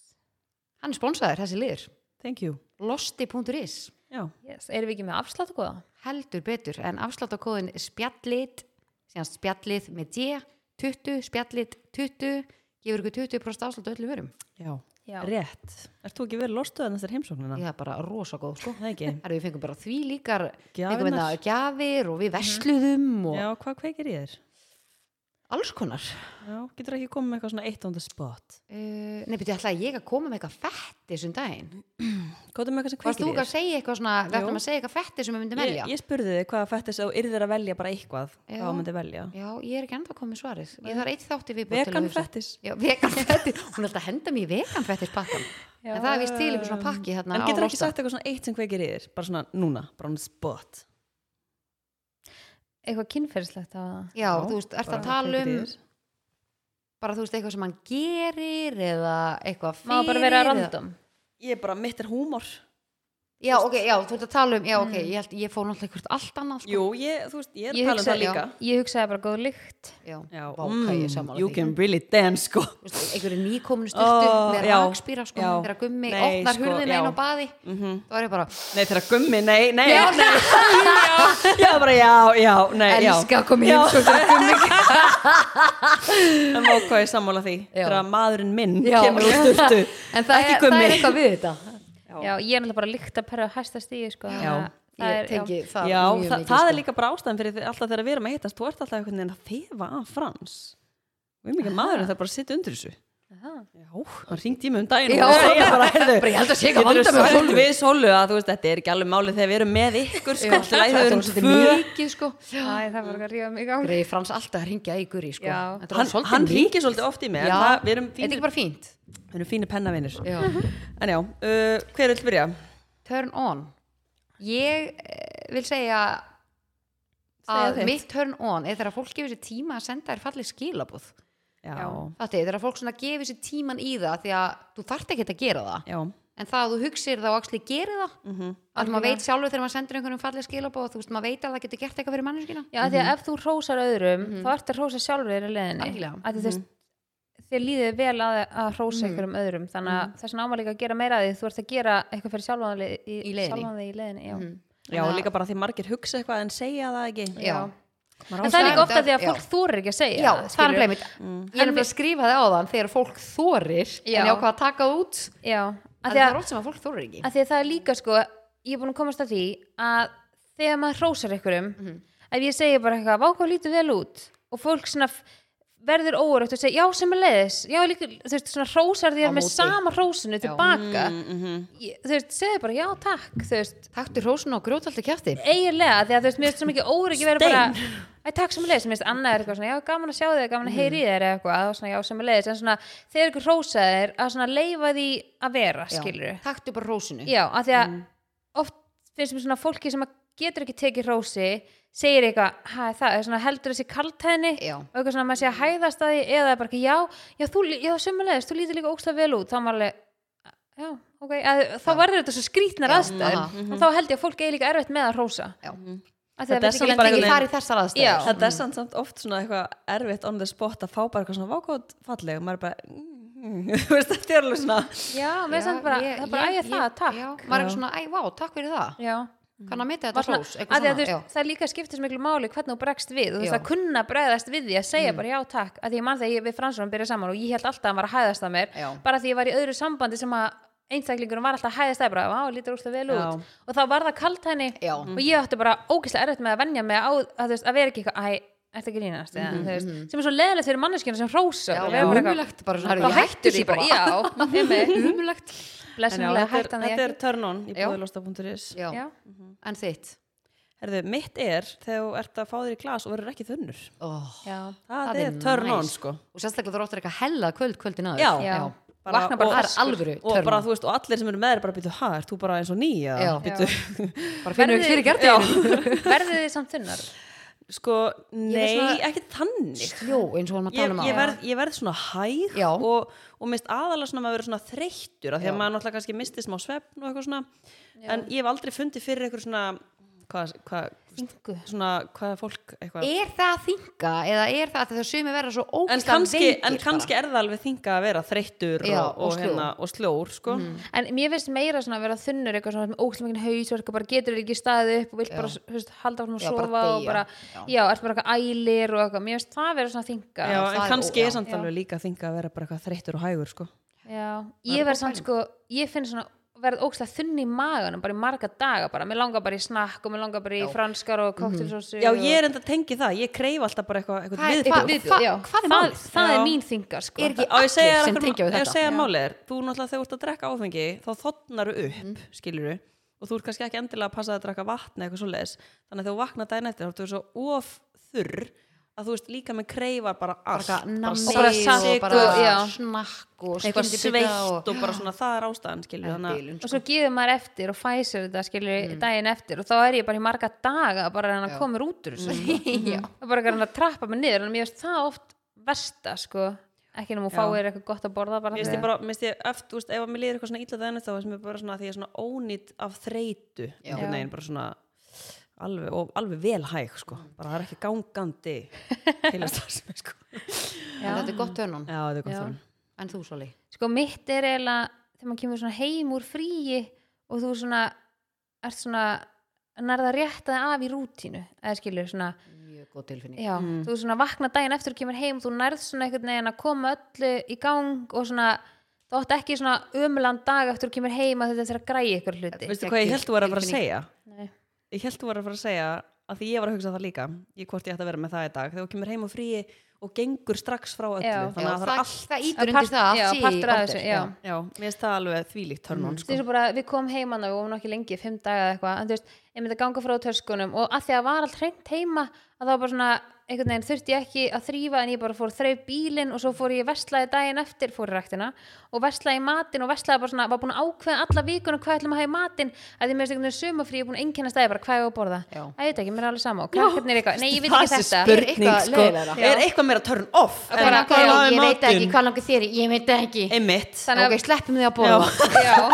S1: hann er sponsaður, þessi liður
S3: thank you.
S1: losti.is,
S3: Já.
S2: Yes. erum við ekki með afslátt og góða?
S1: heldur betur en afsláttakóðin spjallit sérst spjallið með D 20, spjallit 20 gefur ykkur 20% afslátt á öllu vörum
S3: Já,
S2: Já.
S3: rétt. Ert þú ekki verið lostuðan þessar heimsóknina?
S1: ég það er bara rosa góð sko
S3: Það ekki.
S1: Herra, við fengum bara því líkar
S3: Gjafirnar. Mhm.
S1: gjafir og við versluðum og
S3: Já, hvað kveikir í þér?
S1: alls konar
S3: Já, getur ekki komið með eitthvað svona eitt on the spot.
S1: uh, nei, betur ég ætlaði ég að koma með eitthvað fætti þessum daginn,
S3: Hvað er með eitthvað sem
S1: varst
S3: kveikir í
S1: þú ekki
S3: þér?
S1: að segja eitthvað svona, við
S3: Jú.
S1: ætlum að segja eitthvað fætti sem við myndum velja
S3: Ég, ég spurði þig hvað fættist þú yrðir að velja bara eitthvað,
S1: Já.
S3: hvað þú myndir velja.
S1: já, ég er ekki enda að koma með svarið ég þarf eitt þátti við
S3: Vegan fættis.
S1: Já, vegan fettis, hún er alltaf að henda mér í vegan fettis pakkan en það er vist til einhver svona pakki hérna
S3: en
S1: á
S3: getur ekki
S1: Rósta.
S3: sagt eitthvað svona eitt sem kveikir í þér bara svona núna, bara on the spot
S2: eitthvað kynferðislegt á það
S1: já, þú veist, ert
S3: bara
S1: að tala
S3: kveikir
S1: um
S3: í þér.
S1: bara þú veist eitthvað sem hann gerir eða eitthvað fyrir
S2: má bara vera
S1: eða-
S2: random
S3: ég er bara, mitt er húmor
S1: já, ok, já, þú ert að tala um, já, ok,
S2: Mm.
S1: ég, held, ég fór náttúrulega eitthvað allt annað sko.
S3: jú, ég, þú veist, ég er
S2: Ég
S3: að tala um það
S2: hugsaði-
S3: líka
S2: ég hugsaði bara góð lykt
S1: já,
S3: já, mm,
S1: Vá, hvað ég er sammála
S3: you
S1: því.
S3: can really dance sko
S1: Þú veist, einhverju nýkominu styrtu
S3: Ó,
S1: með
S3: já,
S1: rakspýra sko,
S3: já.
S1: þegar gummi
S3: Nei,
S1: opnar
S3: sko,
S1: hurðina
S3: já.
S1: inn á baði
S3: Mhm.
S1: þá er ég bara,
S3: nei, þeirra gummi, nei, nei já, nei. já, já, bara já, já, nei, já
S1: elska að koma í heimsókn þegar gummi
S3: en má hvað ég er sammála því
S1: Já.
S3: þegar maðurinn minn
S1: Já.
S3: kemur úr sturtu
S1: en það
S3: ekki
S1: er, það
S3: gummi
S1: er eitthvað við þetta
S2: já, ég er náttúrulega bara lykt að perra að hæsta stíði sko,
S3: Já.
S2: þannig að það
S1: ég
S2: er- já.
S1: tengi
S3: já,
S1: það mjög
S3: það,
S1: mikið
S3: það er
S1: sko.
S3: líka bara ástæðan fyrir því- alltaf þegar við erum að hittast þú ert alltaf einhvern veginn að þefa að frans við mikið maðurinn það er bara að sitja undir þessu
S2: Aha.
S3: já, hann ringdi í mig um daginn
S1: Já.
S3: og segja bara, heyrðu,
S1: Bara, ég held að sé ekki að
S3: geturðu
S1: vanda með
S3: sagt
S1: Sólu?
S3: við sólu að þú veist, þetta er ekki alveg málið þegar við erum með ykkur sko,
S1: Já,
S3: allt í
S1: það
S3: lagi,
S1: er
S3: við erum
S1: svolítið
S3: tvö.
S1: mikið sko
S2: Æ, það var ekki að ríða mig í gang
S1: Grei Frans alltaf að ringja í Guri sko
S2: Já.
S1: Þetta er
S3: hann,
S1: svolítið
S3: hann
S1: mikið.
S3: ringir svolítið oft í mig en
S1: Já.
S3: það- við erum
S1: Þetta er
S3: fínir-
S1: ekki bara fínt
S3: við erum fínir pennavinir
S1: Já.
S3: en já, uh, hver vil byrja?
S1: Turn on Ég eh, vil segja
S3: Segja
S1: að
S3: þitt.
S1: mitt turn on er þegar fólk gefur sér tíma að senda þér fallið skilabúð
S3: já,
S1: Þetta er þegar fólk svona gefur sér tíman í það því að þú þarft ekki að gera það
S3: já,
S1: en það að þú hugsir það og axli gerir það mm -hmm. að maður veit sjálfur þegar maður sendir einhverjum fallið skilabúð þú veist maður veit að það getur gert eitthvað fyrir manneskina
S2: Já, af því að ef þú hrósar öðrum
S3: Mhm.
S2: þá ertu að hrósa sjálfur þér í leðinni
S1: Mhm. Algjörlega.
S2: að þú veist, þér líðið vel að, að hrósa
S3: Mhm.
S2: einhverjum öðrum þannig að þess vegna áma líka að gera meira að því þú ert að gera eitthvað fyrir sjálfan þig í,
S1: Í leiðinni.
S2: sjálfan þig í leiðinni já.
S3: Mhm. já
S1: Þannig að-
S3: líka bara því margir hugsa eitthvað en segja það ekki
S1: Já.
S3: Maður á
S2: en það er líka
S1: Ástæðan-
S2: ofta því að
S1: Já.
S2: fólk þorir ekki að segja
S1: Já, það er
S2: skilurðu.
S1: bleimitt Ég er nefnilega að skrifa það á þann þegar fólk þorir
S2: Já.
S1: en ég ákvað að taka það út
S2: já,
S1: að
S2: að því
S1: það
S2: að,
S1: er oft sem að fólk þorir ekki
S2: að því að það er líka sko ég er búin að komast að því að þegar maður hrósar einhverjum ef ég segi bara eitthvað, vákvað lítið vel út og fólk svona f- verður óurögt og segja, já sem er leiðis já, líka, þú veist, svona hrósar því
S1: Á
S2: að með
S1: móti.
S2: sama hrósinu tilbaka
S3: mm -hmm.
S2: ég, þú veist, segðu bara já, takk þú veist,
S1: Takktu hrósun og grjótaldi kjátti
S2: eiginlega því að þú veist, mér er svo mikið óreiki verið bara
S3: Stein.
S2: Æ, takk sem leðis, mér finnst annað er eitthvað svona, já, gaman að sjá þig, gaman að heyri í þér eða eitthvað, og svona, já, sem leðis, en svona, þegar ykkur hrósa þér að svona leifa því að vera, skilur já,
S1: Takktu bara hrósunu
S2: af því að oft finnst mér svona fólki sem að getur ekki tekið hrósi, segir eitthvað, hæ, það er svona heldur þessi kaltæðni
S1: Já.
S2: og eitthvað svona að maður sé að hæðast að því eða bara ekki, já, já, þú, lí- já, sem þú lítur líka ókslega vel út, þá er maður alveg, já, ok, að, þá verður þetta svo skrítnar
S1: Já,
S2: aðstæður
S1: aha,
S2: og þá held ég að fólk eigi líka erfitt með að hrósa
S1: Já.
S2: Af því að
S3: Þetta
S2: það
S3: er
S2: veit
S1: Mhm. Ég
S2: ekki
S3: bara
S1: bara
S2: lengi-
S1: ekki
S3: einhvern
S1: fara í þessar
S2: Já.
S1: aðstæður
S3: þetta er samt, samt oft svona eitthvað erfitt on the spot að fá bara eitthvað svona vákvæmt falleg og maður er bara mm, þú veist þetta er alveg svona
S2: já, með samt bara, það er bara ægja það, takk
S1: já,
S2: já,
S1: Maður er eitthvað svona, æ, vá, takk fyrir það Kann að meta
S2: Bara
S1: þetta
S2: svona,
S1: hrós
S2: af því að þú
S1: Eitthvað
S2: veist,
S1: svona,
S2: það líka skiptir svo miklu máli hvernig þú bregst við, þú veist
S1: Já. Mm.
S2: að kunna bregðast við því að segja bara já takk, að því ég mann þegar ég við fransunum byrja saman og ég held alltaf að hann var að hæðast að mér
S1: Já.
S2: bara því ég var í öðru sambandi sem að einstaklingurum var alltaf að hæðast að bara, á, lítur úrslega vel
S3: Já.
S2: út og þá var það kalt henni
S1: Já.
S2: og ég átti bara ógeðslega erfitt með að venja mig á, að, þú veist, að vera ekki eitthvað, æ, ertu að grínast eða, þú veist, sem er svo leðilegt fyrir manneskjuna sem hrósar
S1: Mm-hmm. já
S2: og
S1: Já,
S2: vera bara eitthvað,
S1: umulegt bara svona,
S2: þá
S1: herru, ég
S2: hættu því bara, já, einmitt. blessunlega
S3: En já, þetta er-
S1: hættu því Umulegt
S2: hættan því
S3: þetta er
S2: ekki
S3: turn on í
S1: Já.
S3: búðilosta.is
S1: Já,
S2: Já.
S1: en þitt
S3: Herðu, mitt er þegar þú ert að fá þér í glas og verður ekki þunnur.
S1: Ó.
S2: Já.
S3: Það,
S1: Það
S3: er
S1: er
S3: turn
S1: nice.
S3: on, sko.
S1: Og sérstaklega þú ráttur eitthvað hella kvöld kvöldin aður
S3: Já.
S2: Já.
S1: Vakna bara
S3: og-
S1: það er alvöru
S3: Og
S1: turn
S3: bara,
S1: on.
S3: þú veist, og allir sem eru með þér bara býtu, hæ, ert þú bara eins og nýja?
S1: Já.
S3: Býtu,
S1: Bara finnum við fyrir gert
S2: verðið þið samt þunnar
S3: sko, nei,
S1: svona-
S3: ekki þannig.
S1: Jó, eins og hann að
S3: Ég,
S1: tala um
S3: ég,
S1: áðan.
S3: verð, ég verð svona hæg
S1: Já.
S3: og, og mist aðalega svona maður verður svona þreyttur af því að
S1: Já.
S3: maður náttúrulega kannski misti smá svefn og eitthvað svona en ég hef aldrei fundið fyrir eitthvað svona hvað, hvað,
S2: Þingu.
S3: svona, hvað er fólk eitthvað
S1: er það að þinga eða er það að það sumi vera svo
S3: en
S1: ógæslega
S3: kannski, en kannski er það alveg þinga að vera þreyttur
S1: Já,
S3: og, og,
S1: og sljór.
S3: Hérna, og sljór sko.
S1: Mm.
S2: en mér finnst meira svona að vera þunnur eitthvað svona með ókslega mikinn hausverk og bara getur ekki staðið upp og vilt bara þú veist, halda frá að
S1: Já, bara
S2: sofa og
S1: deyja.
S2: bara,
S1: Já.
S2: já, ert bara eitthvað ælir og eitthvað, mér finnst það vera svona þinga
S3: já,
S1: það
S3: en
S1: er
S3: kannski
S1: ó-
S3: er
S1: já.
S3: samt alveg líka þinga að vera bara eitthvað þreyttur og hægur sko.
S2: já. ég verð samt sko, ég finn svona verð ókslega þunn í maganum, bara í marga daga bara, mér langar bara í snakk og mér langar bara í franskar
S1: Mhm.
S2: og koktelsósu
S3: já, ég er enda tengi það, ég kreif alltaf bara eitthvað, eitthvað
S1: Hvað-
S3: viðbjóð.
S1: hvað-
S2: Við,
S1: Hva-
S2: já,
S1: hvað er
S2: það,
S1: málið?
S2: það er
S3: Já.
S2: mín þinga sko.
S1: Er ekki-
S3: á ég segja þér
S1: allir sem tengja við
S3: akkur- á ég
S1: þetta?
S3: segja
S1: Já.
S3: málið er, þú náttúrulega þegar þú ert að drekka áfengi þá þotnar upp,
S1: Mhm.
S3: mm. skilur og þú ert kannski ekki endilega að passa að drekka vatn eða eitthvað svoleiðis þannig að þegar þú vaknar dæn eftir þá ertu svo of þurr að þú veist líka með kreifar bara allt
S1: bara nammi
S2: Og bara
S3: salt,
S2: salti
S1: og bara
S2: og- já.
S1: snakk og
S3: eitthvað
S1: skyndibita
S3: sveitt og, bara svona það er ástæðan skilur
S1: En
S3: þannig að-
S1: bilun,
S2: og svo gefur maður eftir og fæsir þetta skilur
S3: Mm.
S2: daginn eftir og þá er ég bara í marga daga bara að hann að koma mér út úr
S3: Mm.
S2: þessu sko. og bara að hann að trappa mig niður en mér finnst það oft versta sko ekki nema hún fáir eitthvað gott að borða bara
S3: Mér finnst
S2: þannig.
S3: ég bara, mér finnst ég eftir, þú veist, ef að mér líður eitthvað svona illa þannig þá sem ég bara svona, því ég er svona ónýtt af þreytu, einhvern veginn, bara svona alveg, og alveg vel hæg, sko bara það er ekki gangandi heilast það sem, sko Já,
S1: en þetta er gott tönun,
S3: þetta er gott þann
S1: en þú Soli
S2: sko mitt er eiginlega þegar maður kemur svona heim úr fríi og þú svona ert svona nærða réttaði af í rútínu eða skilur svona
S1: mjög góð tilfinning
S2: Já, þú svona vakna daginn eftir og kemur heim þú nærð svona einhvern veginn að koma öllu í gang og svona þú átt ekki svona ömulan dag eftir og kemur heim að þetta þarf að græja ykkur hluti
S3: Veistu hvað ég held þú var að fara að segja?
S2: Nei.
S3: Ég held þú var að fara að segja að því ég var að hugsa það líka ég hvort ég ætti að vera með það í dag, þegar þú kemur heim og fríi og gengur strax frá öllu
S2: Já.
S3: þannig að það er
S1: það,
S3: allt
S1: það
S2: Að
S1: ítur
S2: part-
S1: undir það
S2: já,
S1: allt sé í
S2: partur af
S1: order,
S2: þessu, já.
S3: Já, mér finnst það alveg þvílíkt törnum,
S2: Þú
S3: sko
S2: veist bara, við komum heim að og vorum ekki lengi, fimm daga eða eitthvað, en þú veist, ég myndi að ganga frá töskunum og að því að var allt hreint heima að það var bara svona, einhvern veginn þurfti ég ekki að þrýfa en ég bara fór þreif bílinn og svo fór ég veslaði daginn eftir, fór í ræktina og veslaði matinn og veslaði bara svona, var búin að ákveða alla vikuna hvað ætlum að hafa í matinn að því mér finnst einhvern veginn sumafrí, ég er búin að einkennast það, ég bara, hvað ég á að borða?
S1: Já.
S2: Æ, ég veit ekki, mér er alveg sama og krakkarnir eitthvað, nei, ég vil
S3: Það
S2: ekki
S3: sé
S2: þetta.
S1: spurning,
S3: Eitthvað
S1: sko.
S3: leiðara.
S2: Já.
S3: er eitthvað meira turn off
S1: Það er
S2: Bara,
S1: hvað
S2: já,
S1: langar- ég veit ekki, hvað langar þér í? ég veit ekki,
S3: Einmitt
S2: Þannig að-
S1: ok, sleppum því að borða
S2: já,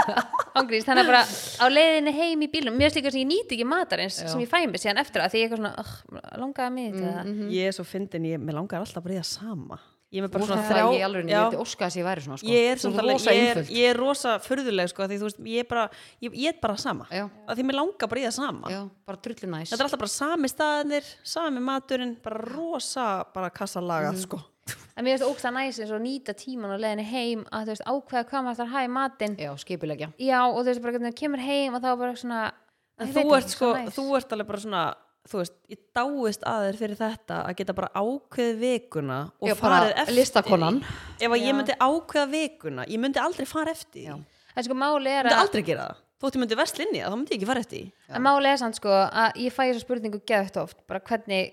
S2: ángrís, þannig að bara á leiðinni heim í bílum, mér slíka sem ég nýti ekki matarins sem ég fæ mig síðan eftir að því ég eitthvað svona "Ugh, langaði mig til það
S1: Mhm.
S3: Ég er svo fyndin, ég mig langar alltaf bara í það sama Ég er með bara
S1: Svona
S3: svona
S1: það
S3: þrjá
S1: er ég alveg, ég veit óska þess að ég væri svona sko.
S3: ég er
S1: Svo
S3: samt alveg-
S1: rosa
S3: ég er,
S1: einföld.
S3: ég er rosa furðuleg sko, af því þú veist, ég er bara ég, ég er bara sama,
S1: Já.
S3: að því mig langar bara í það sama
S1: Já, bara drullu næs
S3: þetta er alltaf bara sami staðinir, sami maturinn bara rosa, bara
S1: Mhm.
S3: kassalagað sko.
S2: en mér finnst ógsta næs eins og nýta tíman á leiðinni heim að þú veist ákveða hvað maður þarf að hafa í matinn
S1: Já, skipulegja
S2: já, og þú veist bara hvernig þú kemur heim og þá bara svona
S3: en
S2: ég
S3: þú
S2: veit
S3: ert
S2: ekki,
S3: sko,
S2: svo næs.
S3: þú ert alveg bara svona þú veist, ég dáist að þér fyrir þetta að geta bara ákveðið vikuna og
S1: Já, bara
S3: farið eftir því.
S1: listakonan.
S3: ef að ég myndi ákveða vikuna ég myndi aldrei fara eftir því. ég
S2: en sko máli er
S3: myndi
S2: að
S3: aldrei gera það þótt ég myndi vestlinni, þá myndi ég ekki fara eftir því.
S2: En máli er samt sko að ég fæ þessa spurningu geðt oft, bara hvernig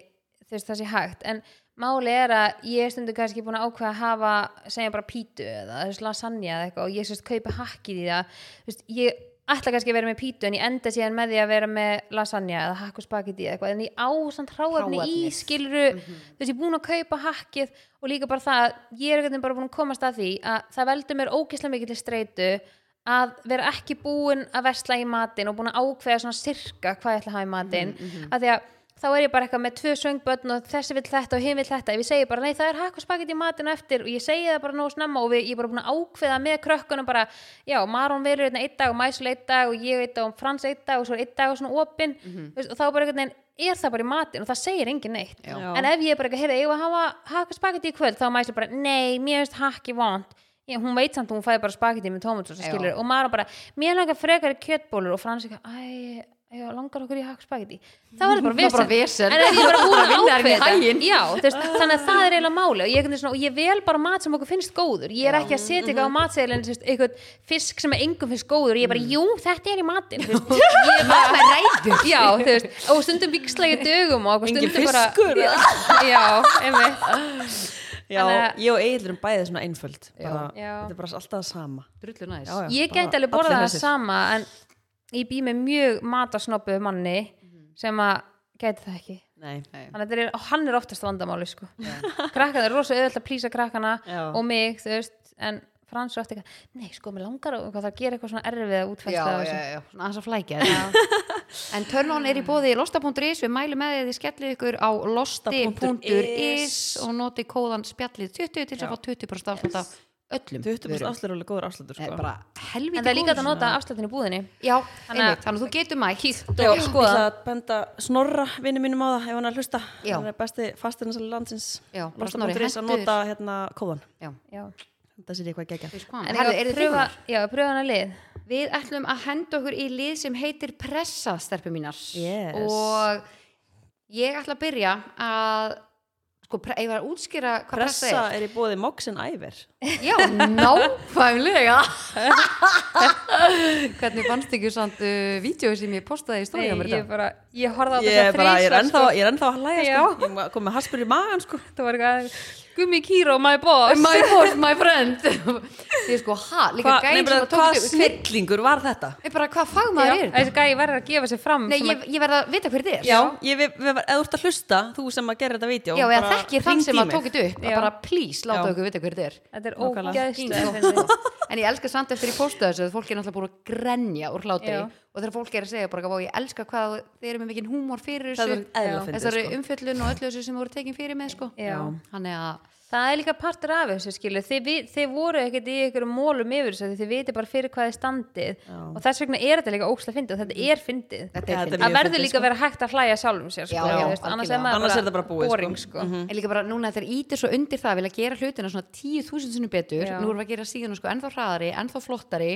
S2: þú veist það sé hægt, en máli er að ég er stundu kannski búin að ákveða að hafa segja bara pítu eða þú veist, lasagna eða eitthvað og ég sérst kaupi hakkið í það þú veist, ég ætla kannski að vera með pítu en ég enda síðan með því að vera með lasagna eða hakk og spagetti eða eitthvað en ég á samt hráefni í
S1: Hráefnið.
S2: skiluru þú veist ég er búin að kaupa hakkið og líka bara það að ég er eitthvað bara búin að komast að því að það veldur mér ógislega mikill streitu að vera ekki búin að vesla í matinn og búin að ákveða svona sirka hvað ég ætla að hafa í matinn af því að þá er ég bara eitthvað með tvö söngbötn og þessi vill þetta og hinn vill þetta ef ég segi bara nei það er hakk og spagetti í matinn á eftir og ég segi það bara nóg snemma og við, ég er bara búin að ákveða með krökkunum bara já Maron verður hérna einn dag og Mæsul einn dag og ég einn dag og Frans einn dag og svo einn dag og svona opinn mm -hmm. og þá bara einhvern veginn er það bara í matinn og það segir engin neitt
S3: Já.
S2: en ef ég er bara eitthvað, heyrðu, ég var að hafa hakka spagetti í kvöld, þá mæsir bara, nei, mér finnst hakki vond ég, hún veit samt að hún fæði bara spagetti með tómatsósa,
S1: Já.
S2: skilur, og maður bara mér langar frekar í kjötbólur og frans eitthvað, æ, já, langar okkur í hakka spagetti þá er það bara
S1: Það er
S2: vesen,
S1: bara vesen.
S2: en ef ég bara búin að
S1: Vinna þér í
S2: ákveða
S1: haginn.
S2: þetta, já, þú veist, þannig að það er eiginlega máli og ég, einhvern veginn svona, og ég vel bara mat sem okkur finnst góður ég er ekki að setja eitthvað á matseðilin eitthvað fisk sem er engum finnst góður ég er bara, jú, þetta er í matin ég er bara
S1: Það ræður
S2: já, þú veist, og stundum vikslega dögum og
S3: Engin
S2: stundum bara
S3: fiskur, eða?
S2: já, einmitt
S3: Já,
S2: Þannig að-
S3: ég og Egil erum bæðið svona einföld bara,
S2: Já.
S3: Þetta er bara alltaf það sama
S1: Drullu næs
S3: Já, já,
S2: ég
S3: bara
S2: gæti alveg
S3: allir
S2: borðað það
S3: þessir.
S2: sama en ég bý með mjög matasnoppu manni sem að gæti það ekki
S3: Nei,
S2: Þannig að þetta er, og hann er oftast vandamáli sko. krakkana er rosa auðvitað að plýsa krakkana
S3: Já.
S2: og mig, þú veist en Frans er oft eitthvað, nei sko, mér langar og það gera eitthvað svona erfiða
S1: Já,
S2: útfærsla af
S1: já,
S2: þessu.
S1: já, svona aðeins að flækja þetta. En törnón er í bóði losta.is Við mælum með því að þið skellið ykkur á losti.is og noti kóðan spjallið 20 til þess að fá 20% afslátt af öllum
S3: 20%
S1: vörum.
S3: afslut er alveg góður afslutur
S1: Það
S3: sko.
S1: er bara helviti
S2: en það er líka hægt að nota afslættinu í búðinni
S1: Já,
S2: Þannig að-
S1: einmitt, þannig að þú getur mætt
S3: Já,
S2: og
S3: ég
S2: skoða.
S3: ætla að benda snorra vinnu mínum á það ef hann er að hlusta
S1: Já.
S3: hann er besti fastirnarsali landsins
S1: Já, bara Snorri,
S3: losta.is að
S1: hentu þér.
S3: nota hérna kóðan
S1: Já,
S2: Já.
S3: þetta sér ég hvað gegja
S1: veist hvað,
S2: en
S1: herðu,
S2: ég var
S1: eru
S2: að
S1: þið
S2: pröfa,
S1: tilbúnar?
S2: já, pröfa hana lið
S1: Við ætlum að henda okkur í lið sem heitir pressa, stelpur mínar.
S3: Yes.
S1: Og ég ætla að byrja að, sko, sko, pre- eigum við að útskýra hvað pressa,
S3: Pressa er í bóði Moxin Æver
S1: er já, náfæmlega hvernig fannst ekki samt uh, vídeo sem ég postaði í
S2: Nei,
S1: stóri á mér
S2: ég, bara, ég horfði á
S3: Ég er,
S2: þetta
S3: bara, ég, er
S2: þrisvar,
S3: ennþá,
S2: sko.
S3: ég er ennþá að hlæja
S2: Já.
S3: sko. Ég kom með haspur í magan sko.
S2: Þetta var eitthvað Gummi Kíró, my boss
S1: my boss, my friend því sko, ha, líka
S3: Hva,
S1: gæn sem
S3: bara,
S1: að tók
S3: Hvað
S1: þetta- hver-
S3: snillingur var þetta?
S1: Nei, bara hvað
S2: Já,
S1: fagmaður er þetta?
S2: Þessi gæði verður að gefa sér fram
S1: Nei,
S2: sem
S1: ég, ég verð að vita hver þetta er
S3: Já, ég, við, við, eða þú ert að hlusta þú sem að gera þetta vídeo
S1: Já, eða
S3: bara
S1: þekkir þann
S3: hringdu
S1: sem
S3: í
S1: að
S3: mig.
S1: tók þetta upp að
S2: Já.
S1: bara please, láta
S3: Já.
S1: okkur vita hver þetta er
S2: Þetta er
S3: Nákvæmlega.
S2: ógæðslega
S1: Fín
S2: fyndið.
S1: þó. en ég elska samt eftir ég posta þessu að fólk er náttúrulega búin að grenja úr hlátri
S2: Já.
S1: og þegar fólk er að segja bara "Vá, ég elska hvað þeir eru með mikinn húmor fyrir
S3: Það
S1: þessu
S3: var eðla
S2: Já.
S3: fyndið
S1: þessari
S3: sko.
S1: umfjöllun og öllu þessu sem voru tekin fyrir með sko.
S2: Já.
S1: hann er að
S2: Það er líka partur af þessu skilur þið, vi- þið voru ekkert í ykkur mólum yfir þessu af því þið viti bara fyrir hvað þið standið
S3: Já.
S2: og þess vegna er þetta líka ókslega fyndið og þetta er fyndið
S1: Mm. þetta
S3: Já,
S1: er
S3: þetta
S1: fyndið
S3: mjög
S2: Það verður
S3: fyndið,
S2: líka
S3: sko.
S2: að vera hægt að hlæja sjálfum sér sko,
S1: Já,
S2: þú
S1: já,
S2: veist, annars er
S1: algjörlega.
S2: maður
S3: Annars er þetta bara búið, sko.
S2: boring, sko.
S1: en líka bara núna þegar ítir svo undir það að vilja gera hlutina svona tíu þúsundsunum betur
S2: Já. Mhm.
S1: nú erum við að gera síðan sko, ennþá hraðari, ennþá flottari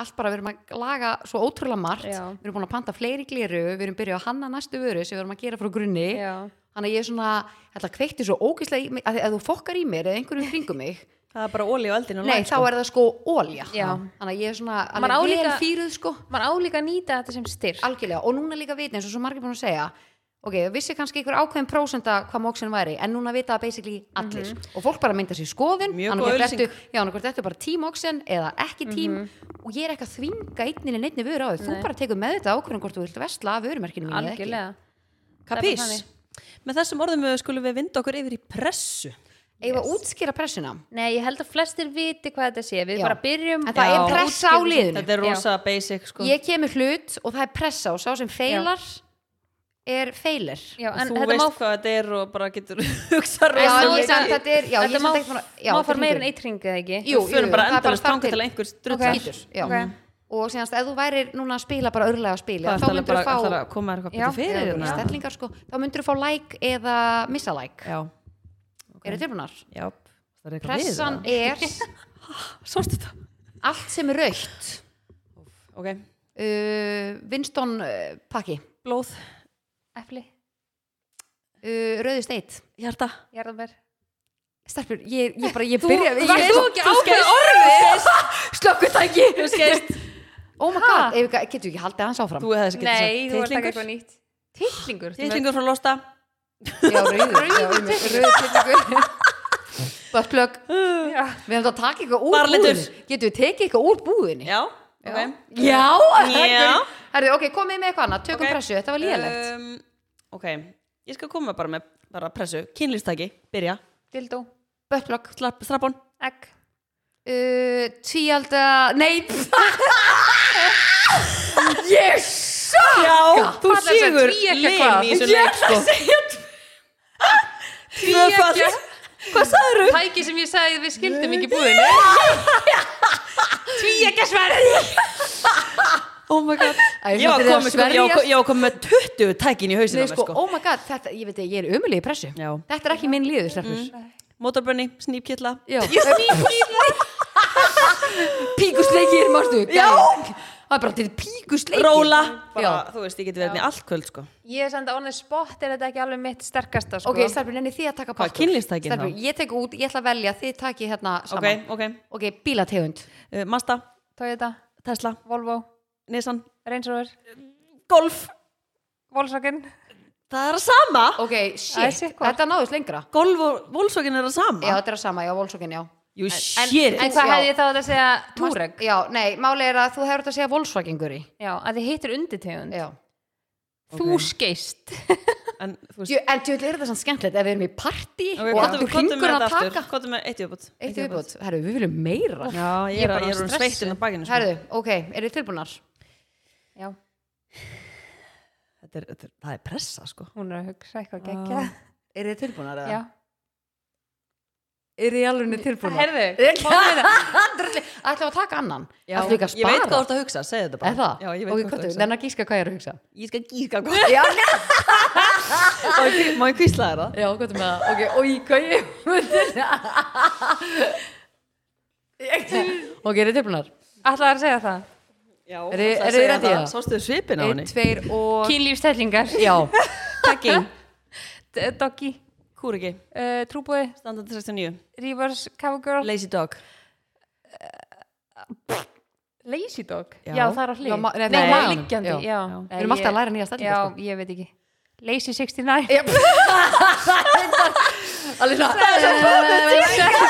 S1: allt bara við erum að laga svo ótrúlega margt
S2: Já.
S1: við erum búin að panta fleiri gleru við erum byrjuð að hanna næstu vöru sem við erum að gera frá grunni
S2: Já.
S1: þannig að ég er svona, þetta kveikti svo ógeðslega í mig, að, að þú fokkar í mér eða einhverjum kringum mig,
S3: Það er bara ólíu eldinu
S1: nei þá er það sko ólja,
S2: Já.
S1: þannig að ég er svona
S2: Maður á
S1: alveg vel
S2: líka-
S1: fýruð sko
S2: Maður á líka að nýta þetta sem styrk
S1: algjörlega og núna líka vita eins og svo margir búin að segja ok, vissi kannski ykkur ákveðin prósenda hvað móksin væri, en núna vita það basically allir
S2: Mhm.
S1: og fólk bara mynda sér skoðun
S3: Mjög
S1: annarkvort
S3: góð auglýsing.
S1: ertu- já, annarkvort þetta er bara tímóksin eða ekki tím
S2: Mhm.
S1: og ég er ekki að þvinga einninu neittni vöru á þau, þú bara tekur með þetta ákveðin hvort þú vilt vesla af vörumerkinu mínu eða ekki
S2: Algjörlega
S3: Kapís
S2: Það er bara
S3: Með þessum orðum eh, skulum við vinda okkur yfir í pressu
S1: eigum við að útskýra pressuna
S2: Nei, ég held að flestir viti hvað þetta sé Við
S1: Já.
S2: bara byrjum
S1: en það
S3: Já.
S1: er pressa á liðinu
S3: Þetta er rosa basic sko.
S1: ég kemur hlut og það er pressa og sá sem feilar er feilir
S2: Já,
S3: Og
S2: en
S3: Þú
S2: þetta
S3: veist
S2: má
S3: hvað þetta er og bara getur hugsað rosa
S1: Já, en
S3: mikið.
S1: ég- samt- þetta er- já, ég
S2: þetta
S1: er
S2: má,
S1: samt ekki búin að- já,
S2: má
S1: þetta er
S2: fara meira en
S1: hringur.
S2: eitt ring eða ekki
S1: Jú,
S3: Við förum bara
S1: það er bara
S3: endalist
S1: þar
S3: þangað
S1: til.
S3: til einhver
S2: Ok.
S3: strullar
S1: skýtur já.
S2: Ok.
S1: og síðanst ef þú værir núna að spila bara örlega að spila
S3: Það
S1: þá
S3: er
S1: myndur
S3: bara
S1: þú
S3: að
S1: fá
S3: koma þér eitthvað
S2: Já.
S3: betur fyrir
S1: eða
S3: hérna.
S1: bara stellingar sko þá myndur þú fá like eða missa like
S3: Já,
S1: eru tilbunar?
S3: já Það er eitthvað við
S1: pressan
S3: það.
S1: er
S3: Sástu þetta?
S1: allt sem er raukt
S3: Ok,
S1: uh, Winston uh, pakki
S3: blóð,
S2: Epli,
S1: uh, rauði steit
S3: hjarta
S2: jarðabær
S1: Stelpur, ég, ég bara, ég byrja ég-
S2: varst þú ekki ákveð
S1: Slökkutæki
S2: orðið?
S1: Oh my god, ef, við- getur við ekki haldið hans áfram?
S3: Þú hefði þessi getur
S2: Nei, þú ert að taka
S3: titlingur
S2: eitthvað nýtt Tittlingur?
S3: Titlingur frá Losta
S1: Já, rauður já, um- Rauður tilfingur Böttlög,
S2: Já,
S1: við hefum það að taka eitthvað úr
S3: Varlitur.
S1: búðinni Getum við tekið eitthvað úr búðinni?
S3: Já, ok
S1: Já,
S3: Já.
S1: Herðu, ok, komið með eitthvað annað, tökum
S3: Ok.
S1: pressu, þetta var lélegt
S3: um, Ok, ég skal koma bara með bara pressu, kynlýstæki, byrja
S2: dildó,
S1: Böttlokk,
S3: Strappon
S2: egg
S1: uh, tvíalda, nei Yes
S3: Já, þú
S2: Hvað er þess að
S3: sigur
S2: tvíeggja
S3: lim
S2: hvað?
S3: í þessu leik sko Tvöfall Hvað sagður þú?
S2: Tæki sem ég sagði við skildum ekki búðinu Tvíeggja sverð
S3: Oh my god
S1: Æ,
S3: Ég var komið sko,
S1: þetta er að
S3: ég var
S1: sverjast.
S3: kom- ég var komið með 20 tækin í hausinu
S1: Nei,
S3: á mér
S1: sko,
S3: sko
S1: oh my god, þetta, ég veit að ég er umulegi pressu
S3: Já. Mm.
S1: Þetta er ekki minn liður, stelpur
S3: Motorbunny, snýpkilla
S1: Já. Ég snýpkýla Píkusleikir, mástu Já Það er bara til píkusleikir
S3: Róla
S1: Já.
S3: bara, Þú veist, ég geti verið með allt kvöld sko
S2: Ég er samt að onnið spott er þetta ekki alveg mitt sterkasta sko.
S1: Ok, stelpur, nenni þið að taka
S3: Hvað,
S1: pakkur
S3: kynlýstækin þá?
S1: Stelpur, ég tek út, ég ætla að velja, þið taki hérna
S3: Ok,
S1: saman
S3: ok
S1: Ok, bílategund
S3: Uh, Mazda,
S2: Toyota,
S3: Tesla,
S2: Volvo,
S3: Nissan
S2: Range Rover
S3: Golf
S2: Volkswagen
S3: Það er að sama
S1: Ok,
S2: Æ,
S1: shit,
S2: sitt hvað.
S1: þetta náðist lengra
S3: Golf og Volkswagen er að sama
S1: Já, þetta er að sama, já, Volkswagen, já
S3: Jú,
S2: En,
S3: shit
S2: en hvað
S1: Já.
S2: hefði ég þá átt að segja? Touareg
S1: Já, nei, máli er að þú hefur þetta að segja Volkswagen guri
S2: Já, að þið hittir undirtegund
S1: Já
S2: Þú skeist
S3: En þú
S1: Djú, En djúvel er þetta sann skemmtilegt ef við erum í partí
S3: Ok,
S1: og
S3: komdu-
S1: allt úr
S3: komdu með
S1: hringur að
S3: þetta aftur.
S1: taka
S3: Komdu með eitt í uppbútt
S1: Eitt viðbútt, herru, við viljum meira
S3: Já, ég
S2: Ég er
S3: er
S2: bara
S3: orðin
S2: stressuð.
S3: sveittin á bakinu sko.
S1: Herru, ok, eru þið tilbúnar?
S2: Já,
S3: þetta er, þetta er, Það er pressa sko
S2: hún er að hugsa eitthvað gekkja
S1: Eru þið tilbúnar
S2: Já,
S1: Eru þið alveg tilbúnar?
S2: herðu
S1: Ætlaðu að taka annan Ætlaðu ekki að
S3: Ég veit hvað þú
S1: spara
S3: ert að hugsa, segðu þetta
S1: Er
S3: bara
S1: það?
S3: Já, ég veit
S1: Ok,
S3: hvað þú ert
S1: hvað
S3: að
S1: þú,
S3: hugsa
S1: nenn að gíska hvað ég er að hugsa
S3: Ég skal gíska sko. hvað
S1: Já,
S3: Má ég- Má ég kvísla þér það?
S1: já, hvað þú með það Ok, og í hvað ég Ok, eru þið tilbúnar?
S2: Ætlaðu að segja það?
S3: Já,
S1: Er- er þið ready í það?
S3: Sástu þér svipin á
S1: Einn,
S3: henni?
S1: tveir og
S2: Kynlífstellingar
S1: Já
S3: Tagging
S2: D- Doggy
S3: Kúriki,
S2: uh, Trúbói,
S3: standard 69
S2: Rivers, Cowgirl
S3: Lazy Dog
S2: Lazy Dog,
S3: Já.
S2: já, það er á hlið
S1: Já, ma- nei,
S2: nei,
S1: það er á laganum.
S2: liggjandi,
S1: Já.
S2: já
S3: Já.
S1: Við erum alltaf að læra nýja
S2: Já,
S1: sko. stellingar
S2: ég veit ekki Lazy 69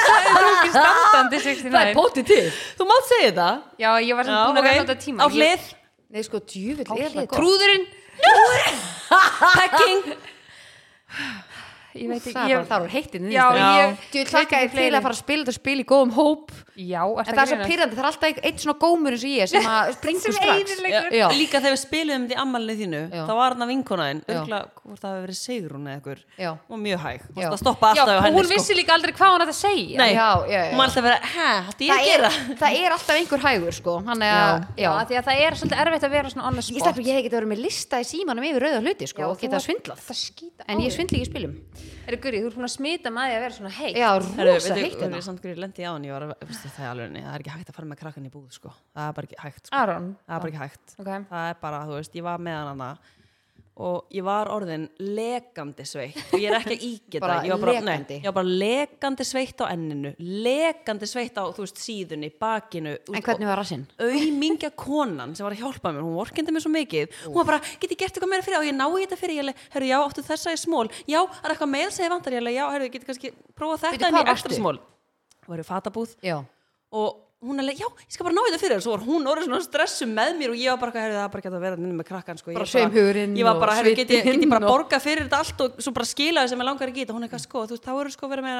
S2: Standandi
S1: Það
S2: 69
S1: er pótið til
S3: Þú mátt segja það
S2: Já, ég var sem búin að vera þetta tíma
S3: á hlið,
S1: Nei sko, djúvill er það gott
S2: Trúðurinn
S3: packing
S2: Ég veit ekki
S1: Það er bara
S2: ég-
S1: þar úr heitin
S2: Já, ég
S1: Djúvill
S2: veit
S1: takka ég
S2: ekki
S1: til
S2: fleiri.
S1: að fara að spila þetta spil í góðum hóp
S2: Já, er
S1: En það er svo pyrrandi, það er alltaf einn svona gómur eins og ég sem að springur
S2: Sem
S1: strax
S2: eyðileggur.
S1: Já.
S3: Líka þegar við spiluðum þetta í ammalinu þínu
S1: Já.
S3: þá var hann að vinkona þinn
S1: Já.
S3: örgulega hvort það hefur verið Sigrún eða ykkur
S1: Já.
S3: og mjög hæg, hún
S1: Já.
S3: varst að stoppa
S2: Já,
S3: alltaf á henni sko.
S2: hún vissi líka aldrei hvað hún ætti að segja
S3: Nei,
S1: Já, já, já.
S3: hún var alltaf að vera, hæ, hætti ég
S1: það
S3: að
S1: er,
S3: gera
S1: það er alltaf einhver hægur sko Hann er að,
S2: Já,
S1: já
S2: af því að það er svolítið erfitt að vera svona on the
S1: Ég
S2: spot
S1: stætti ég hef getið að vera með lista í símanum yfir rauða hluti sko og
S2: þú
S1: geta
S2: ert-
S1: svindlað
S2: Það skýta
S1: En ég svindla ekki í spilum
S2: Er gurið, þú ert búin að smita maður að vera svona heik
S1: Já,
S3: Herru,
S1: rosa
S3: veitu,
S1: heitt hérna.
S3: hún er
S1: þetta
S3: samt hverju lendi á hann, ég var að, veistu, það er alveg, nei, það er ekki hægt að fara með krakkan í búð, sko, það er bara ekki hægt, sko,
S2: Aron
S3: það er bara ekki hægt,
S2: Ok.
S3: það er bara, þú veist, ég var með hann hana og ég var orðin lekandi sveitt og ég er ekki að ígeta,
S1: Bara
S3: ég var bara,
S1: lekandi.
S3: nei, ég var bara lekandi sveitt á enninu, lekandi sveitt á, þú veist, síðunni, bakinu, þú
S1: En
S3: veist,
S1: hvernig var rassinn?
S3: auðmingja konan sem var að hjálpa mér, hún vorkindi mér svo mikið hún var bara, get ég gert eitthvað meira fyrir og ég nái þetta fyrir, ég alveg, herru, já, áttu þessa í smól já, er eitthvað meira sem ég vantar, ég alveg, já, herru, get kannski prófa
S1: Bíddu,
S3: þetta en
S1: hvar
S3: ég
S1: varstu?
S3: ekstra smól og eru fatabúð
S1: Já,
S3: og hún alveg, já, ég skal bara ná þetta fyrir þér. svo var hún orðið svona stressum með mér og ég var bara, herru, það er bara geta að vera nynni með krakkan sko. Ég
S1: Bara
S3: er
S1: sveimhugurinn
S3: ég var
S1: og
S3: bara, herru, get, ég- get ég bara
S1: svitinn og-
S3: borga fyrir þetta allt og svo bara skila þess að mér langar ekki í þetta hún er eitthvað, sko, þú veist, þá eru sko verið með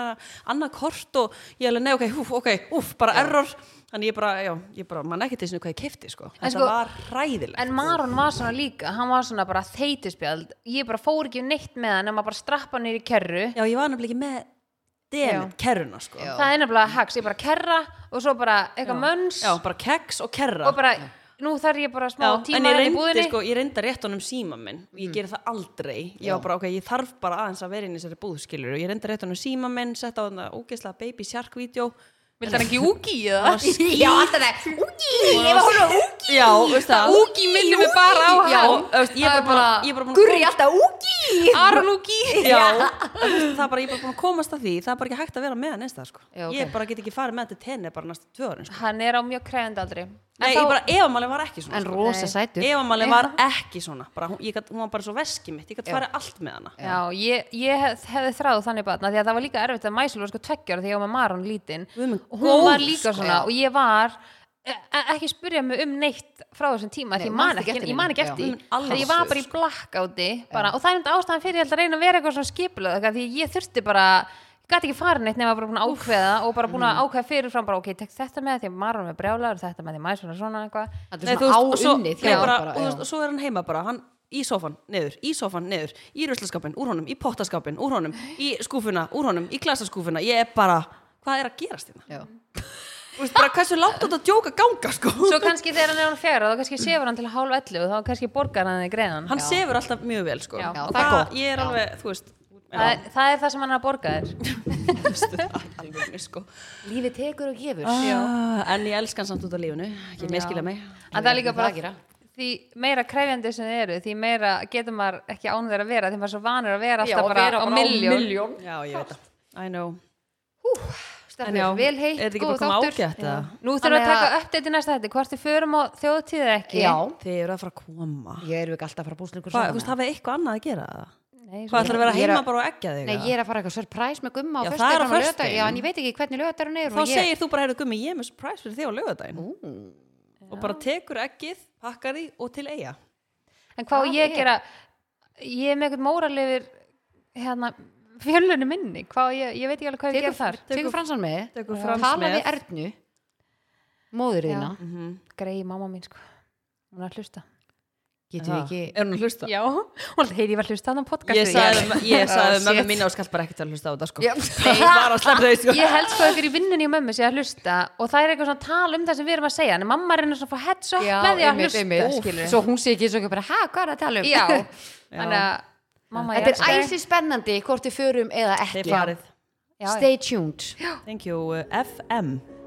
S3: annað kort og ég alveg, nei, ok, húf, ok, úf, bara error, þannig ég bara, já, ég bara man ekki til sinni hvað ég kefti, sko þetta
S2: sko-
S3: var hræðilegt,
S2: En Maron var svona líka, hann var svona bara þeytispjald Ég bara fór ekki um neitt með hann en maður bara strappa hann niður í kerru
S3: já, ég var nefnilega ekki með demit, kerruna, sko
S1: Já.
S2: Það er nefnilega haks, ég bara kerra og svo bara eitthvað mönns
S3: já, bara keks og kerra
S2: og bara, nú þarf ég bara smá
S3: Já, en
S2: tíma
S3: ég
S2: hérna í
S3: reyndi
S2: búðinni Mm.
S3: sko, ég reyndi að rétt honum síma minn og ég geri það aldrei, ég var bara ok, ég þarf bara aðeins að vera inn í þessari búðskilur og ég reyndi að rétt honum síma minn, setta á þarna ógeðslega baby shark vídeo
S2: Vildi hann ekki úki í það?
S1: já alltaf það Úgi, ég var hún að úgi
S3: Já, veist það
S2: Úki minnum við bara á
S1: Já,
S2: hann
S3: þú veist, ég
S2: Það
S3: er
S2: er
S3: bara,
S2: bara-
S3: ég er bara búin að
S1: Gurri alltaf úgi
S2: Aron Úki
S3: Já, þú veist, það er bara, ég er bara búin að komast að því það er bara ekki hægt að vera með hann eins það sko
S1: Já, ok.
S3: Ég bara get ekki farið með þetta tenni bara næstu tvö árin sko.
S2: Hann er á mjög krefandi aldrei
S3: Nei, ég bara, Evamalin var ekki svona
S1: En
S3: sko.
S1: rosa sætur
S3: Evamalin var ekki svona bara, hún, ég gat, hún var bara svo veski mitt, ég gæti farið allt með hana
S2: Já, ég, ég hef, hefði þráð þannig batna því að það var líka erfitt að Mæsul var sko tveggjara því að ég var með Maron lítinn
S3: Guð minn
S2: og hún var
S3: góður,
S2: líka svona og ég var e- e- ekki spyrja mig um neitt frá þessum tíma
S1: Nei,
S2: því ég
S1: manstu
S2: man
S1: ekki
S2: ekki,
S1: eftir
S2: ég man ekki
S1: neinu,
S2: eftir
S1: já.
S2: því.
S3: Mm, alls
S2: Því ég var bara í blackouti bara, og það er enda ástæðan fyrir ég held að reyna að vera eitthvað svona skipulega eitthvað, því ég þurfti bara ég gæti ekki farin eitt nema bara búin að ákveða og bara búin að ákveða fyrirfram bara ok, tek þetta með því að Maron er brjálaður, þetta með því Mæsul er svona eitthvað
S1: Þetta
S3: Nei,
S1: er
S3: þú veist,
S1: svona
S3: og svo-
S1: áunnið
S3: nei,
S1: hjá
S3: bara,
S1: bara,
S3: og þú veist,
S1: já.
S3: og svo er hann heima bara hann í sófan, neður, í sófan, neður í ruslaskapin, úr honum, í pottaskapin, úr honum í skúfuna, úr honum, í glasaskúfuna ég er bara, hvað er að gerast hérna?
S1: Já.
S3: Þú veist, bara hversu langt átt að djóka ganga, sko
S2: Svo kannski þegar hann er hann fjara þá kannski sefur hann til hálf 11 og þá kannski borgar hann þig greiðan
S3: hann sefur alltaf mjög vel, sko
S2: Já.
S3: Og
S2: Já,
S1: það er
S3: það-
S1: gott.
S3: ég er alveg, þú veist
S2: það, er- það er það sem hann er að borga þér
S3: alveg mér, sko
S1: Lífið tekur og gefur
S3: Ah, en ég elska hann samt út af lífinu ekki meðskila mig
S2: En það er líka
S1: Það að
S2: bara
S1: gera.
S2: því meira krefjandi sem þið eru því meira getur maður ekki án þeirra að vera því maður er svo vanur að vera alltaf bara, á miljón
S3: já, ég veit það, I know En já,
S1: Stefnir, vel heitt,
S3: er þetta ekki
S1: góður
S3: bara að koma
S1: þáttur.
S3: ágætt,
S1: Já.
S3: eða?
S2: Nú þurfum við að
S1: Þannig
S2: taka uppdæti næsta þetta hvort þið förum á þjóðtíð eða ekki
S1: Já,
S3: þið eru að fara að koma
S1: ég er ekki alltaf að fara að búsla ykkur
S3: Hvað, þú veist, hafið eitthvað annað að gera það?
S2: Nei,
S3: Hvað ætlar að vera
S1: Ég er
S3: heima
S1: að-
S3: bara og eggja þig?
S1: Nei,
S3: eða?
S1: ég er að fara eitthvað surprise með gumma á
S3: Já, það er á
S1: föstudeginum og laugardaginn.
S3: föstudaginn.
S1: Já, en ég veit ekki hvernig lögadarinn er
S3: Þá
S1: og ég-
S3: segir þú bara, heyrðu gummi, ég er með surprise fyrir þig á lögadaginn. Og bara tekur eggið, pakkar því og til eiga.
S2: En hvað á
S1: Hvað
S2: ég að
S1: er?
S2: gera ég er með eitthvað móralegur hérna fjölunni minni hvað á ég, ég veit ekki alveg hvað ég
S1: Tekur-
S2: ger þar
S1: Tekur fransan með
S3: Tekur
S1: Já.
S3: Frans
S1: Tala
S3: með.
S1: við Ernu Móður
S2: Já.
S1: þína
S3: Mhm.
S2: Grei mamma mín sko hún er að hlusta
S1: Getum við ekki
S3: Er hún að hlusta?
S2: Já, hún alltaf heiti ég var að hlusta á þann podcast
S3: Ég sagði, um- ég sagði
S1: Ah,
S3: mömmu
S1: shit.
S3: minna og skallt bara ekkert að hlusta á þetta, sko.
S1: Já.
S3: Ég var að sleppa þau, sko.
S2: Ég held sko ykkur í vinnunni og mömmu sé að hlusta og það er eitthvað svona tal um það sem við erum að segja en mamma reynir svona að fá heads up með því að
S1: einmitt,
S2: hlusta
S1: einmitt.
S2: skilurðu.
S1: Svo hún sé ekki eins og ekki bara, hæ, hvað er að tala um?
S2: Já, þannig að mamma ég
S1: Þetta
S2: elska
S1: er
S2: þig.
S1: æsi spennandi hvort við förum eða
S3: Þið
S1: ekki
S3: farið.
S2: Já, já.
S1: Stay tuned
S3: Thank you, uh, FM.